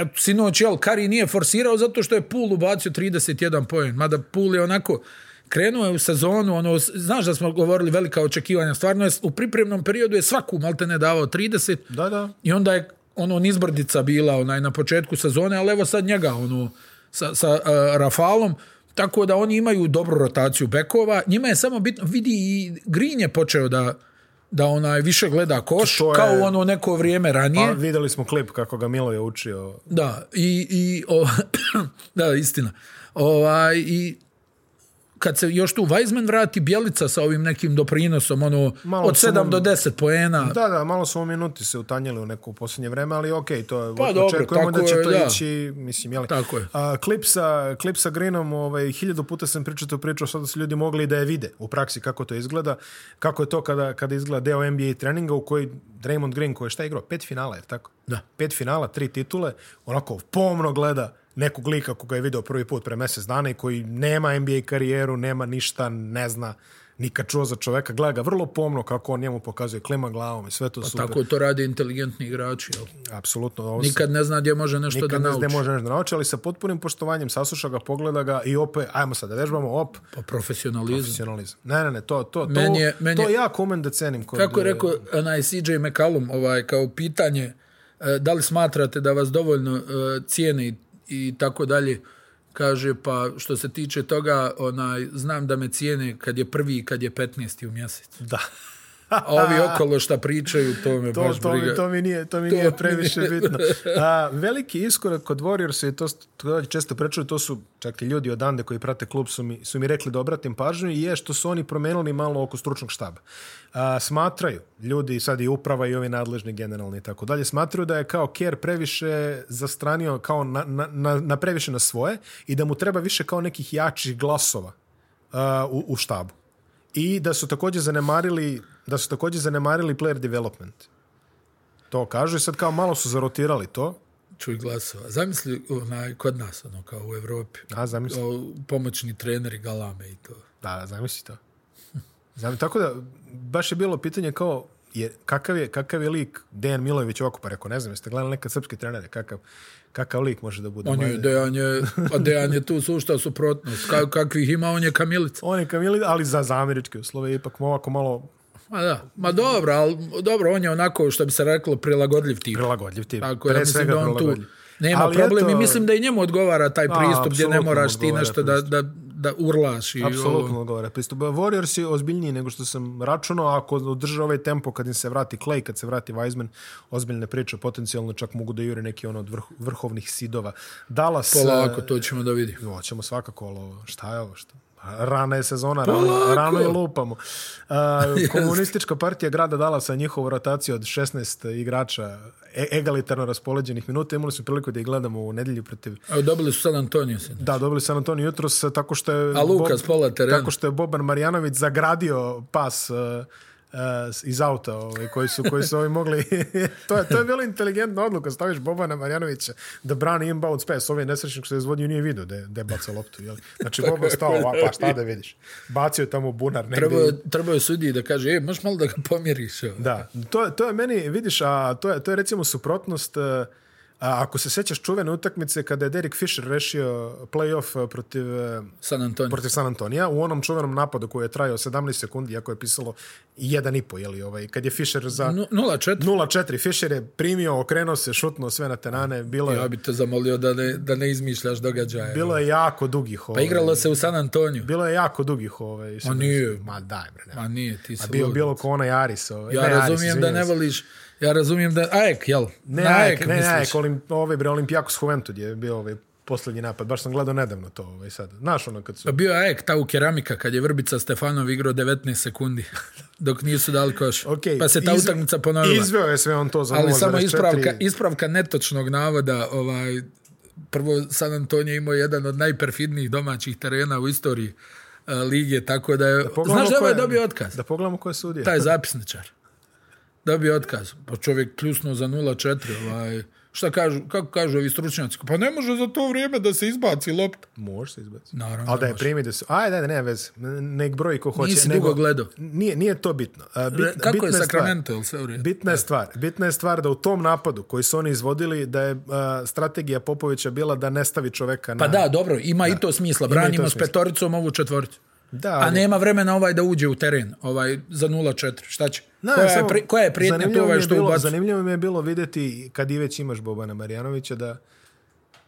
[SPEAKER 2] eto, sinoć, jel, Kari nije forsirao zato što je Poole ubacio 31 poen, mada Poole je onako, krenuo je u sezonu, ono, s- znaš da smo govorili velika očekivanja, stvarno je s- u pripremnom periodu je svaku maltene davao 30,
[SPEAKER 3] Da, da.
[SPEAKER 2] i onda je ono nizbrdica bila onaj na početku sezone, ali evo sad njega ono sa, sa e, Rafalom, tako da oni imaju dobru rotaciju bekova. Njima je samo bitno vidi i Green je počeo da da onaj više gleda koš
[SPEAKER 3] To je- Pa
[SPEAKER 2] kao ono neko vrijeme ranije.
[SPEAKER 3] A videli smo klip kako ga Milo je učio.
[SPEAKER 2] Da, i, i o, da, istina. Ovaj, i kad se još tu Weizman vrati, Bjelica sa ovim nekim doprinosom, ono,
[SPEAKER 3] Malo
[SPEAKER 2] od
[SPEAKER 3] su
[SPEAKER 2] 7
[SPEAKER 3] mu-
[SPEAKER 2] do 10 poena.
[SPEAKER 3] Da, da, malo su u minuti se utanjili u neko u posljednje vreme, ali okej, to je,
[SPEAKER 2] Pa dobro,
[SPEAKER 3] očekujemo da
[SPEAKER 2] tako
[SPEAKER 3] će
[SPEAKER 2] je,
[SPEAKER 3] to
[SPEAKER 2] da.
[SPEAKER 3] ići, mislim, jeli.
[SPEAKER 2] Tako je.
[SPEAKER 3] A, klip, sa, klip sa Greenom, ovaj, hiljadu puta sam pričao tu priču, sada su ljudi mogli da je vide u praksi kako to izgleda, kako je to kada, kada izgleda deo NBA treninga u koji Draymond Green, koji je šta igrao, pet finala, jer tako?
[SPEAKER 2] Da.
[SPEAKER 3] Pet finala, tri titule, onako pomno gleda nekog lika koga je video prvi put pre mjesec dana i koji nema NBA karijeru, nema ništa, ne zna nikad čuo za čoveka, gleda ga vrlo pomno kako on njemu pokazuje klima glavom i sve to
[SPEAKER 2] Pa
[SPEAKER 3] super.
[SPEAKER 2] Tako to rade inteligentni igrači. Jel?
[SPEAKER 3] Apsolutno, ovo
[SPEAKER 2] Nikad ne zna gdje može nešto
[SPEAKER 3] nikad
[SPEAKER 2] da
[SPEAKER 3] ne
[SPEAKER 2] nauči.
[SPEAKER 3] zna može nešto da nauči, ali sa potpunim poštovanjem sasluša ga, pogleda ga i opet, ajmo sad da vežbamo, op,
[SPEAKER 2] Pa profesionalizam.
[SPEAKER 3] profesionalizam. Ne, ne, ne, to, to, to,
[SPEAKER 2] Meni je- meni
[SPEAKER 3] to
[SPEAKER 2] je-
[SPEAKER 3] ja komen da cenim. Kod, e,
[SPEAKER 2] Kako je rekao onaj CJ McCallum, ovaj, kao pitanje, e, da li smatrate da vas dovoljno e, cijene i, i tako dalje, kaže, pa što se tiče toga, onaj, znam da me cijene kad je prvi i kad je 15. u mjesecu.
[SPEAKER 3] Da.
[SPEAKER 2] A ovi okolo šta pričaju, to me
[SPEAKER 3] To,
[SPEAKER 2] baš
[SPEAKER 3] to,
[SPEAKER 2] briga.
[SPEAKER 3] mi, to mi nije, to mi
[SPEAKER 2] To
[SPEAKER 3] nije
[SPEAKER 2] mi
[SPEAKER 3] previše
[SPEAKER 2] nije.
[SPEAKER 3] bitno. A, veliki iskorak kod Warriorsa i to, s- to često prečuju, to su čak i ljudi odande koji prate klub su mi, su mi rekli da obratim pažnju i je što su oni promenili malo oko stručnog štaba. A, smatraju, ljudi sad i uprava i ovi nadležni generalni i tako dalje, smatraju da je kao Kerr previše zastranio kao na, na, na, na previše na svoje i da mu treba više kao nekih jačih glasova a, u, u štabu. I da su također zanemarili da su također zanemarili player development. To kažu i sad kao malo su zarotirali to.
[SPEAKER 2] Čuj glasova. Zamisli onaj, kod nas, ono, kao u Evropi.
[SPEAKER 3] A, zamisli.
[SPEAKER 2] O, pomoćni treneri galame i to.
[SPEAKER 3] Da, da, zamisli to. Zamisli, tako da, baš je bilo pitanje kao, je, kakav, je, kakav je lik Dejan Milojević ovako, pa rekao, ne znam, jeste gledali nekad srpske trenere, kakav, kakav lik može da bude?
[SPEAKER 2] On je,
[SPEAKER 3] Mladen-
[SPEAKER 2] Dejan je, pa Dejan je tu sušta suprotnost. Ka- kakvih ima, on je kamilica.
[SPEAKER 3] On je kamili, ali za, za američke uslove je ipak ovako malo
[SPEAKER 2] Ma da, ma dobro, ali dobro, on je onako, što bi se reklo, prilagodljiv tip.
[SPEAKER 3] prilagodljiv tip.
[SPEAKER 2] Tako, ja mislim da on tu
[SPEAKER 3] prilagodljiv.
[SPEAKER 2] nema
[SPEAKER 3] Ali
[SPEAKER 2] problem
[SPEAKER 3] eto,
[SPEAKER 2] i mislim da i njemu odgovara taj pristup gdje ne
[SPEAKER 3] apsolutno
[SPEAKER 2] moraš ti
[SPEAKER 3] odgovara
[SPEAKER 2] nešto da, da, da urlaš. I
[SPEAKER 3] Apsolutno
[SPEAKER 2] Ovo.
[SPEAKER 3] odgovara pristup. Warriors je ozbiljniji nego što sam računao, a ako održe ovaj tempo kad im se vrati Clay, kad se vrati Wiseman, ozbiljne priče, potencijalno čak mogu da jure neki ono od vrh- vrhovnih sidova. Dallas...
[SPEAKER 2] Polako,
[SPEAKER 3] e,
[SPEAKER 2] to ćemo da vidimo.
[SPEAKER 3] Hoćemo svakako, ali ovo, šta je ovo što? Rana je sezona,
[SPEAKER 2] Polako.
[SPEAKER 3] rano, rano je lupamo. E, komunistička partija grada Dalasa, njihovu rotaciju od 16 igrača e- egalitarno raspoređenih minuta, imali su priliku da ih gledamo u nedelju protiv
[SPEAKER 2] Evo, dobili su San Antonio sin.
[SPEAKER 3] da, dobili San Antonio jutros e, tako što je...
[SPEAKER 2] A Luka s pola terena.
[SPEAKER 3] Tako što je Boban Marjanović zagradio pas e, uh, iz auta ovaj, koji su, koji su ovi mogli... to, je, to je bila inteligentna odluka. Staviš Bobana Marjanovića da brani inbound pass. Ovaj nesrećnik što je izvodio nije vidio da je, da je bacao loptu. Jel? Znači, Boban stao ovako, pa šta da vidiš? Bacio je tamo bunar negdje.
[SPEAKER 2] Trebao je- Trebao je sudiji da kaže, e, možeš malo da ga pomiriš. ovo?
[SPEAKER 3] Da, to, to je meni, vidiš, a to je, to je recimo suprotnost, e, a ako se sećaš čuvene utakmice kada je Derek Fisher rešio playoff e, protiv, e,
[SPEAKER 2] San Antonio.
[SPEAKER 3] protiv San Antonija u onom čuvenom napadu koji je trajao 17 sekundi, iako je pisalo 1,5, jeli, ovaj, kad je Fisher za
[SPEAKER 2] Nu- 0-4.
[SPEAKER 3] 0-4, Fisher je primio, okrenuo se, šutnuo sve na tenane, bilo je,
[SPEAKER 2] Ja bi te zamolio da ne, da ne izmišljaš događaje.
[SPEAKER 3] bilo je jako dugih.
[SPEAKER 2] Pa
[SPEAKER 3] Ovaj,
[SPEAKER 2] igralo se u San Antoniju.
[SPEAKER 3] Bilo je jako dugih. Ovaj, Ma
[SPEAKER 2] nije.
[SPEAKER 3] Ma daj, bre, nema.
[SPEAKER 2] Ma nije, ti si
[SPEAKER 3] A bio,
[SPEAKER 2] lud.
[SPEAKER 3] bilo ko onaj Aris. Ovaj,
[SPEAKER 2] Ja
[SPEAKER 3] ne, Aris,
[SPEAKER 2] razumijem da
[SPEAKER 3] izvinjam
[SPEAKER 2] ne
[SPEAKER 3] se.
[SPEAKER 2] voliš, ja razumijem da... Ajek, jel?
[SPEAKER 3] Ne,
[SPEAKER 2] Na
[SPEAKER 3] Ajek, ne,
[SPEAKER 2] misliš?
[SPEAKER 3] Ajek, olim, ovaj bre, Olimpijakos Juventud je bio ovaj posljednji napad. Baš sam gledao nedavno to ovaj sad. Znaš ono kad su...
[SPEAKER 2] Pa bio je Ajek, ta u keramika, kad je Vrbica Stefanov igrao 19 sekundi, dok nisu dali koš.
[SPEAKER 3] Okej,
[SPEAKER 2] pa se ta
[SPEAKER 3] izve-
[SPEAKER 2] utakmica ponovila.
[SPEAKER 3] Izveo je sve on to za
[SPEAKER 2] Ali
[SPEAKER 3] 0,4.
[SPEAKER 2] samo ispravka, ispravka netočnog navoda, ovaj, prvo San Antonio imao jedan od najperfidnijih domaćih terena u istoriji e, lige, tako da je...
[SPEAKER 3] Pogledamo
[SPEAKER 2] znaš da je
[SPEAKER 3] ko
[SPEAKER 2] ovaj dobio otkaz?
[SPEAKER 3] Da pogledamo ko je sudija.
[SPEAKER 2] Taj zapisničar. Dobio otkaz. Pa čovjek kljusno za 0-4. Ovaj, šta kažu, kako kažu ovi stručnjaci? Pa ne može za to vrijeme da se izbaci lopta.
[SPEAKER 3] Može se izbaciti.
[SPEAKER 2] Naravno
[SPEAKER 3] Ali da je
[SPEAKER 2] može.
[SPEAKER 3] primi da su... Ajde, ajde, nema veze. Nek broji ko hoće.
[SPEAKER 2] Nisi
[SPEAKER 3] nego-
[SPEAKER 2] dugo gledao.
[SPEAKER 3] Nije, nije to bitno. A, Bit,
[SPEAKER 2] Re- kako
[SPEAKER 3] bitna
[SPEAKER 2] je
[SPEAKER 3] stvar-
[SPEAKER 2] Sacramento, jel sve u redu?
[SPEAKER 3] Bitna je stvar. Bitna je stvar da u tom napadu koji su oni izvodili da je a, strategija Popovića bila da ne stavi čoveka na...
[SPEAKER 2] Pa da, dobro, ima i to smisla. Branimo s
[SPEAKER 3] smisla.
[SPEAKER 2] petoricom ovu četvoricu.
[SPEAKER 3] Da,
[SPEAKER 2] A
[SPEAKER 3] ali-
[SPEAKER 2] nema vremena ovaj da uđe u teren, ovaj za 0-4. Šta će?
[SPEAKER 3] Ne,
[SPEAKER 2] koja, je
[SPEAKER 3] samo-
[SPEAKER 2] pri, koja je prijetnja tu
[SPEAKER 3] zanimljivo mi
[SPEAKER 2] ovaj
[SPEAKER 3] je
[SPEAKER 2] što
[SPEAKER 3] bilo-
[SPEAKER 2] ubacu?
[SPEAKER 3] Zanimljivo mi je bilo vidjeti kad i već imaš Bobana Marjanovića da,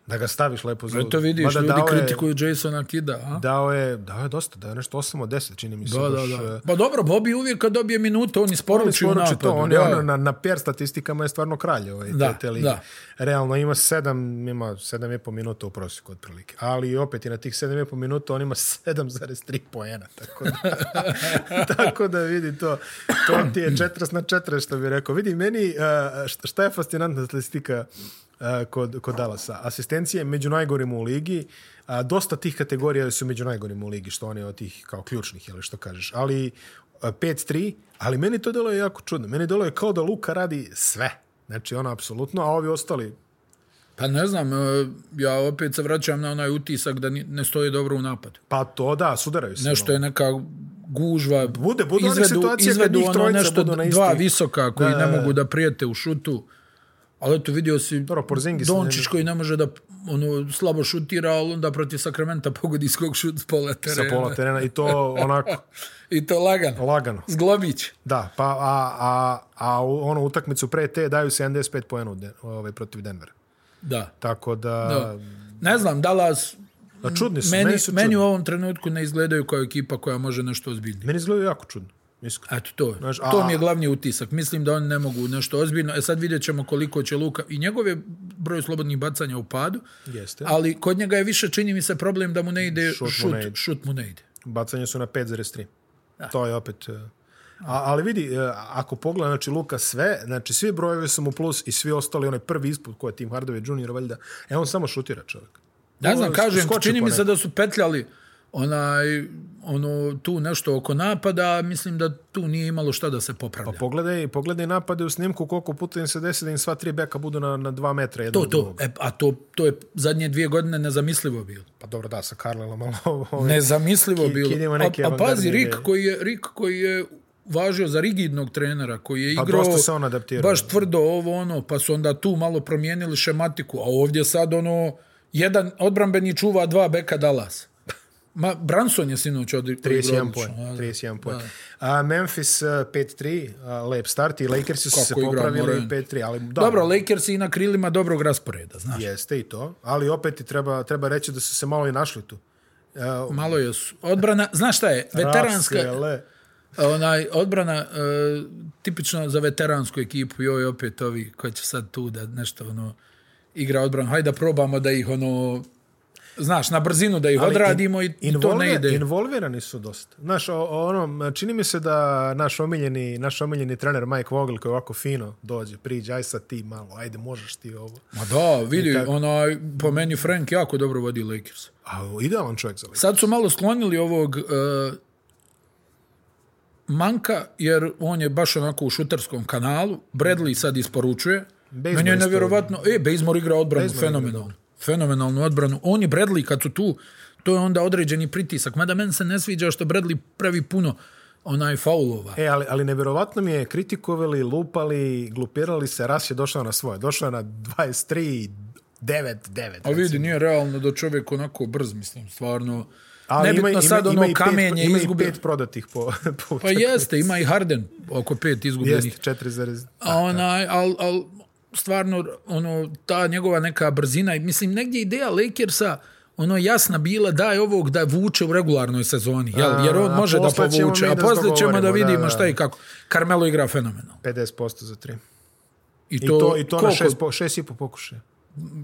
[SPEAKER 3] da ga staviš lepo za
[SPEAKER 2] To vidiš,
[SPEAKER 3] Mada
[SPEAKER 2] ljudi
[SPEAKER 3] dao je-
[SPEAKER 2] kritikuju Jasona Kida. A?
[SPEAKER 3] Dao je, dao je dosta, dao je nešto 8 od 10, čini mi se.
[SPEAKER 2] Da,
[SPEAKER 3] baš,
[SPEAKER 2] da, da.
[SPEAKER 3] eh,
[SPEAKER 2] Pa dobro, Bobby uvijek kad dobije minute, on isporuči u
[SPEAKER 3] isporuči
[SPEAKER 2] napadu.
[SPEAKER 3] to, on je
[SPEAKER 2] da.
[SPEAKER 3] ono, na, na PR statistikama je stvarno kralj ovaj,
[SPEAKER 2] Da,
[SPEAKER 3] te, te lige.
[SPEAKER 2] da.
[SPEAKER 3] Realno ima 7, ima 7,5 minuta u prosjeku otprilike. Ali opet i na tih 7,5 minuta on ima 7,3 poena. Tako da, tako da vidi to. To ti je 40 na 40 što bi rekao. Vidi, meni eh, šta- šta je fascinantna statistika eh, kod, kod Dallasa. Asistencije među najgorima u ligi. A, dosta tih kategorija su među najgorima u ligi, što one od tih kao ključnih, ili što kažeš. Ali a, 5-3, ali meni to delo je jako čudno. Meni delo je kao da Luka radi sve. Znači, ono, apsolutno, a ovi ostali...
[SPEAKER 2] Pa ne znam, e, ja opet se vraćam na onaj utisak da ni- ne stoji dobro u napadu.
[SPEAKER 3] Pa to da, sudaraju se.
[SPEAKER 2] Nešto je neka gužva.
[SPEAKER 3] Bude- bude onih situacija kad
[SPEAKER 2] izvedu
[SPEAKER 3] njih
[SPEAKER 2] ono
[SPEAKER 3] trojica
[SPEAKER 2] nešto,
[SPEAKER 3] budu na isti-
[SPEAKER 2] Dva visoka koji
[SPEAKER 3] Da, da,
[SPEAKER 2] ne
[SPEAKER 3] da.
[SPEAKER 2] mogu da prijete u šutu. Ali eto, vidio si
[SPEAKER 3] Dobro, Porzingis
[SPEAKER 2] Dončić
[SPEAKER 3] ne-
[SPEAKER 2] koji ne može da ono, slabo šutira, ali onda protiv Sakramenta pogodi skog šut s pola
[SPEAKER 3] Sa
[SPEAKER 2] terena.
[SPEAKER 3] pola terena i to onako
[SPEAKER 2] I to lagano.
[SPEAKER 3] lagano.
[SPEAKER 2] Zglobić.
[SPEAKER 3] Da, pa a, a, a u- ono utakmicu pre te daju 75 poena u Den- ovaj, protiv Denvera.
[SPEAKER 2] Da.
[SPEAKER 3] Tako da...
[SPEAKER 2] Da. Ne znam, Dallas
[SPEAKER 3] da čudni su,
[SPEAKER 2] meni,
[SPEAKER 3] meni, su
[SPEAKER 2] meni
[SPEAKER 3] čudni.
[SPEAKER 2] u ovom trenutku ne izgledaju kao ekipa koja može nešto ozbiljnije.
[SPEAKER 3] Meni izgledaju jako čudno. Iskreno.
[SPEAKER 2] Eto to, je.
[SPEAKER 3] Znaš,
[SPEAKER 2] to
[SPEAKER 3] a-
[SPEAKER 2] mi je glavni utisak. Mislim da oni ne mogu nešto ozbiljno. E sad vidjet ćemo koliko će Luka. I njegov je broj slobodnih bacanja u padu,
[SPEAKER 3] Jeste.
[SPEAKER 2] ali kod njega je više, čini mi se, problem da mu ne ide
[SPEAKER 3] Šut
[SPEAKER 2] šut.
[SPEAKER 3] mu
[SPEAKER 2] Šut mu
[SPEAKER 3] ne
[SPEAKER 2] ne
[SPEAKER 3] ide.
[SPEAKER 2] ide.
[SPEAKER 3] Bacanje su na 5,3. To je opet... e, A, ali vidi, e, ako pogleda, znači Luka sve, znači svi brojevi su mu plus i svi ostali, onaj prvi ispod koji je Tim Hardaway Junior valjda, e on samo šutira čovjek.
[SPEAKER 2] Ne
[SPEAKER 3] Ono,
[SPEAKER 2] znam, kažem,
[SPEAKER 3] skoči
[SPEAKER 2] čini
[SPEAKER 3] po
[SPEAKER 2] mi se
[SPEAKER 3] neko.
[SPEAKER 2] da su petljali onaj, ono, tu nešto oko napada, mislim da tu nije imalo šta da se popravlja.
[SPEAKER 3] Pa Pogledaj, pogledaj napade u snimku koliko puta im se desi da im sva tri beka budu na, na dva metra jedno
[SPEAKER 2] to, to, e, a to, to je zadnje dvije godine nezamislivo bilo.
[SPEAKER 3] Pa dobro da, sa Carlelom, ali ovo...
[SPEAKER 2] Nezamislivo
[SPEAKER 3] Ki-
[SPEAKER 2] bilo.
[SPEAKER 3] Kid ima
[SPEAKER 2] A,
[SPEAKER 3] neke
[SPEAKER 2] a pazi,
[SPEAKER 3] avangardne
[SPEAKER 2] Rik
[SPEAKER 3] ideje.
[SPEAKER 2] koji, je, Rik koji je važio za rigidnog trenera, koji je
[SPEAKER 3] Pa
[SPEAKER 2] igrao
[SPEAKER 3] dosta se on adaptirao.
[SPEAKER 2] baš tvrdo ovo ono, pa su onda tu malo promijenili šematiku, a ovdje sad ono, jedan odbrambeni čuva dva beka Dallas. Ma, Branson je sinoć odri- odigrao
[SPEAKER 3] 31
[SPEAKER 2] odlično,
[SPEAKER 3] poen,
[SPEAKER 2] a?
[SPEAKER 3] 31 poen. A Memphis eh, 5-3, a, lep start i Lakersi su se
[SPEAKER 2] Kako igra,
[SPEAKER 3] popravili
[SPEAKER 2] moraju.
[SPEAKER 3] 5-3, ali da,
[SPEAKER 2] Dobro, Lakers je i na krilima dobrog rasporeda, znaš.
[SPEAKER 3] jeste i to, ali opet i treba, treba reći da su se malo i našli tu. E,
[SPEAKER 2] Malo je su. Odbrana, znaš šta je, veteranska,
[SPEAKER 3] Rasele.
[SPEAKER 2] onaj, odbrana e, tipično za veteransku ekipu, joj opet ovi koji će sad tu da nešto ono igra odbranu, hajde da probamo da ih ono znaš, na brzinu da ih
[SPEAKER 3] Ali in-
[SPEAKER 2] odradimo i, i to ne
[SPEAKER 3] involve-
[SPEAKER 2] ide.
[SPEAKER 3] Involvirani su dosta. Naš, o, o, ono, čini mi se da naš omiljeni, naš omiljeni trener Mike Vogel koji ovako fino dođe, priđe, aj sad ti malo, ajde možeš ti ovo.
[SPEAKER 2] Ma da, vidi, onaj, po meni Frank jako dobro vodi Lakers.
[SPEAKER 3] A idealan čovjek za Lakers.
[SPEAKER 2] Sad su malo sklonili ovog e, manjka, jer on je baš onako u šutarskom kanalu. Bradley sad isporučuje.
[SPEAKER 3] Bazemore
[SPEAKER 2] Meni je
[SPEAKER 3] isporučuje.
[SPEAKER 2] nevjerovatno... E, Bazemore igra odbranu,
[SPEAKER 3] Bazemore igra
[SPEAKER 2] fenomenalno. Fenomenalnu odbranu. On i Bradley kad su tu, to je onda određeni pritisak. Mada meni se ne sviđa što Bradley pravi puno onaj faulova.
[SPEAKER 3] E, ali, ali nevjerovatno mi je kritikovali, lupali, glupirali se, ras je došao na svoje. Došao je na 23, 9, 9.
[SPEAKER 2] A vidi, nije realno da čovjek onako brz, mislim, stvarno.
[SPEAKER 3] Ali
[SPEAKER 2] Nebitno sad ono
[SPEAKER 3] i pet-
[SPEAKER 2] kamenje
[SPEAKER 3] ima
[SPEAKER 2] izgubio.
[SPEAKER 3] i pet prodatih po, po
[SPEAKER 2] Pa jeste, ima i Harden oko pet
[SPEAKER 3] Jeste,
[SPEAKER 2] izgubljenih.
[SPEAKER 3] 4,
[SPEAKER 2] A onaj, al, al, stvarno, ono, ta njegova neka brzina, i mislim, negdje ideja Lakersa, ono jasna bila daj ovog da vuče u regularnoj sezoni, jel? jer on
[SPEAKER 3] A,
[SPEAKER 2] može da
[SPEAKER 3] posle ćemo
[SPEAKER 2] povuče,
[SPEAKER 3] mi
[SPEAKER 2] a
[SPEAKER 3] da
[SPEAKER 2] poslije ćemo da
[SPEAKER 3] dogovorimo, da,
[SPEAKER 2] vidimo
[SPEAKER 3] da.
[SPEAKER 2] šta i kako. Carmelo igra fenomenalno.
[SPEAKER 3] 50% za 3.
[SPEAKER 2] I to,
[SPEAKER 3] I to, i to na
[SPEAKER 2] koliko?
[SPEAKER 3] 6, po, šest i po pokušaja.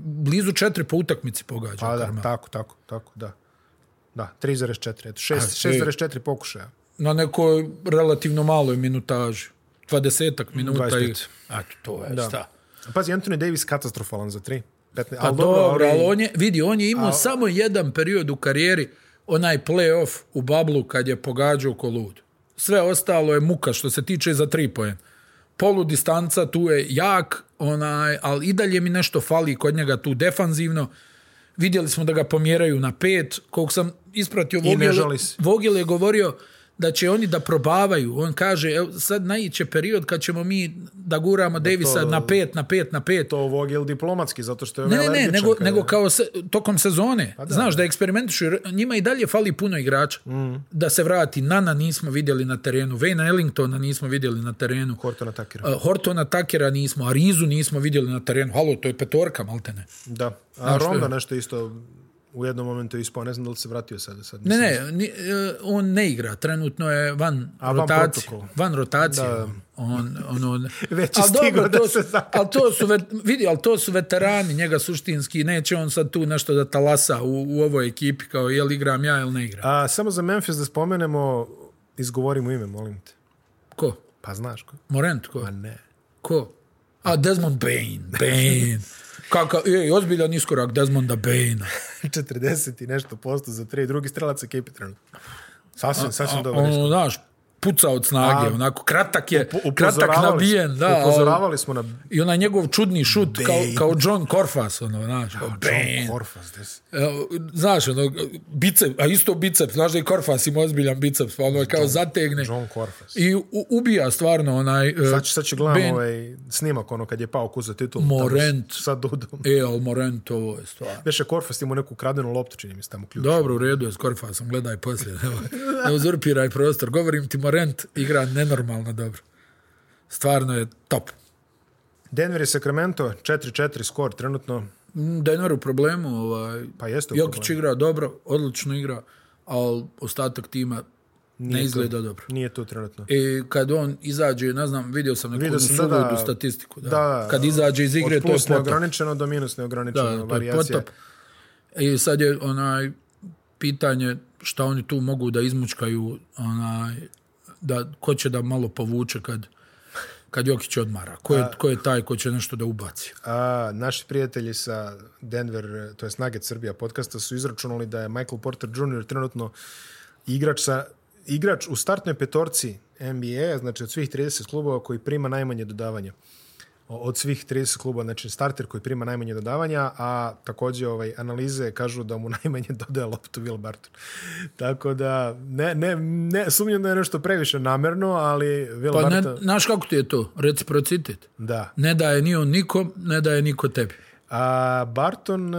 [SPEAKER 2] blizu četiri po utakmici pogađa
[SPEAKER 3] Pa da,
[SPEAKER 2] Carmelo.
[SPEAKER 3] tako, tako, tako, da. Da, 3,4, eto, šest-
[SPEAKER 2] A, ej.
[SPEAKER 3] 6,4 pokušaja.
[SPEAKER 2] Na nekoj relativno maloj minutaži. 20 minuta.
[SPEAKER 3] 25.
[SPEAKER 2] I, eto, to je, šta.
[SPEAKER 3] Pazi, Anthony Davis katastrofalan za 3. 15,
[SPEAKER 2] Pa
[SPEAKER 3] ali
[SPEAKER 2] dobro,
[SPEAKER 3] ali-
[SPEAKER 2] ali on je, vidi, on je imao samo jedan period u karijeri, onaj play-off u bablu kad je pogađao ko lud. Sve ostalo je muka što se tiče za tri poen. Polu distanca tu je jak, onaj, ali i dalje mi nešto fali kod njega tu defanzivno. Vidjeli smo da ga pomjeraju na pet, koliko sam ispratio
[SPEAKER 3] ne
[SPEAKER 2] Vogel,
[SPEAKER 3] žali se.
[SPEAKER 2] Vogel je govorio da će oni da probavaju. On kaže, evo, sad naiće period kad ćemo mi da guramo Davisa na pet, na pet, na pet.
[SPEAKER 3] To Vogel diplomatski, zato što je
[SPEAKER 2] Ne, ne,
[SPEAKER 3] alergičan
[SPEAKER 2] ne, nego,
[SPEAKER 3] kada-
[SPEAKER 2] nego kao se, tokom sezone. Znaš, Pa da Mm. eksperimentiš, njima i dalje fali puno igrača. Da se vrati, Nana nismo vidjeli na terenu, Vejna Ellingtona nismo vidjeli na terenu,
[SPEAKER 3] Horton atakira.
[SPEAKER 2] uh, Hortona Takera nismo, Arizu nismo vidjeli na terenu. Halo, to je petorka, maltene.
[SPEAKER 3] Da. A
[SPEAKER 2] Znaš što
[SPEAKER 3] Ronda
[SPEAKER 2] je?
[SPEAKER 3] nešto isto u jednom momentu je ispao, ne znam da li se vratio sada. sad
[SPEAKER 2] Ne,
[SPEAKER 3] nisam-
[SPEAKER 2] ne, ni- e, on ne igra, trenutno je van
[SPEAKER 3] A, van
[SPEAKER 2] rotacije.
[SPEAKER 3] protokol.
[SPEAKER 2] Van rotacije. On, on, on.
[SPEAKER 3] Već
[SPEAKER 2] Al
[SPEAKER 3] je stigao da
[SPEAKER 2] to
[SPEAKER 3] se
[SPEAKER 2] su-
[SPEAKER 3] zakati.
[SPEAKER 2] al to su, vet- vidi, ali to su veterani, njega suštinski, neće on sad tu nešto da talasa u, u ovoj ekipi, kao jel igram ja ili ne igram.
[SPEAKER 3] A, samo za Memphis da spomenemo, izgovorimo ime, molim te.
[SPEAKER 2] Ko?
[SPEAKER 3] Pa znaš ko?
[SPEAKER 2] Morent, ko?
[SPEAKER 3] Pa ne.
[SPEAKER 2] Ko? A Desmond Bain, Bain. Kaka, je, ozbiljan iskorak Desmonda Baina.
[SPEAKER 3] 40 i nešto posto za tri drugi strelac ekipi trenutno. Sasvim, sasvim dobro.
[SPEAKER 2] Ono, znaš, puca od snage,
[SPEAKER 3] A,
[SPEAKER 2] onako, kratak je,
[SPEAKER 3] Upozoravali
[SPEAKER 2] kratak
[SPEAKER 3] smo-
[SPEAKER 2] nabijen, da. ali-
[SPEAKER 3] Upozoravali smo na
[SPEAKER 2] I onaj njegov čudni šut kao,
[SPEAKER 3] Bain.
[SPEAKER 2] kao John Korfas, ono, znaš, kao Bain.
[SPEAKER 3] John Korfas, des.
[SPEAKER 2] Evo, Znaš, ono, bicep, a isto bicep, znaš da i Korfas ima ozbiljan biceps, pa ono je kao zategne.
[SPEAKER 3] John Korfas.
[SPEAKER 2] I u- ubija stvarno onaj... e,
[SPEAKER 3] Sad, ću- sad ću gledam
[SPEAKER 2] Ben-
[SPEAKER 3] ovaj snimak, ono kad je pao ku za titul.
[SPEAKER 2] Morent.
[SPEAKER 3] Sad dodam.
[SPEAKER 2] E, al Morent, ovo je stvar.
[SPEAKER 3] Veše Korfas imao neku kradenu loptu, čini mi se tamo ključ.
[SPEAKER 2] Dobro, u redu je, skorfa sam, gledaj poslije. evo, Ne uzurpiraj prostor. Govorim ti, Morent igra nenormalno dobro. Stvarno je top.
[SPEAKER 3] Denver i Sacramento, 4-4 skor trenutno.
[SPEAKER 2] Mm, Denver u problemu. Ovaj,
[SPEAKER 3] Pa jeste u
[SPEAKER 2] Jokić igra dobro, odlično igra, ali ostatak tima ne izgleda dobro.
[SPEAKER 3] Nije tu trenutno.
[SPEAKER 2] E, kad on izađe, ne znam, vidio sam neku
[SPEAKER 3] Vidio
[SPEAKER 2] jednu
[SPEAKER 3] sam, da,
[SPEAKER 2] suludu
[SPEAKER 3] da.
[SPEAKER 2] statistiku. Da.
[SPEAKER 3] Da,
[SPEAKER 2] kad izađe iz igre,
[SPEAKER 3] Od
[SPEAKER 2] to je
[SPEAKER 3] plus
[SPEAKER 2] potop.
[SPEAKER 3] neograničeno do minus neograničeno.
[SPEAKER 2] Da, to je
[SPEAKER 3] varijacija.
[SPEAKER 2] potop. I sad je onaj pitanje šta oni tu mogu da izmučkaju, onaj, da, ko će da malo povuče kad, kad Jokić odmara. Ko je, ko je taj ko će nešto da ubaci?
[SPEAKER 3] A, naši prijatelji sa Denver, to je Nugget Srbija podcasta, su izračunali da je Michael Porter Jr. trenutno igrač, sa, igrač u startnoj petorci NBA, znači od svih 30 klubova koji prima najmanje dodavanja. O- Od svih 30 klubova, znači starter koji prima najmanje dodavanja, a takođe ovaj, analize kažu da mu najmanje dodaje loptu Will Barton. Tako da, ne, ne, ne, sumnjam da je nešto previše namerno, ali Will
[SPEAKER 2] Pa ne,
[SPEAKER 3] Barton...
[SPEAKER 2] znaš kako ti je to? Reciprocitet.
[SPEAKER 3] Da.
[SPEAKER 2] Ne daje ni on nikom, ne daje niko tebi.
[SPEAKER 3] A Barton, e,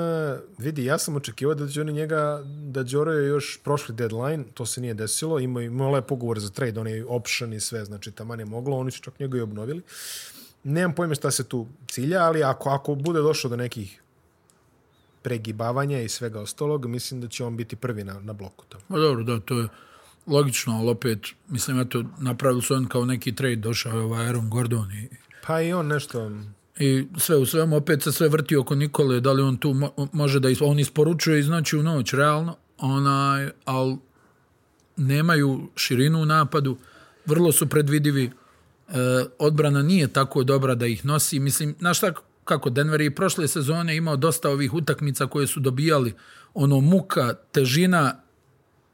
[SPEAKER 3] vidi, ja sam očekivao da će oni njega, da Đoro je još prošli deadline, to se nije desilo, imao je imao je lep ugovor za trade, on je option i sve, znači taman je moglo, oni su čak njega i obnovili. Nemam pojma šta se tu cilja, ali ako, ako bude došlo do nekih pregibavanja i svega ostalog, mislim da će on biti prvi na, na bloku tamo.
[SPEAKER 2] Pa dobro, da, to je logično, ali opet, mislim, eto, napravili su on kao neki trade, došao je ovaj Aaron Gordon i
[SPEAKER 3] Pa i on nešto...
[SPEAKER 2] I sve u svemu, opet se sve vrti oko Nikole, da li on tu mo- može da... is- On isporučuje iz noći u noć, realno, onaj, ali nemaju širinu u napadu, vrlo su predvidivi, e, odbrana nije tako dobra da ih nosi. Mislim, znaš šta, kako Denver je i prošle sezone imao dosta ovih utakmica koje su dobijali, ono muka, težina,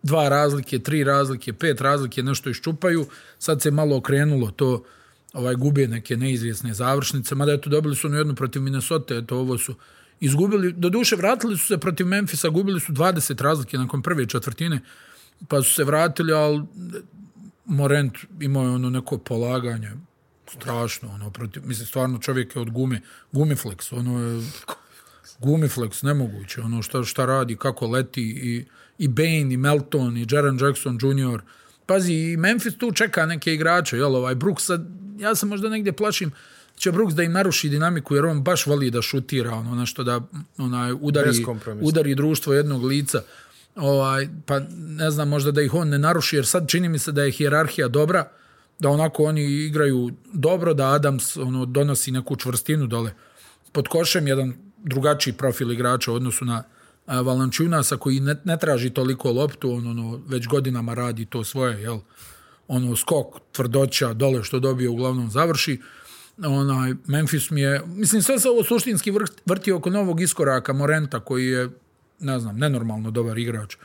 [SPEAKER 2] dva razlike, tri razlike, pet razlike, nešto iščupaju. Sad se malo okrenulo to, ovaj gube neke neizvjesne završnice, mada eto dobili su ono jednu protiv Minnesota, eto ovo su izgubili, do duše vratili su se protiv Memfisa, gubili su 20 razlike nakon prve četvrtine, pa su se vratili, ali Morent imao je ono neko polaganje, strašno, ono, protiv, mislim, stvarno čovjek je od gume, gumiflex, ono je, gumiflex, nemoguće, ono šta, šta radi, kako leti, i, i Bane, i Melton, i Jaron Jackson Jr., pazi, i Memphis tu čeka neke igrače, jel, ovaj, Brooks, sad, ja se možda negdje plašim, će Brooks da im naruši dinamiku, jer on baš voli da šutira, ono, nešto da, onaj, udari,
[SPEAKER 3] Beskompromisno.
[SPEAKER 2] udari društvo jednog lica, ovaj, pa ne znam, možda da ih on ne naruši, jer sad čini mi se da je hijerarhija dobra, da onako oni igraju dobro, da Adams ono donosi neku čvrstinu dole pod košem, jedan drugačiji profil igrača u odnosu na a, Valančunasa koji ne, ne traži toliko loptu, on ono, već godinama radi to svoje, jel? Ono, skok, tvrdoća, dole što dobije uglavnom završi. Onaj, Memphis mi je, mislim, sve se ovo suštinski vrt, vrti oko novog iskoraka Morenta koji je, ne znam, nenormalno dobar igrač.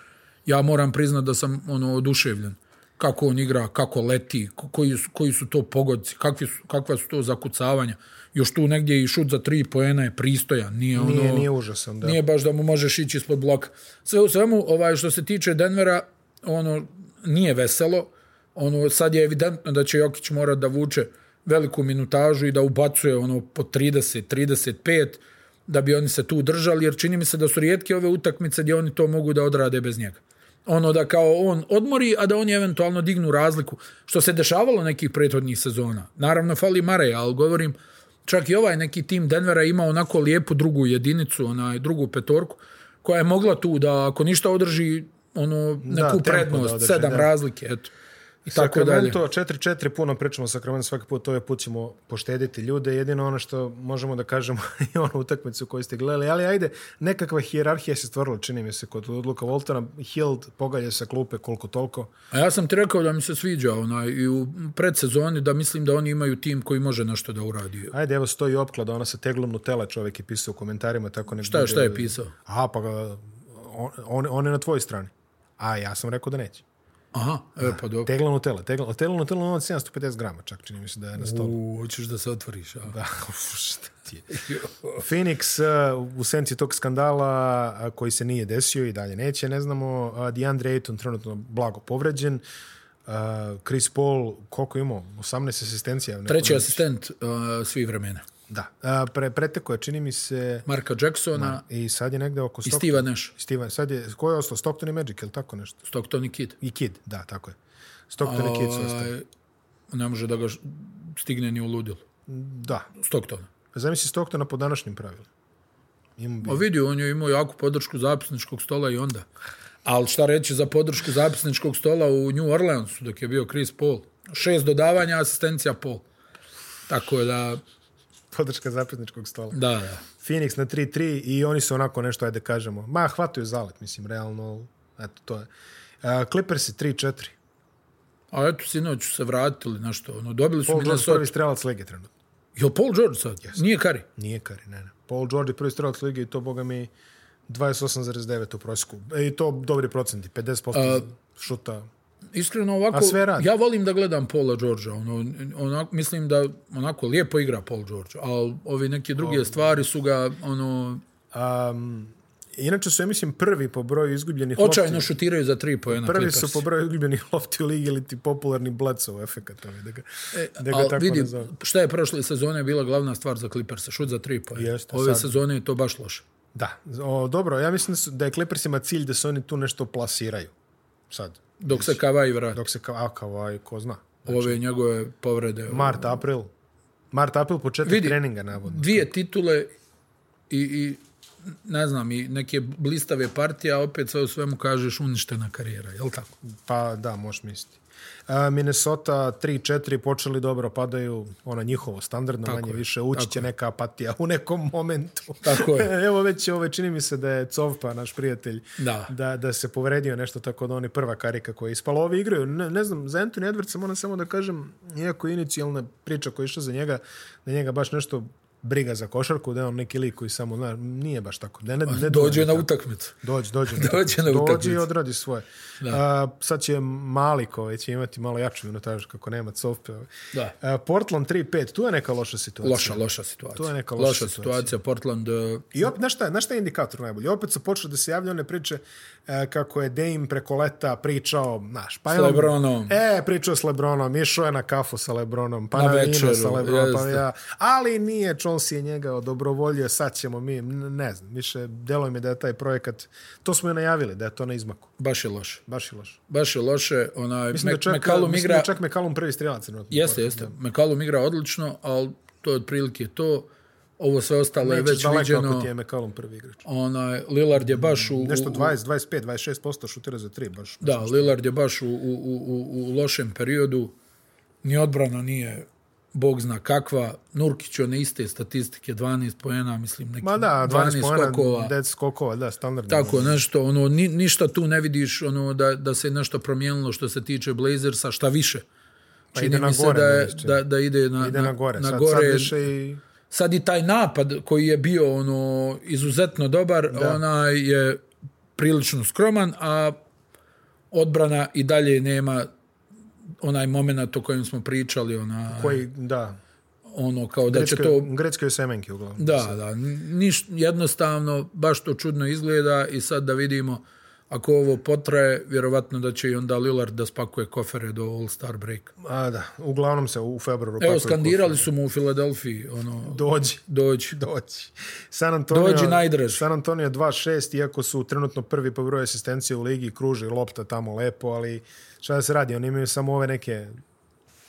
[SPEAKER 2] Ja moram priznat da sam ono oduševljen kako on igra, kako leti, ko- koji su, koji su to pogodci, kakvi su, kakva su to zakucavanja. Još tu negdje i šut za tri poena je pristojan, nije, ono...
[SPEAKER 3] Nije, nije užasan, da.
[SPEAKER 2] Nije baš da mu možeš ići ispod bloka. Sve u svemu, ovaj, što se tiče Denvera, ono, nije veselo. Ono, sad je evidentno da će Jokić morat da vuče veliku minutažu i da ubacuje ono po 30, 35, da bi oni se tu držali, jer čini mi se da su rijetke ove utakmice gdje oni to mogu da odrade bez njega. Ono da kao on odmori, a da oni eventualno dignu razliku, što se dešavalo nekih prethodnih sezona. Naravno, fali Mareja, ali govorim, čak i ovaj neki tim Denvera ima onako lijepu drugu jedinicu, onaj drugu petorku, koja je mogla tu da, ako ništa održi, ono, neku
[SPEAKER 3] tempo da
[SPEAKER 2] prednost,
[SPEAKER 3] održi,
[SPEAKER 2] sedam
[SPEAKER 3] da.
[SPEAKER 2] razlike, eto. I tako dalje.
[SPEAKER 3] Sacramento 4-4, puno pričamo o Sacramento svaki put, to je put ćemo poštediti ljude, jedino ono što možemo da kažemo je ono utakmicu koju ste gledali, ali ajde, nekakva hijerarhija se stvorila, čini mi se, kod odluka Voltona, Hild pogalje sa klupe koliko toliko,
[SPEAKER 2] A ja sam ti rekao da mi se sviđa onaj, i u predsezoni da mislim da oni imaju tim koji može nešto da uradi.
[SPEAKER 3] ajde, evo stoji opklada, ona sa teglom Nutella čovjek je pisao u komentarima, tako nek
[SPEAKER 2] Šta, je- šta je pisao?
[SPEAKER 3] A, pa ga- on, on, on je na tvojoj strani. A ja sam rekao da neće.
[SPEAKER 2] Aha, e, pa dobro.
[SPEAKER 3] Tegla Nutella, tegla, tegla Nutella, ono 750 grama čak, čini mi se da je na stolu.
[SPEAKER 2] U, hoćeš da se otvoriš, a?
[SPEAKER 3] Da, uf, šta ti je. Phoenix uh, u senci tog skandala uh, koji se nije desio i dalje neće, ne znamo. Uh, DeAndre Ayton trenutno blago povređen. Uh, Chris Paul, koliko je imao? 18 asistencija. neko
[SPEAKER 2] Treći
[SPEAKER 3] već.
[SPEAKER 2] asistent uh, svih vremena.
[SPEAKER 3] Da. Uh, pre, preteko je, čini mi se,
[SPEAKER 2] Marka Jacksona
[SPEAKER 3] i sad je negde oko...
[SPEAKER 2] i
[SPEAKER 3] Stock-
[SPEAKER 2] Steve Nash.
[SPEAKER 3] Steven, sad je, ko je ostao? Stockton i Magic, ili tako nešto?
[SPEAKER 2] Stockton i Kid.
[SPEAKER 3] I Kid, da, tako je. Stockton i Kid su ostali.
[SPEAKER 2] Ovaj, ne može da ga š- stigne ni u ludilo.
[SPEAKER 3] Da.
[SPEAKER 2] Stocktona.
[SPEAKER 3] Zamisli Stocktona po današnjim pravilima. Imao bi
[SPEAKER 2] A vidi, Pa on je imao jaku podršku zapisničkog stola i onda. Ali šta reći za podršku zapisničkog stola u New Orleansu dok je bio Chris Paul? Šest dodavanja, asistencija Paul. Tako da,
[SPEAKER 3] podrška zapisničkog stola.
[SPEAKER 2] da, da.
[SPEAKER 3] Phoenix na 3-3 i oni su onako nešto, ajde kažemo, ma hvataju zalet, mislim, realno, eto, to je. Uh, Clippers je 3-4.
[SPEAKER 2] A eto, sinoć su se vratili nešto. Ono, dobili su
[SPEAKER 3] Paul George
[SPEAKER 2] Minnesota.
[SPEAKER 3] prvi strelac lige trenutno.
[SPEAKER 2] Jo, Paul George sad? Nije Kari.
[SPEAKER 3] Nije Kari, ne, ne. Paul George je prvi strelac lige i to, boga mi, 28,9 u prosjeku. E, I to dobri procenti, 50% šuta.
[SPEAKER 2] Iskreno ovako,
[SPEAKER 3] A sve radi.
[SPEAKER 2] ja volim da gledam Paula Georgea. Ono, onako, mislim da onako lijepo igra Paul George, ali ove neke druge stvari su ga ono,
[SPEAKER 3] Um, inače su, ja mislim, prvi po broju izgubljenih
[SPEAKER 2] očajno
[SPEAKER 3] lopti.
[SPEAKER 2] šutiraju za tri pojena.
[SPEAKER 3] Prvi su po broju izgubljenih lopti u ligi ili ti popularni Bledsoe efekat. Ovaj, da ga, da ga
[SPEAKER 2] Ali
[SPEAKER 3] tako
[SPEAKER 2] vidi,
[SPEAKER 3] nazovem.
[SPEAKER 2] šta je prošle sezone bila glavna stvar za Clippersa, šut za tri pojena.
[SPEAKER 3] Jeste,
[SPEAKER 2] Ove
[SPEAKER 3] sad-
[SPEAKER 2] sezone je to baš loše.
[SPEAKER 3] Da, o, dobro, ja mislim da, su, da je Clippersima cilj da se oni tu nešto plasiraju. Sad,
[SPEAKER 2] Dok se Kavaj vrati.
[SPEAKER 3] dok znači. se kao, a kao, aj, ko zna.
[SPEAKER 2] Ove njegove povrede.
[SPEAKER 3] Mart, april. Mart, april, početak
[SPEAKER 2] Vidi.
[SPEAKER 3] treninga, navodno.
[SPEAKER 2] Dvije titule i, i ne znam, i neke blistave partije, a opet sve u svemu kažeš uništena karijera, jel tako?
[SPEAKER 3] Pa da, možeš misliti. A, Minnesota 3-4 počeli dobro, padaju ona njihovo standardno, manje
[SPEAKER 2] je,
[SPEAKER 3] više ući će neka apatija u nekom momentu.
[SPEAKER 2] Tako je.
[SPEAKER 3] Evo već ove, čini mi se da je Covpa, naš prijatelj,
[SPEAKER 2] Da.
[SPEAKER 3] da, da se povredio nešto tako da on je prva karika koja je ispala. Ovi igraju, ne, ne znam, za Anthony Edwardsa moram samo da kažem, iako je inicijalna priča koja je išla za njega, da njega baš nešto briga za košarku, da je on neki lik koji samo, znaš, nije baš tako. Ne, ne,
[SPEAKER 2] Dođe
[SPEAKER 3] ne dođe
[SPEAKER 2] na utakmicu.
[SPEAKER 3] Dođi, dođi.
[SPEAKER 2] Dođi na
[SPEAKER 3] Dođi i
[SPEAKER 2] utakmicu.
[SPEAKER 3] odradi svoje. A, sad će mali koji će imati malo jaču minutažu kako nema cofpe. ovaj.
[SPEAKER 2] Da.
[SPEAKER 3] A, Portland 3-5, tu je neka loša situacija.
[SPEAKER 2] Loša, loša situacija.
[SPEAKER 3] To je neka loša
[SPEAKER 2] loša, situacija. Portland, e,
[SPEAKER 3] I opet, znaš šta, je- znaš šta je indikator najbolji? Opet su počeli da se javljaju one priče e, kako je Dame preko leta pričao, znaš, pa je
[SPEAKER 2] S
[SPEAKER 3] on-
[SPEAKER 2] Lebronom.
[SPEAKER 3] E, pričao s Lebronom, išao je na kafu sa Lebronom, pa na,
[SPEAKER 2] Na
[SPEAKER 3] večeru,
[SPEAKER 2] večeru,
[SPEAKER 3] sa Lebronom, pa
[SPEAKER 2] jeste.
[SPEAKER 3] ja. Ali nije, Chauncey je njega odobrovoljio, sad ćemo mi, n- ne znam, više, delo mi da je taj projekat, to smo i najavili, da je to na izmaku.
[SPEAKER 2] baš je loše.
[SPEAKER 3] Baš je loše.
[SPEAKER 2] Baš je loše. Onaj,
[SPEAKER 3] Mislim, da
[SPEAKER 2] Mac-
[SPEAKER 3] čak,
[SPEAKER 2] McCallum
[SPEAKER 3] mislim
[SPEAKER 2] igra...
[SPEAKER 3] da je čak McCallum prvi strijelac. trenutno.
[SPEAKER 2] Jeste, jeste. McCallum igra odlično, ali to je otprilike to. Ovo sve ostalo je
[SPEAKER 3] Nećeš
[SPEAKER 2] već
[SPEAKER 3] daleko ako ti je
[SPEAKER 2] viđeno.
[SPEAKER 3] McCallum prvi igrač.
[SPEAKER 2] Onaj, Lillard je baš u...
[SPEAKER 3] Nešto
[SPEAKER 2] u-
[SPEAKER 3] 20, 25, 26% šutira za tri, baš.
[SPEAKER 2] Da, Lillard je baš u, u, u, u- u lošem periodu. Ni odbrana nije bog zna kakva. Nurkić je one iste statistike, 12 poena, mislim, neki
[SPEAKER 3] Ma da, 12
[SPEAKER 2] skokova.
[SPEAKER 3] pojena, 10 skokova, da, standardno.
[SPEAKER 2] Tako nešto, ono, ni, ništa tu ne vidiš ono, da, da se nešto promijenilo što se tiče Blazersa, šta više. Čini
[SPEAKER 3] Pa ide na
[SPEAKER 2] mi se
[SPEAKER 3] gore,
[SPEAKER 2] da, je,
[SPEAKER 3] najčešće.
[SPEAKER 2] da, da ide na,
[SPEAKER 3] Ide na gore,
[SPEAKER 2] na
[SPEAKER 3] sad,
[SPEAKER 2] gore.
[SPEAKER 3] sad više i...
[SPEAKER 2] Sad i taj napad koji je bio ono izuzetno dobar, onaj je prilično skroman, a odbrana i dalje nema onaj moment o kojem smo pričali, ona,
[SPEAKER 3] Koji, da,
[SPEAKER 2] ono kao da će
[SPEAKER 3] grečke,
[SPEAKER 2] to...
[SPEAKER 3] grečke semenke uglavnom.
[SPEAKER 2] Da, da, niš, jednostavno baš to čudno izgleda i sad da vidimo ako ovo potraje, vjerovatno da će i onda Lillard da spakuje kofere do All-Star break.
[SPEAKER 3] A da, uglavnom se u februaru
[SPEAKER 2] Evo,
[SPEAKER 3] pakuju
[SPEAKER 2] skandirali su mu u Filadelfiji, ono,
[SPEAKER 3] kufre. Dođi.
[SPEAKER 2] dođi.
[SPEAKER 3] Doći. Znači, San Antonio,
[SPEAKER 2] Dođi najdraž.
[SPEAKER 3] San Antonio 2-6, iako su trenutno prvi po broju asistencije u ligi, kruži lopta tamo lepo, ali šta da se radi, oni imaju samo ove neke...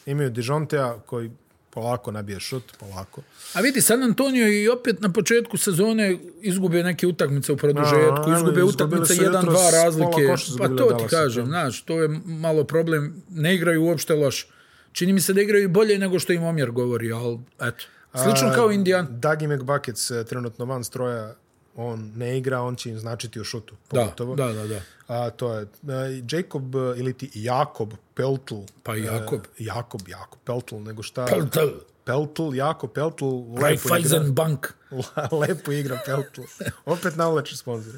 [SPEAKER 3] Imaju Dijontea koji polako nabije šut, polako.
[SPEAKER 2] A vidi, San Antonio i opet na početku sezone izgube neke utakmice u produžetku,
[SPEAKER 3] A,
[SPEAKER 2] izgube
[SPEAKER 3] izgubili
[SPEAKER 2] utakmice
[SPEAKER 3] su jutros
[SPEAKER 2] 1-2
[SPEAKER 3] pola
[SPEAKER 2] razlike.
[SPEAKER 3] koša su
[SPEAKER 2] Pa
[SPEAKER 3] izgubili
[SPEAKER 2] to ti
[SPEAKER 3] Dallasu,
[SPEAKER 2] kažem,
[SPEAKER 3] da.
[SPEAKER 2] znaš, to je malo problem. Ne igraju uopšte loše. Čini mi se da igraju i bolje nego što im omjer govori, ali eto. Slično kao Indijan.
[SPEAKER 3] Dagi McBuckets e, trenutno van stroja, on ne igra, on će im značiti u šutu.
[SPEAKER 2] Da,
[SPEAKER 3] Pogotovo.
[SPEAKER 2] da, da, da.
[SPEAKER 3] A, to je e, Jacob e, ili ti Jakob Peltl.
[SPEAKER 2] Pa Jakob.
[SPEAKER 3] E, Jakob, Jakob Peltl, nego šta?
[SPEAKER 2] Peltl.
[SPEAKER 3] Peltl, Jakob Peltl. Lepo igra,
[SPEAKER 2] Raiffeisen Bank.
[SPEAKER 3] lepo igra Peltl. Opet navlači sponzore.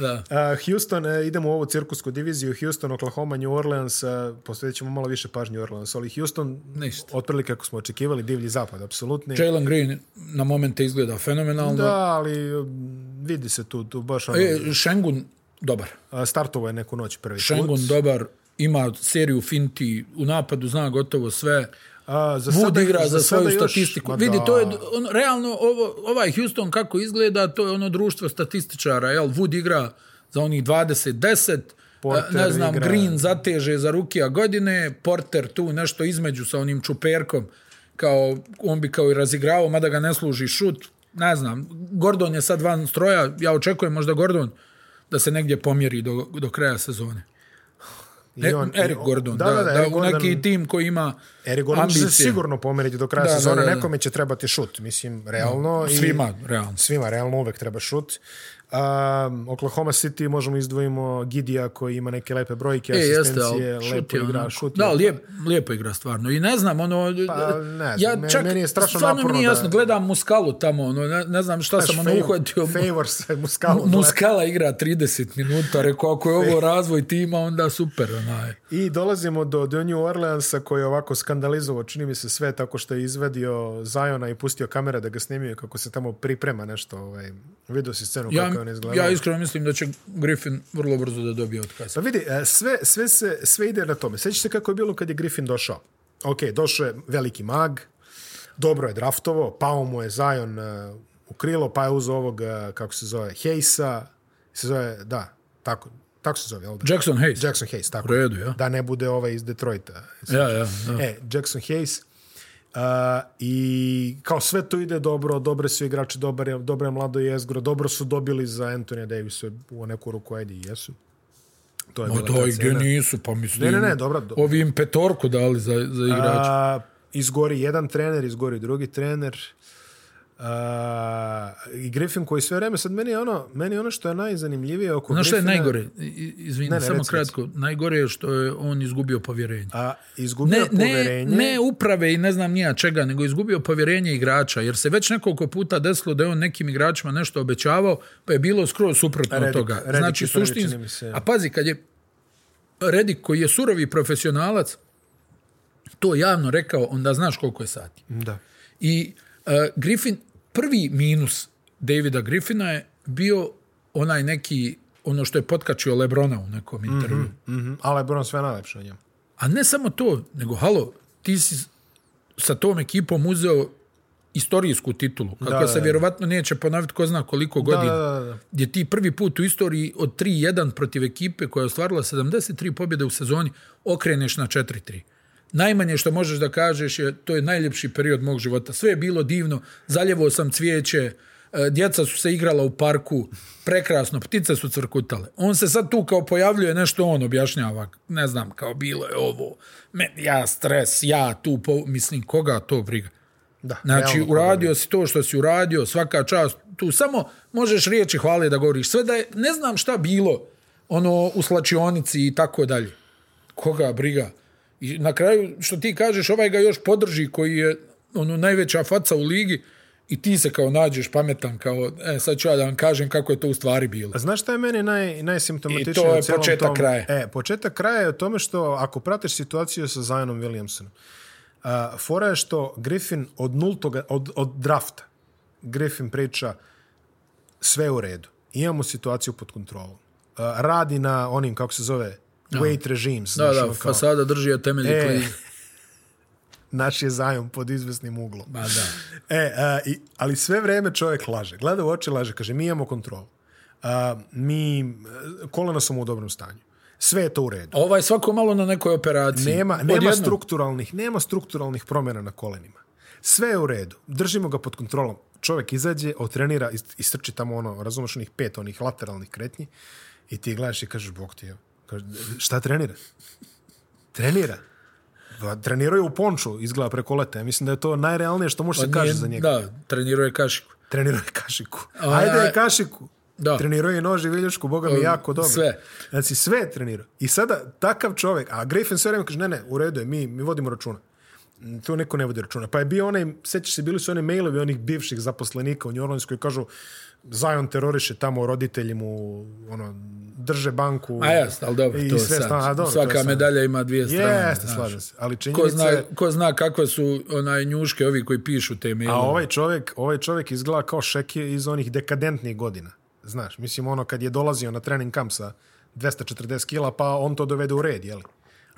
[SPEAKER 2] Da.
[SPEAKER 3] Uh, Houston, e, idemo u ovu cirkusku diviziju. Houston, Oklahoma, New Orleans. Uh, posvetit ćemo malo više pažnje New Orleans, ali Houston,
[SPEAKER 2] Ništa.
[SPEAKER 3] otprilike kako smo očekivali, divlji zapad, apsolutni.
[SPEAKER 2] Jalen Green na momente izgleda fenomenalno.
[SPEAKER 3] Da, ali um, vidi se tu, tu baš ono,
[SPEAKER 2] E, Šengun, dobar.
[SPEAKER 3] a, startovao je neku noć prvi put.
[SPEAKER 2] Šengun, dobar. Ima seriju finti, u napadu zna gotovo sve.
[SPEAKER 3] A, za
[SPEAKER 2] Wood
[SPEAKER 3] sada-
[SPEAKER 2] igra za,
[SPEAKER 3] sada
[SPEAKER 2] svoju
[SPEAKER 3] još-
[SPEAKER 2] statistiku.
[SPEAKER 3] Ma
[SPEAKER 2] Vidi,
[SPEAKER 3] da.
[SPEAKER 2] to je on, realno ovo, ovaj Houston kako izgleda, to je ono društvo statističara, jel? Wood igra za onih 20-10,
[SPEAKER 3] Porter
[SPEAKER 2] e, ne znam,
[SPEAKER 3] igra-
[SPEAKER 2] Green zateže za rukija godine, Porter tu nešto između sa onim čuperkom, kao, on bi kao i razigravao, mada ga ne služi šut, ne znam, Gordon je sad van stroja, ja očekujem možda Gordon da se negdje pomjeri do, do kraja sezone.
[SPEAKER 3] I on- i
[SPEAKER 2] e, Eric
[SPEAKER 3] on-
[SPEAKER 2] Gordon, da, da, da,
[SPEAKER 3] Eric
[SPEAKER 2] u neki
[SPEAKER 3] Gordon-
[SPEAKER 2] tim koji ima
[SPEAKER 3] Eric Gordon će se
[SPEAKER 2] ambicije.
[SPEAKER 3] sigurno pomeriti do kraja
[SPEAKER 2] Da, da,
[SPEAKER 3] sezone.
[SPEAKER 2] da, da.
[SPEAKER 3] Nekome će trebati šut, mislim, realno. i-
[SPEAKER 2] Svima, realno.
[SPEAKER 3] Ono, Svima, realno uvek treba šut. Um, Oklahoma City možemo izdvojimo Gidija koji ima neke lepe brojke,
[SPEAKER 2] E, jeste, ali
[SPEAKER 3] asistencije,
[SPEAKER 2] šut
[SPEAKER 3] lepo
[SPEAKER 2] je
[SPEAKER 3] igra,
[SPEAKER 2] onako.
[SPEAKER 3] šut. je- ono-
[SPEAKER 2] Da, lijep, lijepo igra stvarno. I ne znam, ono...
[SPEAKER 3] Pa, ne znam, meni-
[SPEAKER 2] ja čak,
[SPEAKER 3] meni je strašno
[SPEAKER 2] stvarno mi
[SPEAKER 3] naporno
[SPEAKER 2] nije
[SPEAKER 3] da-
[SPEAKER 2] jasno, gledam Muskalu tamo, ono, ne, ne znam šta
[SPEAKER 3] Znaš,
[SPEAKER 2] sam ono
[SPEAKER 3] Favor-
[SPEAKER 2] uhvatio.
[SPEAKER 3] Favors, Muscalo.
[SPEAKER 2] Muskala igra 30 minuta, rekao, ako je ovo razvoj tima, onda super, onaj.
[SPEAKER 3] I dolazimo do, do New Orleansa koji je ovako skandalizovao, čini mi se sve, tako što je izvadio Zajona i pustio kamera da ga snimio kako se tamo priprema nešto. Ovaj, vidio si scenu
[SPEAKER 2] Ja,
[SPEAKER 3] kako je on izgledao.
[SPEAKER 2] ja iskreno mislim da će Griffin vrlo brzo da dobije otkaz.
[SPEAKER 3] Pa vidi, e, sve, sve, se, sve ide na tome. Sjećaš se kako je bilo kad je Griffin došao? Ok, došao je veliki mag, dobro je draftovo, pao mu je Zion e, u krilo, pa je uzao ovog, e, kako se zove, Hejsa, se zove, da, tako, tako se zove, jel da?
[SPEAKER 2] Jackson Hayes.
[SPEAKER 3] Jackson Hayes, tako.
[SPEAKER 2] U redu, ja.
[SPEAKER 3] Da ne bude ovaj iz Detroita.
[SPEAKER 2] Ja, ja, da.
[SPEAKER 3] E, Jackson Hayes. Uh, I kao sve to ide dobro, dobre su igrači, dobar je, dobro je mlado jezgro, dobro su dobili za Antonija Davisa u neku ruku, ajde i jesu. To je
[SPEAKER 2] Ma
[SPEAKER 3] bila
[SPEAKER 2] da,
[SPEAKER 3] ta
[SPEAKER 2] i gdje
[SPEAKER 3] cena.
[SPEAKER 2] nisu, pa mislim...
[SPEAKER 3] Ne, ne, ne, dobra, do-
[SPEAKER 2] Ovi im petorku dali za, za igrača.
[SPEAKER 3] A, izgori jedan trener, izgori drugi trener. Uh, I Griffin koji sve vreme, sad meni je ono, meni je ono što je najzanimljivije oko
[SPEAKER 2] Znaš što je
[SPEAKER 3] Griffina-
[SPEAKER 2] najgore? I- i- Izvini,
[SPEAKER 3] Ne, ne,
[SPEAKER 2] samo
[SPEAKER 3] reci,
[SPEAKER 2] kratko. Najgore je što je on izgubio povjerenje.
[SPEAKER 3] A
[SPEAKER 2] Ne,
[SPEAKER 3] izgubio
[SPEAKER 2] ne,
[SPEAKER 3] poverenje.
[SPEAKER 2] ne uprave i ne znam nija čega, nego izgubio povjerenje igrača, jer se već nekoliko puta desilo da je on nekim igračima nešto obećavao, pa je bilo skroz suprotno od
[SPEAKER 3] Redick-
[SPEAKER 2] toga.
[SPEAKER 3] Redick
[SPEAKER 2] znači,
[SPEAKER 3] je prvi,
[SPEAKER 2] suštinski-
[SPEAKER 3] čini mi se.
[SPEAKER 2] A pazi, kad je Redik koji je surovi profesionalac, to javno rekao, onda znaš koliko je sati.
[SPEAKER 3] Da.
[SPEAKER 2] I uh, Griffin, prvi minus Davida Griffina je bio onaj neki, ono što je potkačio Lebrona u nekom intervju.
[SPEAKER 3] Mhm, Ali je Bron sve najlepše o njemu.
[SPEAKER 2] A ne samo to, nego halo, ti si sa tom ekipom uzeo istorijsku titulu, kako
[SPEAKER 3] da,
[SPEAKER 2] se
[SPEAKER 3] da.
[SPEAKER 2] vjerovatno neće ponoviti ko zna koliko godina.
[SPEAKER 3] da, da, da.
[SPEAKER 2] Gdje ti prvi put u istoriji od 3-1 protiv ekipe koja je ostvarila 73 pobjede u sezoni, okreneš na 4-3. Najmanje što možeš da kažeš je to je najljepši period mog života. Sve je bilo divno, zaljevao sam cvijeće, e, djeca su se igrala u parku, prekrasno, ptice su crkutale. On se sad tu kao pojavljuje nešto on objašnjava, ne znam, kao bilo je ovo, me, ja stres, ja tu, po, mislim, koga to briga.
[SPEAKER 3] da
[SPEAKER 2] Znači,
[SPEAKER 3] realno problem.
[SPEAKER 2] uradio si to što si uradio, svaka čast, tu samo možeš riječi hvale da govoriš. Sve da je, ne znam šta bilo, ono, u slačionici i tako dalje. Koga briga. I na kraju, što ti kažeš, ovaj ga još podrži, koji je ono, najveća faca u ligi, i ti se kao nađeš pametan, kao, e, sad ću ja da vam kažem kako je to u stvari bilo.
[SPEAKER 3] A znaš šta je meni naj, najsimptomatičnije
[SPEAKER 2] I to je
[SPEAKER 3] u cijelom
[SPEAKER 2] početak
[SPEAKER 3] tom-
[SPEAKER 2] kraja.
[SPEAKER 3] E, početak kraja je o tome što ako pratiš situaciju sa Zionom Williamsonom, a, fora je što Griffin od nultoga, od, od drafta, Griffin priča sve je u redu. Imamo situaciju pod kontrolom. A, radi na onim, kako se zove, weight regimes.
[SPEAKER 2] Da,
[SPEAKER 3] znaš,
[SPEAKER 2] da,
[SPEAKER 3] ono kao,
[SPEAKER 2] fasada drži od temelji
[SPEAKER 3] E.
[SPEAKER 2] klizi.
[SPEAKER 3] naš je Zion pod izvesnim uglom.
[SPEAKER 2] Ba, da.
[SPEAKER 3] E, a, i, ali sve vreme čovjek laže. Gleda u oči, laže. Kaže, mi imamo kontrolu. A, mi, e, kolena su mu u dobrom stanju. Sve je to u redu.
[SPEAKER 2] A Ovaj svako malo na nekoj operaciji.
[SPEAKER 3] Nema, nema,
[SPEAKER 2] Odjednom.
[SPEAKER 3] strukturalnih, nema strukturalnih promjena na kolenima. Sve je u redu. Držimo ga pod kontrolom. Čovjek izađe, otrenira, ist- istrči tamo ono, razumeš onih pet, onih lateralnih kretnji i ti gledaš i kažeš, bok ti je. Kaže, šta trenira? Trenira. Pa, trenirao je u ponču, izgleda preko leta. Ja Mislim da je to najrealnije što može se
[SPEAKER 2] Nije-
[SPEAKER 3] kaže za njega.
[SPEAKER 2] Da, trenirao je kašiku.
[SPEAKER 3] Trenirao je kašiku.
[SPEAKER 2] A,
[SPEAKER 3] Ajde
[SPEAKER 2] a,
[SPEAKER 3] je kašiku.
[SPEAKER 2] da.
[SPEAKER 3] Trenirao je nož i viljušku, boga mi jako dobro.
[SPEAKER 2] sve.
[SPEAKER 3] Znači, sve je trenirao. I sada takav čovjek, a Griffin sve vrijeme kaže, ne, ne, u redu je, mi, mi vodimo računa. Mm, Tu niko ne vodi računa. Pa je bio onaj, sjećaš se, bili su one mailovi onih bivših zaposlenika u New Orleans koji kažu Zion teroriše tamo roditelji mu, ono, drže banku.
[SPEAKER 2] A jasno, ali dobro,
[SPEAKER 3] i
[SPEAKER 2] to je
[SPEAKER 3] sve
[SPEAKER 2] sad.
[SPEAKER 3] stano- a dobro, to je
[SPEAKER 2] Svaka
[SPEAKER 3] sad.
[SPEAKER 2] medalja ima dvije strane.
[SPEAKER 3] Jeste,
[SPEAKER 2] znaš.
[SPEAKER 3] slažem se. Ali
[SPEAKER 2] Ko
[SPEAKER 3] činjenica
[SPEAKER 2] zna,
[SPEAKER 3] je-
[SPEAKER 2] ko zna kakve su onaj njuške ovi koji pišu te mailove.
[SPEAKER 3] A ovaj čovjek, ovaj čovjek izgleda kao Šeki iz onih dekadentnih godina. Znaš, mislim ono kad je dolazio na trening kamp sa 240 kila, pa on to dovede u red, jeli?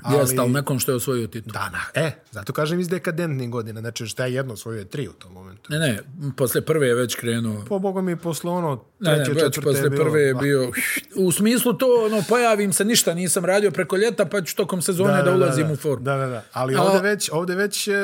[SPEAKER 3] Ali,
[SPEAKER 2] Jeste, ali nakon što je osvojio titul.
[SPEAKER 3] Da, na, e, zato kažem iz dekadentnih godina. Znači, šta je jedno svoje je tri u tom momentu.
[SPEAKER 2] Ne, ne, posle prve je već krenuo.
[SPEAKER 3] Po Bogu mi posle ono
[SPEAKER 2] Ne,
[SPEAKER 3] treće,
[SPEAKER 2] ne, već
[SPEAKER 3] četvrte
[SPEAKER 2] posle
[SPEAKER 3] je bilo, pa,
[SPEAKER 2] prve je
[SPEAKER 3] da.
[SPEAKER 2] bio... U smislu to, ono, pojavim se, ništa nisam radio preko ljeta, pa ću tokom sezone da, ulazim u formu.
[SPEAKER 3] Da, da, da. Ali
[SPEAKER 2] A-
[SPEAKER 3] ovdje već, ovdje već e,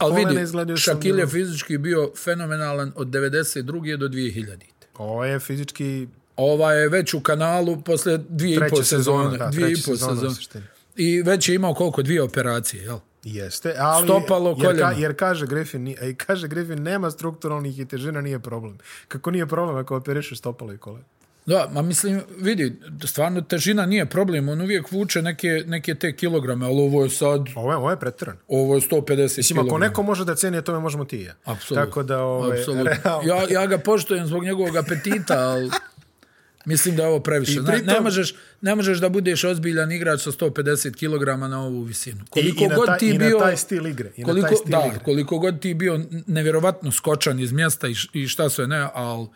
[SPEAKER 2] ali
[SPEAKER 3] kolena
[SPEAKER 2] vidi,
[SPEAKER 3] izgledaju sam-
[SPEAKER 2] Šakil je fizički bio fenomenalan od 92. do 2000.
[SPEAKER 3] Ovo je fizički
[SPEAKER 2] Ova je već u kanalu posle dvije i
[SPEAKER 3] Treća
[SPEAKER 2] po sezone.
[SPEAKER 3] sezona, da,
[SPEAKER 2] dvije i
[SPEAKER 3] treća
[SPEAKER 2] po
[SPEAKER 3] sezona u
[SPEAKER 2] sezone.
[SPEAKER 3] suštini.
[SPEAKER 2] I već je imao koliko? Dvije operacije, jel?
[SPEAKER 3] Jeste, ali
[SPEAKER 2] Stopalo,
[SPEAKER 3] jer,
[SPEAKER 2] koljeno.
[SPEAKER 3] ka, jer kaže Griffin, ni- e, kaže Griffin nema strukturalnih i težina nije problem. Kako nije problem ako operišeš stopalo i koleno?
[SPEAKER 2] Da, ma mislim, vidi, stvarno težina nije problem, on uvijek vuče neke, neke te kilograme, ali ovo je sad,
[SPEAKER 3] Ovo je, ovo je pretrano.
[SPEAKER 2] ovo je 150
[SPEAKER 3] Mislim, ako
[SPEAKER 2] kilograma.
[SPEAKER 3] neko može da ceni, tome možemo ti i ja.
[SPEAKER 2] Apsolutno.
[SPEAKER 3] Tako da, ove,
[SPEAKER 2] Apsolutno.
[SPEAKER 3] realno,
[SPEAKER 2] Ja, ja ga poštujem zbog njegovog apetita, ali mislim da je ovo previše.
[SPEAKER 3] I
[SPEAKER 2] Zna- ne,
[SPEAKER 3] pritom-
[SPEAKER 2] možeš, ne možeš da budeš ozbiljan igrač sa 150 kilograma na ovu visinu.
[SPEAKER 3] i,
[SPEAKER 2] Koliko
[SPEAKER 3] i, na
[SPEAKER 2] god
[SPEAKER 3] taj,
[SPEAKER 2] ti
[SPEAKER 3] i
[SPEAKER 2] bio...
[SPEAKER 3] na taj stil igre. I na
[SPEAKER 2] koliko,
[SPEAKER 3] taj stil
[SPEAKER 2] da,
[SPEAKER 3] igre.
[SPEAKER 2] koliko god ti bio nevjerovatno skočan iz mjesta i, š- i šta sve ne, ali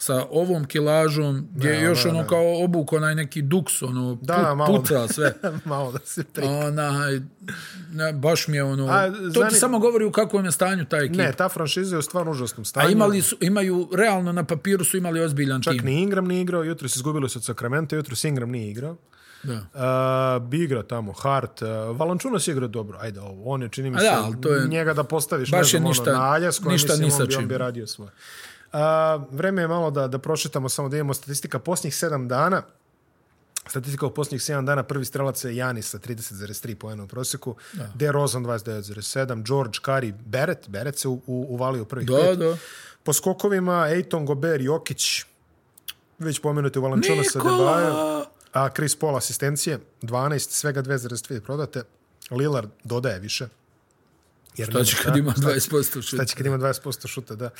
[SPEAKER 2] sa ovom kilažom gdje je još ono kao obuk onaj neki duks, ono
[SPEAKER 3] Da,
[SPEAKER 2] put-
[SPEAKER 3] malo.
[SPEAKER 2] puca sve.
[SPEAKER 3] Malo da se pri...
[SPEAKER 2] Onaj, ne, baš mi je ono...
[SPEAKER 3] A,
[SPEAKER 2] to ti
[SPEAKER 3] zani-
[SPEAKER 2] samo govori u kakvom je stanju taj ekipa.
[SPEAKER 3] Ne, ta franšiza je u stvarno užasnom stanju.
[SPEAKER 2] A imali su, imaju, realno na papiru su imali ozbiljan
[SPEAKER 3] Čak
[SPEAKER 2] tim.
[SPEAKER 3] ni Ingram nije igrao, jutro se izgubili su od Sacramento, jutro se Ingram nije igrao.
[SPEAKER 2] Da.
[SPEAKER 3] Uh, bi igra tamo, Hart, uh, Valančunas je igrao dobro, ajde ovo, on je čini mi
[SPEAKER 2] A
[SPEAKER 3] se,
[SPEAKER 2] da, ali to je-
[SPEAKER 3] njega da postaviš,
[SPEAKER 2] baš
[SPEAKER 3] ne
[SPEAKER 2] je
[SPEAKER 3] znam,
[SPEAKER 2] ništa-
[SPEAKER 3] ono, na Aljasku,
[SPEAKER 2] ništa
[SPEAKER 3] mislim,
[SPEAKER 2] ni sa
[SPEAKER 3] on bi, on
[SPEAKER 2] čim.
[SPEAKER 3] bi radio svoje. Uh, vreme je malo da, da prošetamo, samo da imamo statistika posljednjih sedam dana, Statistika u posljednjih 7 dana, prvi strelac je Janis sa 30,3 poena u prosjeku, De Rozan 29,7, George Kari, Beret, Beret se u- u- uvalio u prvih
[SPEAKER 2] Da,
[SPEAKER 3] pet.
[SPEAKER 2] da.
[SPEAKER 3] Po skokovima, Ejton, Gober, Jokić, već pomenuti u Valančona sa
[SPEAKER 2] Nikola!
[SPEAKER 3] Debaja, a Chris Paul asistencije, 12, svega 2,2 prodate, Lillard dodaje više. Jer
[SPEAKER 2] To
[SPEAKER 3] nema
[SPEAKER 2] će
[SPEAKER 3] šta.
[SPEAKER 2] kad ima
[SPEAKER 3] Šta će-
[SPEAKER 2] 20% šuta.
[SPEAKER 3] Šta će kad ima 20% šuta, da.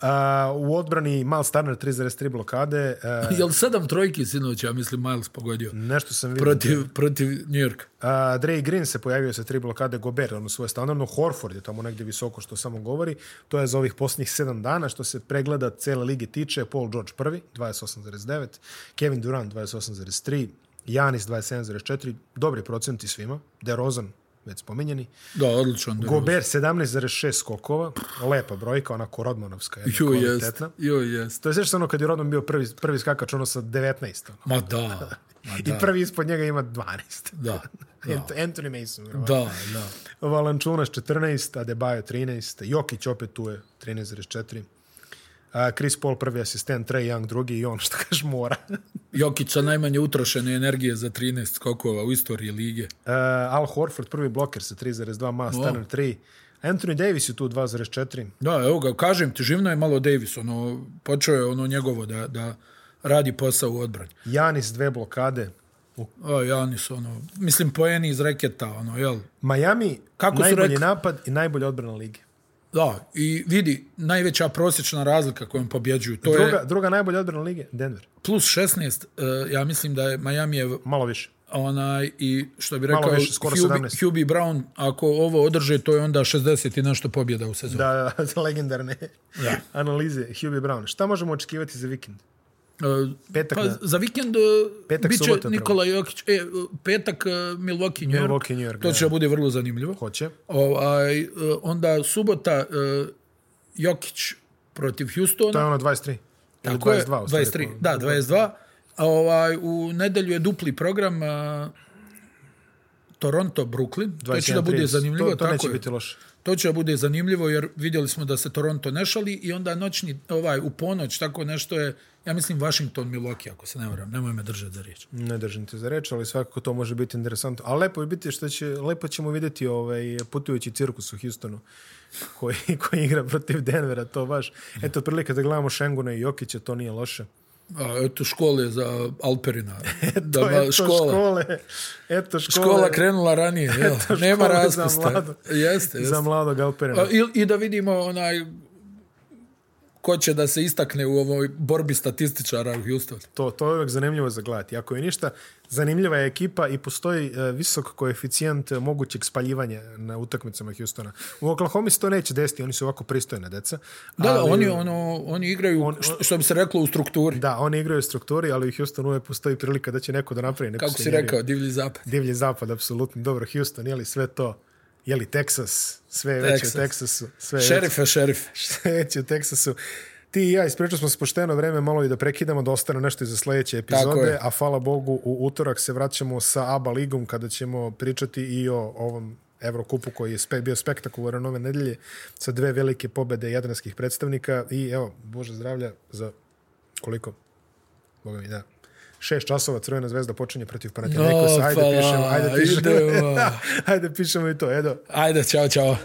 [SPEAKER 3] A, u odbrani Miles Turner 3,3 blokade. a,
[SPEAKER 2] Jel sedam trojki sinoć, ja mislim, Miles pogodio.
[SPEAKER 3] nešto sam vidio.
[SPEAKER 2] Protiv, protiv New Yorka.
[SPEAKER 3] A, Dre Green se pojavio sa tri blokade Gobert, ono svoje standardno. Horford je tamo negdje visoko što samo govori. To je za ovih posljednjih sedam dana što se pregleda cele lige tiče. Paul George prvi, 28,9. Kevin Durant, 28,3. Janis, 27,4. Dobri procenti svima. DeRozan, već spominjeni.
[SPEAKER 2] Da, odličan. drugo.
[SPEAKER 3] Gobert, 17,6 skokova. Lepa brojka, onako rodmanovska. jedna
[SPEAKER 2] Jo, jest.
[SPEAKER 3] kvalitetna.
[SPEAKER 2] Jo, jest.
[SPEAKER 3] To je sve što ono kad je rodom bio prvi, prvi skakač, ono sa 19. ono.
[SPEAKER 2] Ma da. Ma
[SPEAKER 3] I
[SPEAKER 2] da.
[SPEAKER 3] prvi ispod njega ima 12.
[SPEAKER 2] Da. Da,
[SPEAKER 3] Ant- Anthony Mason, verovatno.
[SPEAKER 2] da. da.
[SPEAKER 3] Valančunas 14, Adebayo 13, Jokić opet tu je 13,4. A Chris Paul prvi asistent, Trae Young drugi i on što kaže mora.
[SPEAKER 2] Jokić sa najmanje utrošene energije za 13 skokova u istoriji lige.
[SPEAKER 3] Uh, Al Horford prvi bloker sa 3,2, Ma Stanner 3. Anthony Davis je tu 2,4.
[SPEAKER 2] Da, evo ga, kažem ti, živno je malo Davis, ono, počeo je ono njegovo da, da radi posao u odbranju.
[SPEAKER 3] Janis dve blokade. U
[SPEAKER 2] A Janis, ono, mislim, poeni iz reketa, ono, jel?
[SPEAKER 3] Miami
[SPEAKER 2] Kako su
[SPEAKER 3] najbolji
[SPEAKER 2] rekli?
[SPEAKER 3] napad i najbolja odbrana lige.
[SPEAKER 2] Da, i vidi, najveća prosječna razlika kojom pobjeđuju, to
[SPEAKER 3] Druga,
[SPEAKER 2] je
[SPEAKER 3] druga najbolja odbrana lige, Denver.
[SPEAKER 2] plus 16, e, ja mislim da je Miami je
[SPEAKER 3] Malo više.
[SPEAKER 2] onaj, i što bi rekao,
[SPEAKER 3] više, skoro 17.
[SPEAKER 2] Hubie, Hubie Brown, ako ovo održe, to je onda 60 i nešto pobjeda u sezoni.
[SPEAKER 3] Da, da, da, legendarne analize. Hubie Brown. Šta možemo očekivati za vikend?
[SPEAKER 2] E,
[SPEAKER 3] Petak
[SPEAKER 2] pa,
[SPEAKER 3] na-
[SPEAKER 2] za vikend e,
[SPEAKER 3] Petak,
[SPEAKER 2] bit će
[SPEAKER 3] subota,
[SPEAKER 2] Nikola Jokić, e, petak e, Milwaukee, New York.
[SPEAKER 3] Milwaukee, New York,
[SPEAKER 2] to će da
[SPEAKER 3] da.
[SPEAKER 2] bude vrlo zanimljivo.
[SPEAKER 3] Hoće.
[SPEAKER 2] Ovaj, e, onda subota e, Jokić protiv Houstona.
[SPEAKER 3] To je ono 23. Ili
[SPEAKER 2] Tako je,
[SPEAKER 3] 22, u stvari,
[SPEAKER 2] 23,
[SPEAKER 3] po-
[SPEAKER 2] da, 22. A ovaj, u nedelju je dupli program a, Toronto, Brooklyn. To će Znači da
[SPEAKER 3] 21,
[SPEAKER 2] bude
[SPEAKER 3] 30.
[SPEAKER 2] zanimljivo.
[SPEAKER 3] To, to
[SPEAKER 2] tako
[SPEAKER 3] neće
[SPEAKER 2] je.
[SPEAKER 3] biti loše.
[SPEAKER 2] To će da bude zanimljivo jer vidjeli smo da se Toronto ne šali i onda noćni, ovaj, u ponoć tako nešto je, ja mislim Washington Milwaukee ako se ne varam, nemoj me držati za riječ.
[SPEAKER 3] Ne držim te za reč, ali svakako to može biti interesantno. A lepo je biti što će, lepo ćemo vidjeti ovaj putujući cirkus u Houstonu koji, koji igra protiv Denvera, to baš. Eto, prilike da gledamo Šenguna i Jokića, to nije loše.
[SPEAKER 2] A, eto škole za Alperina. da,
[SPEAKER 3] E, To,
[SPEAKER 2] ba,
[SPEAKER 3] eto,
[SPEAKER 2] škola.
[SPEAKER 3] škole. Eto, škole.
[SPEAKER 2] Škola krenula ranije, jel? nema
[SPEAKER 3] škole za
[SPEAKER 2] raspusta.
[SPEAKER 3] mlado.
[SPEAKER 2] Jeste, jeste.
[SPEAKER 3] Za mladog Alperina.
[SPEAKER 2] A, I, I da vidimo onaj ko će da se istakne u ovoj borbi statističara u Houstonu.
[SPEAKER 3] To, to je uvek zanimljivo za gledati. Ako je ništa, zanimljiva je ekipa i postoji e, visok koeficijent e, mogućeg spaljivanja na utakmicama Houstona. U Oklahoma se to neće desiti, oni su ovako pristojna deca.
[SPEAKER 2] Da,
[SPEAKER 3] ali-
[SPEAKER 2] oni, ono, oni igraju, što, što bi se reklo, u strukturi.
[SPEAKER 3] Da, oni igraju u strukturi, ali u Houstonu uvek postoji prilika da će neko da napravi neku
[SPEAKER 2] kako si
[SPEAKER 3] svinjariju.
[SPEAKER 2] rekao, divlji zapad.
[SPEAKER 3] Divlji zapad, apsolutno. Dobro, Houston, je li sve to? Je li Texas? Sve je već
[SPEAKER 2] Texas.
[SPEAKER 3] u Texasu. Sve je već-
[SPEAKER 2] Šerife, šerife.
[SPEAKER 3] sve je već u Texasu. Ti i ja ispričali smo se pošteno vreme malo i da prekidamo, da ostane nešto i za sledeće epizode,
[SPEAKER 2] je.
[SPEAKER 3] a hvala Bogu u utorak se vraćamo sa ABA ligom kada ćemo pričati i o ovom Evrokupu koji je spe, bio spektakularan ove nedelje sa dve velike pobede jadranskih predstavnika i evo, Bože zdravlja za koliko? Boga mi da. Šest časova Crvena zvezda počinje protiv Panathinaikosa. Ajde
[SPEAKER 2] Opala,
[SPEAKER 3] pišemo, ajde pišemo.
[SPEAKER 2] idemo.
[SPEAKER 3] ajde pišemo i to. Edo.
[SPEAKER 2] Ajde, čao, čao.